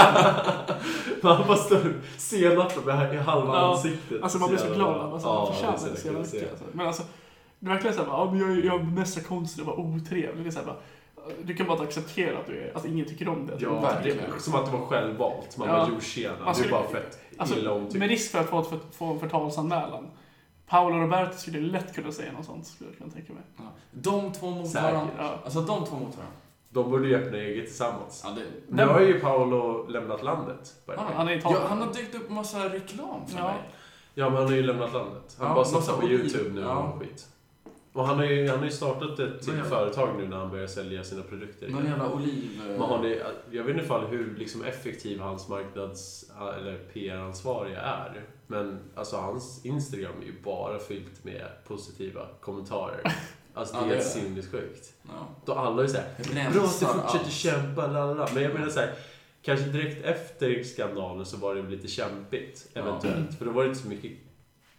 [SPEAKER 3] Man bara står och senapen med i halva
[SPEAKER 2] Ja.
[SPEAKER 3] ansiktet.
[SPEAKER 2] Alltså man blir så
[SPEAKER 3] jävla
[SPEAKER 2] glad.
[SPEAKER 3] bra.
[SPEAKER 2] Alltså, man
[SPEAKER 3] det är
[SPEAKER 2] förtjänar det så jävla
[SPEAKER 3] kul att se.
[SPEAKER 2] mycket. Alltså. Men alltså, det är verkligen såhär, ja, men jag, jag mästrar konsten att vara otrevlig. Det är så här, bara, du kan bara acceptera att du är, att ingen tycker om det. att du är
[SPEAKER 3] Ja, det
[SPEAKER 2] otrevlig.
[SPEAKER 3] är som att det var självvalt. Man
[SPEAKER 2] Ja.
[SPEAKER 3] bara, jo tjena,
[SPEAKER 2] Man
[SPEAKER 3] du är
[SPEAKER 2] skulle-
[SPEAKER 3] bara fett
[SPEAKER 2] Alltså,
[SPEAKER 3] illa typ- omtyckt.
[SPEAKER 2] med risk för att få, ett för, få en förtalsanmälan. Paolo Roberto skulle lätt kunna säga något sånt, skulle jag kunna tänka mig.
[SPEAKER 1] Ja. De två mot
[SPEAKER 3] Säkert.
[SPEAKER 1] varandra.
[SPEAKER 2] Ja.
[SPEAKER 1] Alltså de två mot varandra.
[SPEAKER 3] De borde ju öppna eget tillsammans.
[SPEAKER 1] Ja, det...
[SPEAKER 3] Nu har ju Paolo lämnat landet. by the
[SPEAKER 1] Ja,
[SPEAKER 3] way.
[SPEAKER 2] han är i Italien.
[SPEAKER 1] ja, han har dykt upp massa reklam för
[SPEAKER 2] Ja.
[SPEAKER 1] mig.
[SPEAKER 3] Ja, men han har ju lämnat landet. Han
[SPEAKER 1] Ja,
[SPEAKER 3] bara
[SPEAKER 1] massa
[SPEAKER 3] satsar på
[SPEAKER 1] oliv.
[SPEAKER 3] YouTube nu
[SPEAKER 1] Ja.
[SPEAKER 3] och skit. Och han har ju, han har ju startat ett till
[SPEAKER 1] Men-
[SPEAKER 3] företag nu när han börjar sälja sina produkter.
[SPEAKER 1] Någon jävla oliv...
[SPEAKER 3] Men har ni, jag vet inte fall hur liksom effektiv hans marknads eller PR-ansvariga är. Men alltså hans Instagram är ju bara fyllt med positiva kommentarer. Alltså det
[SPEAKER 1] Ja,
[SPEAKER 3] är
[SPEAKER 1] det är
[SPEAKER 3] helt
[SPEAKER 1] det.
[SPEAKER 3] sinnessjukt.
[SPEAKER 1] Ja.
[SPEAKER 3] Då alla är såhär,
[SPEAKER 1] Rensar
[SPEAKER 3] bra att du fortsätter
[SPEAKER 1] allt."
[SPEAKER 3] kämpa, la, la, la. Men jag menar såhär, kanske direkt efter skandalen så var det lite kämpigt,
[SPEAKER 1] Ja.
[SPEAKER 3] eventuellt. För då var det inte så mycket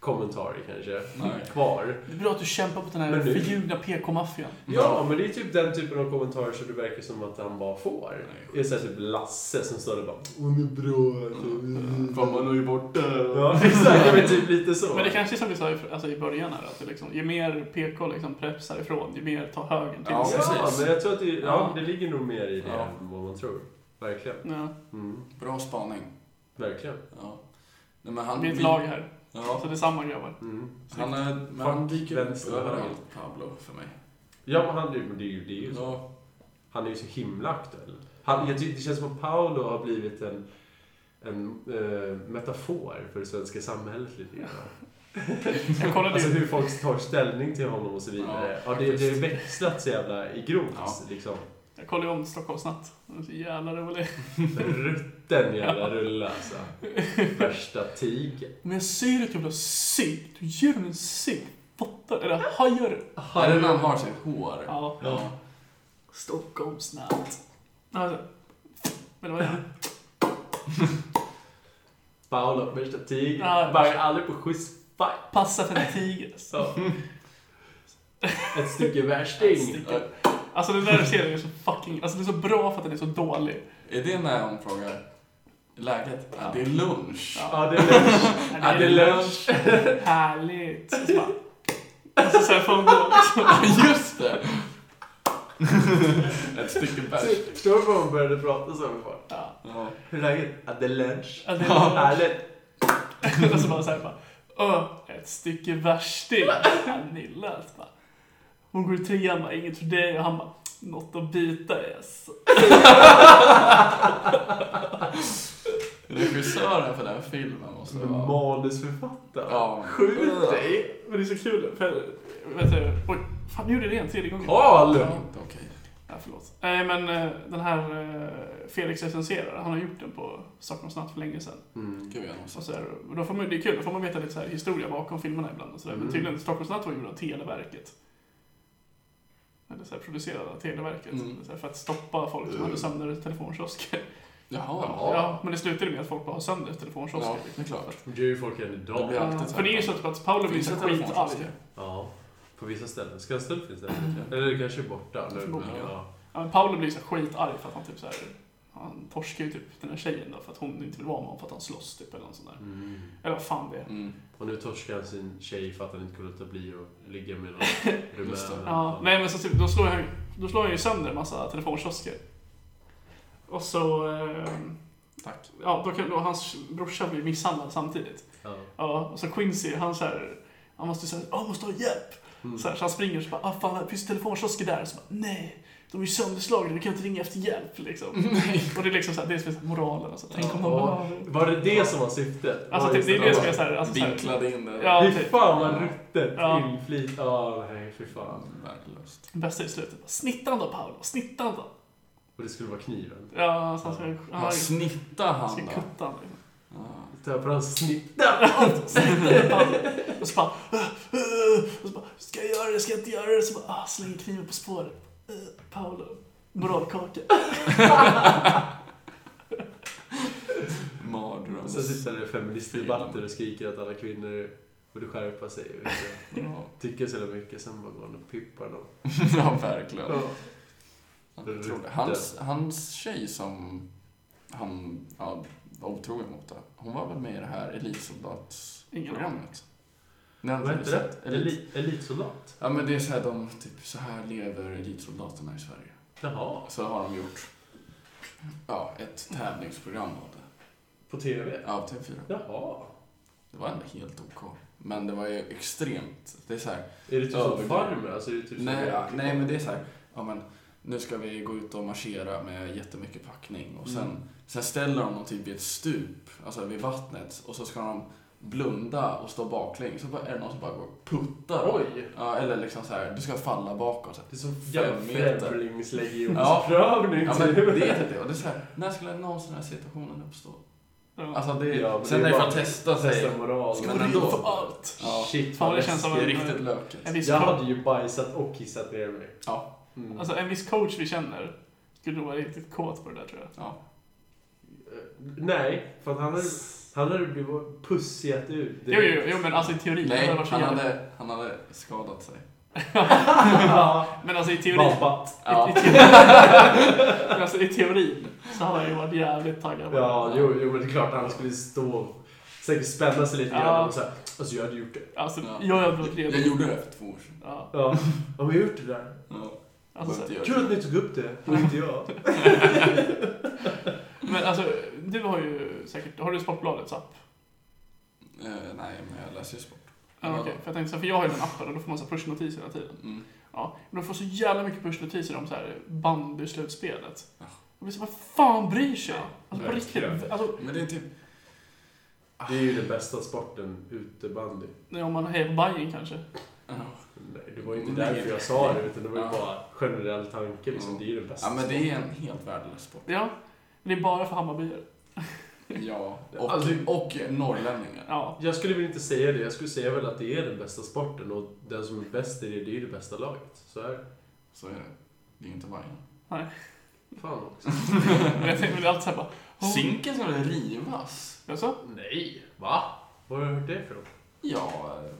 [SPEAKER 3] kommentarer kanske
[SPEAKER 1] Nej.
[SPEAKER 3] kvar.
[SPEAKER 2] Det är bra att du kämpar mot den här
[SPEAKER 3] Men nu-
[SPEAKER 2] förljugna PK-maffian.
[SPEAKER 3] Ja, men det är typ den typen av kommentarer som det verkar som att han bara får.
[SPEAKER 1] Nej.
[SPEAKER 3] Det är såhär typ Lasse som står där och bara Hon är bra. typ."
[SPEAKER 1] Mm. Fan, man är ju borta.
[SPEAKER 3] Ja, exakt. Ja, men typ lite så.
[SPEAKER 2] Men det kanske är som vi sa i, alltså, i början här, att det liksom, ju mer PK liksom prepsar ifrån, ju mer tar högern till
[SPEAKER 1] Ja,
[SPEAKER 2] sig.
[SPEAKER 3] Ja,
[SPEAKER 1] precis.
[SPEAKER 3] men jag tror att det, ja,
[SPEAKER 2] Ja.
[SPEAKER 3] det ligger nog mer i det
[SPEAKER 1] Ja.
[SPEAKER 3] än vad man tror. Verkligen.
[SPEAKER 2] Ja,
[SPEAKER 3] Mm.
[SPEAKER 1] Bra spaning.
[SPEAKER 3] Verkligen.
[SPEAKER 1] Ja. Nej, men han,
[SPEAKER 2] vi är ett lag här,
[SPEAKER 1] Ja.
[SPEAKER 2] så det är samma grabbar.
[SPEAKER 3] Mm.
[SPEAKER 1] Han, är, men
[SPEAKER 3] Fuck
[SPEAKER 1] han dyker upp
[SPEAKER 3] vänster.
[SPEAKER 1] överallt, Pablo, för mig.
[SPEAKER 3] Ja, men han, det, det, är ju- det är ju så.
[SPEAKER 1] Ja,
[SPEAKER 3] Han är ju så himla aktuell. Han, jag tycker, det känns som att Paolo har blivit en, en eh, metafor för det svenska samhället lite grann.
[SPEAKER 2] Jag kollade
[SPEAKER 3] Alltså
[SPEAKER 2] ju...
[SPEAKER 3] hur folk tar ställning till honom och så vidare. Ja,
[SPEAKER 1] Ja,
[SPEAKER 3] det, det har
[SPEAKER 1] faktiskt.
[SPEAKER 3] växlat så jävla i grovt
[SPEAKER 1] Ja.
[SPEAKER 3] liksom.
[SPEAKER 2] Jag kollade ju om Stockholmsnatt. Den är så jävla rolig.
[SPEAKER 3] Rutten jävla rulle alltså. Värsta tiger.
[SPEAKER 2] Men jag ser ett jävla sig. Du ger dem en sig. Fattar Eller hajar du?
[SPEAKER 1] är det när han har sitt hår?
[SPEAKER 2] Ja.
[SPEAKER 1] Ja.
[SPEAKER 2] Stockholmsnatt. Alltså, men vad är det?
[SPEAKER 3] Paolo, värsta tiger.
[SPEAKER 2] Ja.
[SPEAKER 3] Vargar aldrig på schysst fight.
[SPEAKER 2] Passa för en tiger.
[SPEAKER 3] Så. Ett stycke
[SPEAKER 2] Ett
[SPEAKER 3] värsting.
[SPEAKER 2] stycke. Alltså den där serien är så fucking... Alltså den är så bra för att den är så dålig.
[SPEAKER 1] Är det när hon frågar läget? Ja, det är lunch.
[SPEAKER 3] Ja, det är lunch. Ja, det är lunch.
[SPEAKER 2] Härligt. Och så bara... Alltså sen får hon gå liksom.
[SPEAKER 1] Just det! Ett stycke bärs.
[SPEAKER 3] Förstår du vad hon började prata så med folk?
[SPEAKER 2] Ja.
[SPEAKER 1] Ja.
[SPEAKER 3] Hur är läget? Ja, det är lunch.
[SPEAKER 2] Ja, det är lunch.
[SPEAKER 3] Härligt.
[SPEAKER 2] Och så bara såhär bara... Öh, ett stycke värsting. Pernilla. alltså bara, Hon går i trean bara, inget för dig. Och han bara, något att bita i. Alltså.
[SPEAKER 1] Regissören för den här filmen måste vara...
[SPEAKER 3] Manusförfattare.
[SPEAKER 1] Ja.
[SPEAKER 3] Skjut dig.
[SPEAKER 2] Men det är så kul. För, vet du, oj, fan nu gjorde jag det en tredje gången.
[SPEAKER 3] Karl!
[SPEAKER 2] Ja,
[SPEAKER 1] Inte okej.
[SPEAKER 2] ja, förlåt. Nej, men eh, den här eh, Felix recenserar, han har gjort den på Stockholms natt för länge sedan.
[SPEAKER 3] Mm.
[SPEAKER 1] Gud, jag måste...
[SPEAKER 2] Och så här, och då får man, det är kul, då får man veta lite så här, historia bakom filmerna ibland och sådär.
[SPEAKER 3] Mm.
[SPEAKER 2] Men tydligen, Stockholms natt var gjord av Televerket. Eller så här, producerad av Televerket.
[SPEAKER 1] Mm.
[SPEAKER 2] Så här, för att stoppa folk som hade sönder telefonkiosker.
[SPEAKER 1] Jaha.
[SPEAKER 3] Ja.
[SPEAKER 2] Ja, men det slutade med att folk bara har sönder telefonkiosker.
[SPEAKER 1] Ja, det är klart.
[SPEAKER 3] Det gör ju folk än
[SPEAKER 1] Det
[SPEAKER 3] idag.
[SPEAKER 1] blir alltid så här.
[SPEAKER 2] För det är ju så typ att Paolo blir
[SPEAKER 1] Finns
[SPEAKER 2] så
[SPEAKER 1] det telefonkiosker?
[SPEAKER 2] skitarg.
[SPEAKER 3] Ja, på vissa ställen. Skanstull finns det.
[SPEAKER 2] Mm.
[SPEAKER 3] inte. Eller det kanske är borta. Men,
[SPEAKER 2] Förmodligen.
[SPEAKER 3] ja.
[SPEAKER 2] Ja, men Paolo blir så här skitarg för att han typ så här, han torskar ju typ den här tjejen då för att hon inte vill vara med honom för att han slåss typ eller något sånt där.
[SPEAKER 3] Mm.
[SPEAKER 2] Eller vad fan det är.
[SPEAKER 1] Mm.
[SPEAKER 3] Och nu torskar han sin tjej för att han inte kunde låta bli att ligga med någon rumän.
[SPEAKER 1] Just det.
[SPEAKER 2] Ja, nej men så typ, då slår han ju- då slår han ju sönder en massa telefonkiosker. Och så, eh,
[SPEAKER 1] Tack.
[SPEAKER 2] ja då kan då hans brorsa blir misshandlad samtidigt.
[SPEAKER 3] Ja.
[SPEAKER 2] Ja, och så Quincy, han så här, han måste säga jag måste ha hjälp.
[SPEAKER 3] Mm.
[SPEAKER 2] Så, här, så han springer och så bara, ah, fan, finns det telefonkiosker där? Så bara, nej, de är ju sönderslagna, vi kan inte ringa efter hjälp liksom.
[SPEAKER 1] Mm.
[SPEAKER 2] Och det är liksom så här, det är som är så här moralen, alltså, tänk om de bara...
[SPEAKER 3] Ja. Var det det som var syftet?
[SPEAKER 2] Alltså
[SPEAKER 3] Ja,
[SPEAKER 2] typ,
[SPEAKER 3] just
[SPEAKER 2] det är det som är
[SPEAKER 3] var-
[SPEAKER 2] såhär, alltså, så här,
[SPEAKER 1] Vinklade in det.
[SPEAKER 2] Ja.
[SPEAKER 3] Fy
[SPEAKER 2] typ.
[SPEAKER 3] fan vad ruttet
[SPEAKER 2] Ja.
[SPEAKER 3] inflyt. Ja, nej fy fan.
[SPEAKER 1] Värdelöst.
[SPEAKER 2] bästa i slutet. Snittan då Paolo, snittan då.
[SPEAKER 3] Och det skulle vara kniven.
[SPEAKER 2] Ja, så han ska,
[SPEAKER 1] Ja,
[SPEAKER 2] han ska
[SPEAKER 1] snittar han då?
[SPEAKER 2] kutta honom. liksom.
[SPEAKER 1] Ja.
[SPEAKER 3] Ta på hans snitta!
[SPEAKER 2] Snittan då Paolo. Och så bara, "Åh, åh." och så bara, ska jag göra det, ska jag inte göra det? Så bara, ah, slänger kniven på spåret. Eh, Paolo, moralkaka.
[SPEAKER 1] Mardröm.
[SPEAKER 3] Sen sitter det feministdebatter och skriker att alla kvinnor borde skärpa sig. och inte
[SPEAKER 1] Ja.
[SPEAKER 3] Tycker så jävla mycket, sen bara går han och pippar dem.
[SPEAKER 1] Ja, verkligen.
[SPEAKER 3] Ja.
[SPEAKER 1] Jag tror det. Hans, hans tjej som han ja, var otrogen mot, det, hon var väl med i det här elitsoldatsprogrammet? Nej,
[SPEAKER 3] Vad
[SPEAKER 1] inte
[SPEAKER 3] heter det?
[SPEAKER 1] Elit.
[SPEAKER 3] Eli- elitsoldat?
[SPEAKER 1] Ja, men det är så här, de, typ, så här lever elitsoldaterna i Sverige.
[SPEAKER 3] Jaha.
[SPEAKER 1] Så har de gjort ja, ett tävlingsprogram av det.
[SPEAKER 3] På TV?
[SPEAKER 1] Ja, TV4.
[SPEAKER 3] Jaha.
[SPEAKER 1] Det var ändå helt OK. Men det var ju extremt. Det är så här,
[SPEAKER 3] Är det typ som
[SPEAKER 1] Ja,
[SPEAKER 3] Farmer? Alltså, är det typ som-
[SPEAKER 1] Nej, ja, nej men det är så här, ja, men nu ska vi gå ut och marschera med jättemycket packning och sen,
[SPEAKER 3] Mm.
[SPEAKER 1] sen ställer de dem typ vid ett stup, alltså vid vattnet och så ska de blunda och stå baklänges. Så bara, är det någon som bara går och puttar dem.
[SPEAKER 3] Oj!
[SPEAKER 1] Ja, eller liksom så här, du ska falla bakåt. Så här.
[SPEAKER 3] Det är som
[SPEAKER 1] Fem meter.
[SPEAKER 3] främlingslegionsprövning.
[SPEAKER 1] Ja, men det är typ det. Och det är så här, när skulle någonsin den här situationen uppstå?
[SPEAKER 2] Ja.
[SPEAKER 1] Alltså det,
[SPEAKER 3] Ja, men
[SPEAKER 1] sen
[SPEAKER 3] det
[SPEAKER 1] är det
[SPEAKER 3] är
[SPEAKER 1] för
[SPEAKER 3] bara-
[SPEAKER 1] att testa sig.
[SPEAKER 3] Testa moral.
[SPEAKER 1] Ska
[SPEAKER 2] Men
[SPEAKER 1] man
[SPEAKER 2] ändå.
[SPEAKER 1] ändå.
[SPEAKER 2] för allt.
[SPEAKER 1] Ja.
[SPEAKER 3] Shit
[SPEAKER 2] Fan,
[SPEAKER 3] vad
[SPEAKER 2] det känns
[SPEAKER 1] Det
[SPEAKER 2] som
[SPEAKER 1] är
[SPEAKER 2] en,
[SPEAKER 3] läskigt.
[SPEAKER 1] riktigt
[SPEAKER 2] en
[SPEAKER 1] löket.
[SPEAKER 2] viss
[SPEAKER 3] Jag
[SPEAKER 2] coach,
[SPEAKER 3] hade ju bajsat och kissat ner mig.
[SPEAKER 1] Ja.
[SPEAKER 3] Mm.
[SPEAKER 2] alltså, en viss coach vi känner skulle nog vara riktigt kåt på det där tror jag.
[SPEAKER 1] ja.
[SPEAKER 3] Eh, Nej, för att han hade... Han hade blivit pussat ut.
[SPEAKER 2] Jo, jo, jo, men alltså i teorin.
[SPEAKER 1] Nej,
[SPEAKER 2] hade det varit så
[SPEAKER 1] han
[SPEAKER 2] jävla-
[SPEAKER 1] hade, han hade skadat sig.
[SPEAKER 2] Men alltså i teorin.
[SPEAKER 3] Vabbat.
[SPEAKER 1] Ja.
[SPEAKER 2] I, i, teorin alltså i teorin så hade han ju varit jävligt taggad. på det.
[SPEAKER 3] Ja, jo, jo, men det är klart han skulle stå säkert spänna sig lite
[SPEAKER 2] Ja.
[SPEAKER 3] grann och så här, alltså jag hade gjort det.
[SPEAKER 2] Alltså,
[SPEAKER 1] Ja.
[SPEAKER 2] jag hade varit redo.
[SPEAKER 1] Jag gjorde det för två år sedan.
[SPEAKER 2] Ja,
[SPEAKER 3] Ja, ja men jag har gjort det där.
[SPEAKER 1] Ja,
[SPEAKER 2] alltså, så-
[SPEAKER 1] behövde göra
[SPEAKER 3] Kul
[SPEAKER 1] det.
[SPEAKER 3] att ni tog upp det, och inte jag.
[SPEAKER 2] men alltså, du har ju säkert, har du Sportbladets app?
[SPEAKER 1] Eh, nej, men jag läser ju sport.
[SPEAKER 2] Ja,
[SPEAKER 1] Ja.
[SPEAKER 2] Ah, okej. För jag tänkte så här, för jag har ju den appen och då får man så här pushnotiser hela tiden.
[SPEAKER 1] Mm.
[SPEAKER 2] Ja, men de får så jävla mycket pushnotiser om så här bandyslutspelet.
[SPEAKER 1] Ja.
[SPEAKER 2] Jag blir så vad fan bryr sig? Alltså på riktigt.
[SPEAKER 3] verkligen.
[SPEAKER 2] Alltså,
[SPEAKER 1] Men det är typ...
[SPEAKER 3] Det är ju den bästa sporten, utebandy.
[SPEAKER 2] nej, om man hejar på Bajen kanske.
[SPEAKER 1] Ja.
[SPEAKER 3] Nej, det var ju inte därför jag sa det, utan det var ju bara generell tanke liksom. Det är ju den bästa
[SPEAKER 1] ja, men det är en helt värdelös sport.
[SPEAKER 2] Ja, men det är bara för Hammarbyare.
[SPEAKER 1] Ja, och,
[SPEAKER 3] Alltså-
[SPEAKER 1] och norrlänningar.
[SPEAKER 2] Ja,
[SPEAKER 3] Jag skulle väl inte säga det. Jag skulle säga väl att det är den bästa sporten och den som är bäst i det, det är ju det bästa laget. Så är det.
[SPEAKER 1] Så är det. Det är ju inte Bajen.
[SPEAKER 3] Fan också.
[SPEAKER 2] men jag tänkte väl alltid såhär bara... oh.
[SPEAKER 1] Zinken ska väl rivas?
[SPEAKER 2] Jaså?
[SPEAKER 3] Nej, va? Var har du hört det ifrån?
[SPEAKER 1] Ja, eh,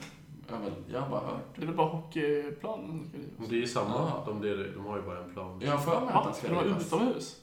[SPEAKER 1] jag har väl- jag har bara hört.
[SPEAKER 2] Det är väl bara hockeyplanen som ska rivas?
[SPEAKER 3] Det är ju samma.
[SPEAKER 1] Ah.
[SPEAKER 3] De, delar, de har ju bara en plan.
[SPEAKER 1] Jag har för mig att
[SPEAKER 2] Va?
[SPEAKER 1] den
[SPEAKER 2] Ska
[SPEAKER 1] ska
[SPEAKER 2] de vara
[SPEAKER 1] rivas.
[SPEAKER 2] utomhus?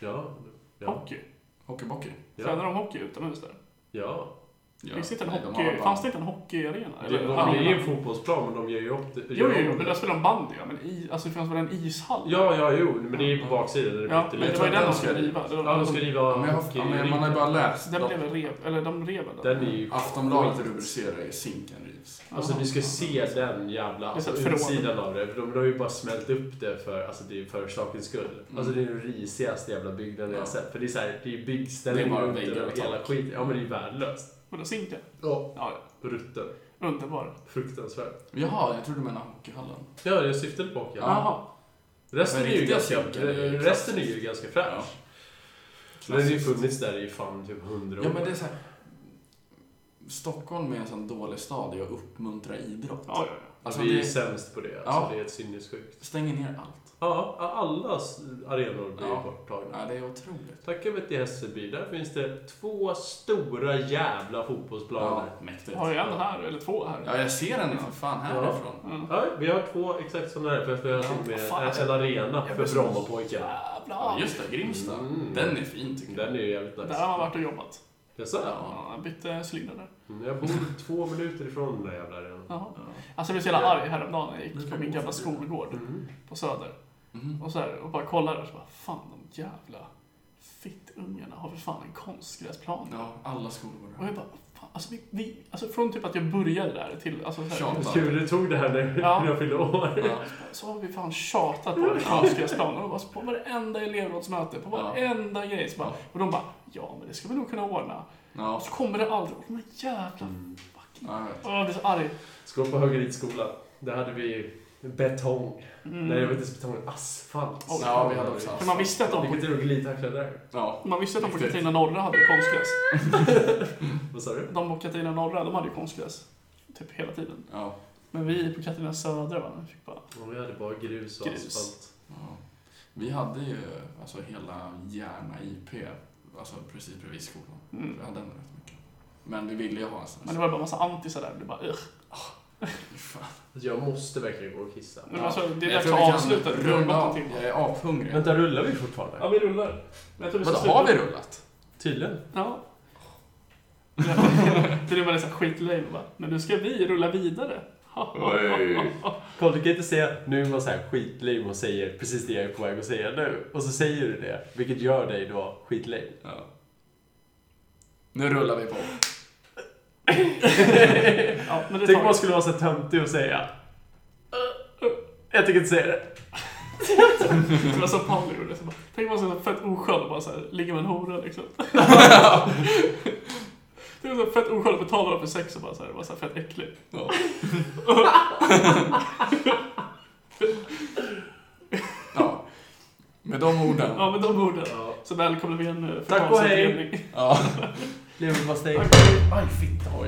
[SPEAKER 3] Ja. Ja.
[SPEAKER 2] Hockey?
[SPEAKER 1] Hockeybockey.
[SPEAKER 2] Tränar
[SPEAKER 3] Ja.
[SPEAKER 2] de hockey utomhus där?
[SPEAKER 3] ja.
[SPEAKER 1] Ja.
[SPEAKER 2] Finns det inte en
[SPEAKER 1] Nej, de
[SPEAKER 2] hockey...
[SPEAKER 1] har bara-
[SPEAKER 2] Fanns det inte en hockeyarena?
[SPEAKER 3] Det, de, det är ju en fotbollsplan, men de ger ju upp det.
[SPEAKER 2] Jo,
[SPEAKER 3] gör
[SPEAKER 2] jo,
[SPEAKER 3] om
[SPEAKER 2] men
[SPEAKER 3] det.
[SPEAKER 2] där spelar de bandy, ja. Men i, alltså, det fanns väl en ishall?
[SPEAKER 3] Ja, ja, jo. Men det är ju på baksidan. Där det
[SPEAKER 2] Ja, men
[SPEAKER 1] jag
[SPEAKER 2] det
[SPEAKER 1] tror
[SPEAKER 2] var ju
[SPEAKER 1] att
[SPEAKER 2] den de
[SPEAKER 1] den
[SPEAKER 2] skulle
[SPEAKER 1] ska-
[SPEAKER 2] riva. Det var-
[SPEAKER 3] Ja, de ska riva
[SPEAKER 1] Ja, men jag har, ja, men man har ju bara läst.
[SPEAKER 2] Den blev väl rev, eller de rev
[SPEAKER 3] Den är ju...
[SPEAKER 1] Aftonbladet rubricerar ju Zinken rivs.
[SPEAKER 3] Alltså ni ska se den jävla alltså,
[SPEAKER 2] Det är så förråd.
[SPEAKER 3] utsidan av det. För de, de har ju bara smält upp det för, alltså, det är för sakens skull. Alltså det är den risigaste jävla byggnaden jag har
[SPEAKER 1] Mm. Ja.
[SPEAKER 3] sett. För det är såhär, det är byggställen
[SPEAKER 1] Det är bara
[SPEAKER 3] runt
[SPEAKER 1] väggar
[SPEAKER 3] den
[SPEAKER 1] och
[SPEAKER 3] och hela
[SPEAKER 1] tak.
[SPEAKER 3] skiten. Ja men det är ju värdelöst.
[SPEAKER 2] Vadå, Zinken?
[SPEAKER 3] Ja.
[SPEAKER 2] Ja,
[SPEAKER 3] Rutten.
[SPEAKER 2] underbar.
[SPEAKER 3] Fruktansvärt.
[SPEAKER 1] Jaha, jag trodde du menade hockeyhallen.
[SPEAKER 3] Ja, jag syftade på hockey.
[SPEAKER 2] Jaha.
[SPEAKER 3] Resten, är
[SPEAKER 1] Men
[SPEAKER 3] ju
[SPEAKER 1] riktiga
[SPEAKER 3] ganska,
[SPEAKER 1] synkar är ju
[SPEAKER 3] resten är ju
[SPEAKER 1] klassiskt.
[SPEAKER 3] ganska fräsch. Den har ju funnits där i fan typ hundra år.
[SPEAKER 1] Ja, men det är så här. Stockholm är en sån dålig stad i att uppmuntra idrott.
[SPEAKER 2] Ja, ja, ja.
[SPEAKER 1] Alltså,
[SPEAKER 3] vi är ju
[SPEAKER 1] det
[SPEAKER 3] sämst på det. Alltså,
[SPEAKER 1] Ja.
[SPEAKER 3] Det är ett sinnessjukt.
[SPEAKER 1] stänger ner allt.
[SPEAKER 3] Ja, allas arenor blir
[SPEAKER 1] Ja.
[SPEAKER 3] borttagna.
[SPEAKER 1] Ja, det är otroligt.
[SPEAKER 3] Tackar vi till Hässelby. Där finns det två stora jävla fotbollsplaner.
[SPEAKER 1] Ja, mäktigt.
[SPEAKER 2] Har jag en här, eller två här?
[SPEAKER 1] Ja, jag ser den för fan härifrån.
[SPEAKER 3] Ja. vi har två exakt sådana här. För att vi har
[SPEAKER 1] Ja,
[SPEAKER 3] till och med
[SPEAKER 2] fan, alltså.
[SPEAKER 3] en arena
[SPEAKER 2] Jag
[SPEAKER 3] för
[SPEAKER 2] blir så
[SPEAKER 3] Brommapojkar.
[SPEAKER 1] Ja,
[SPEAKER 2] Jävlar!
[SPEAKER 1] just det, Grimsta.
[SPEAKER 3] Mm.
[SPEAKER 1] Den är fin tycker jag.
[SPEAKER 3] Den är ju jävligt
[SPEAKER 2] Där har
[SPEAKER 3] nice.
[SPEAKER 2] man varit och jobbat.
[SPEAKER 3] Jaså?
[SPEAKER 2] Ja, jag bytte cylinder där.
[SPEAKER 3] Mm, Jag bor två minuter ifrån den där jävla arenan.
[SPEAKER 2] Jaha.
[SPEAKER 1] Ja.
[SPEAKER 2] Alltså jag blev så jävla arg häromdagen när jag gick på min gamla skolgård
[SPEAKER 3] Mm.
[SPEAKER 2] på Söder.
[SPEAKER 1] Mhm.
[SPEAKER 2] Och, så här, och bara kollade och så bara, fan de jävla fittungarna har för fan en konstgräsplan.
[SPEAKER 1] ja, alla skolor
[SPEAKER 2] Och
[SPEAKER 1] går
[SPEAKER 2] jag bara, fan, alltså, vi, vi, alltså från typ att jag började där till, alltså så, här,
[SPEAKER 1] Tjat.
[SPEAKER 3] Kul du tog det här när
[SPEAKER 2] Ja.
[SPEAKER 3] när jag fyllde år.
[SPEAKER 1] Ja.
[SPEAKER 2] så har vi fan tjatat på en konstgräsplan. Och de bara, så på varenda elevrådsmöte, på
[SPEAKER 1] Ja.
[SPEAKER 2] varenda grej. Så bara,
[SPEAKER 1] Ja.
[SPEAKER 2] och de bara, ja men det ska vi nog kunna ordna.
[SPEAKER 1] Ja,
[SPEAKER 2] Och så kommer det aldrig, och de här jävla
[SPEAKER 3] Mm.
[SPEAKER 2] fucking...
[SPEAKER 1] ja, jag vet.
[SPEAKER 2] Åh, jag blir så arg.
[SPEAKER 3] Skål på Högeridskolan. Där hade vi betong.
[SPEAKER 2] Mm.
[SPEAKER 3] Nej, jag vet inte betong. Asfalt.
[SPEAKER 2] Oj.
[SPEAKER 1] Ja, vi hade också
[SPEAKER 2] För man visste att de
[SPEAKER 3] Vilken
[SPEAKER 2] på,
[SPEAKER 3] tur att glidtackla där.
[SPEAKER 1] Ja.
[SPEAKER 2] man visste att de på
[SPEAKER 1] Riktigt.
[SPEAKER 2] Katarina Norra hade ju konstgräs.
[SPEAKER 3] Vad sa du?
[SPEAKER 2] De på Katarina Norra, de hade ju konstgräs. Typ hela tiden.
[SPEAKER 1] Ja.
[SPEAKER 2] Men vi på Katarina Södra, va? vi fick bara...
[SPEAKER 3] Ja, Vi hade bara grus och
[SPEAKER 2] Grus.
[SPEAKER 3] asfalt.
[SPEAKER 1] ja. Vi hade ju alltså hela Järna IP, alltså precis bredvid skolan.
[SPEAKER 2] Mm.
[SPEAKER 1] Vi hade den rätt mycket. Men vi ville ju ha en sån
[SPEAKER 2] Men
[SPEAKER 1] här.
[SPEAKER 2] det var bara massa antisar där. Det bara, ugh.
[SPEAKER 1] Fan.
[SPEAKER 3] Alltså, Jag måste verkligen gå och kissa.
[SPEAKER 2] Men alltså, det är
[SPEAKER 1] Jag
[SPEAKER 2] dags
[SPEAKER 1] tror vi
[SPEAKER 2] att
[SPEAKER 1] kan
[SPEAKER 2] avsluta. Vi har
[SPEAKER 1] Runda
[SPEAKER 2] gått en
[SPEAKER 1] av.
[SPEAKER 2] timme.
[SPEAKER 1] Jag är ashungrig.
[SPEAKER 3] Vänta, rullar vi fortfarande?
[SPEAKER 2] Ja, vi rullar. Men jag tror vi ska
[SPEAKER 1] Vadå,
[SPEAKER 2] sluta.
[SPEAKER 1] har vi rullat?
[SPEAKER 3] Tydligen.
[SPEAKER 2] Ja. det är bara liksom skitlame va? Men nu ska vi rulla vidare.
[SPEAKER 3] Carl, du kan inte säga nu är man så här skitlame och säger precis det jag är på väg att säga nu. Och så säger du det, vilket gör dig då skitlame.
[SPEAKER 1] Ja. Nu rullar vi på.
[SPEAKER 2] Ja, men det
[SPEAKER 3] Tänk
[SPEAKER 2] tar
[SPEAKER 3] om man skulle vara så här töntig och säga "Uh, uh, jag tänker inte säga det.
[SPEAKER 2] vi. Det var så Paolo gjorde. Så bara, tänk om man var fett oskön och bara så här, ligger med en hora liksom. Tänk om man var fett oskön och betalar för sex och bara så här, var så här fett äcklig.
[SPEAKER 1] Ja. ja. Med de orden.
[SPEAKER 2] Ja, men de orden.
[SPEAKER 3] Ja.
[SPEAKER 2] Så välkomna vi eh, igen nu för
[SPEAKER 3] Tack och hej.
[SPEAKER 2] avsnitt
[SPEAKER 1] Ja.
[SPEAKER 3] Leverpastej.
[SPEAKER 2] Tack och hej.
[SPEAKER 3] Aj, fitta.
[SPEAKER 1] Oj.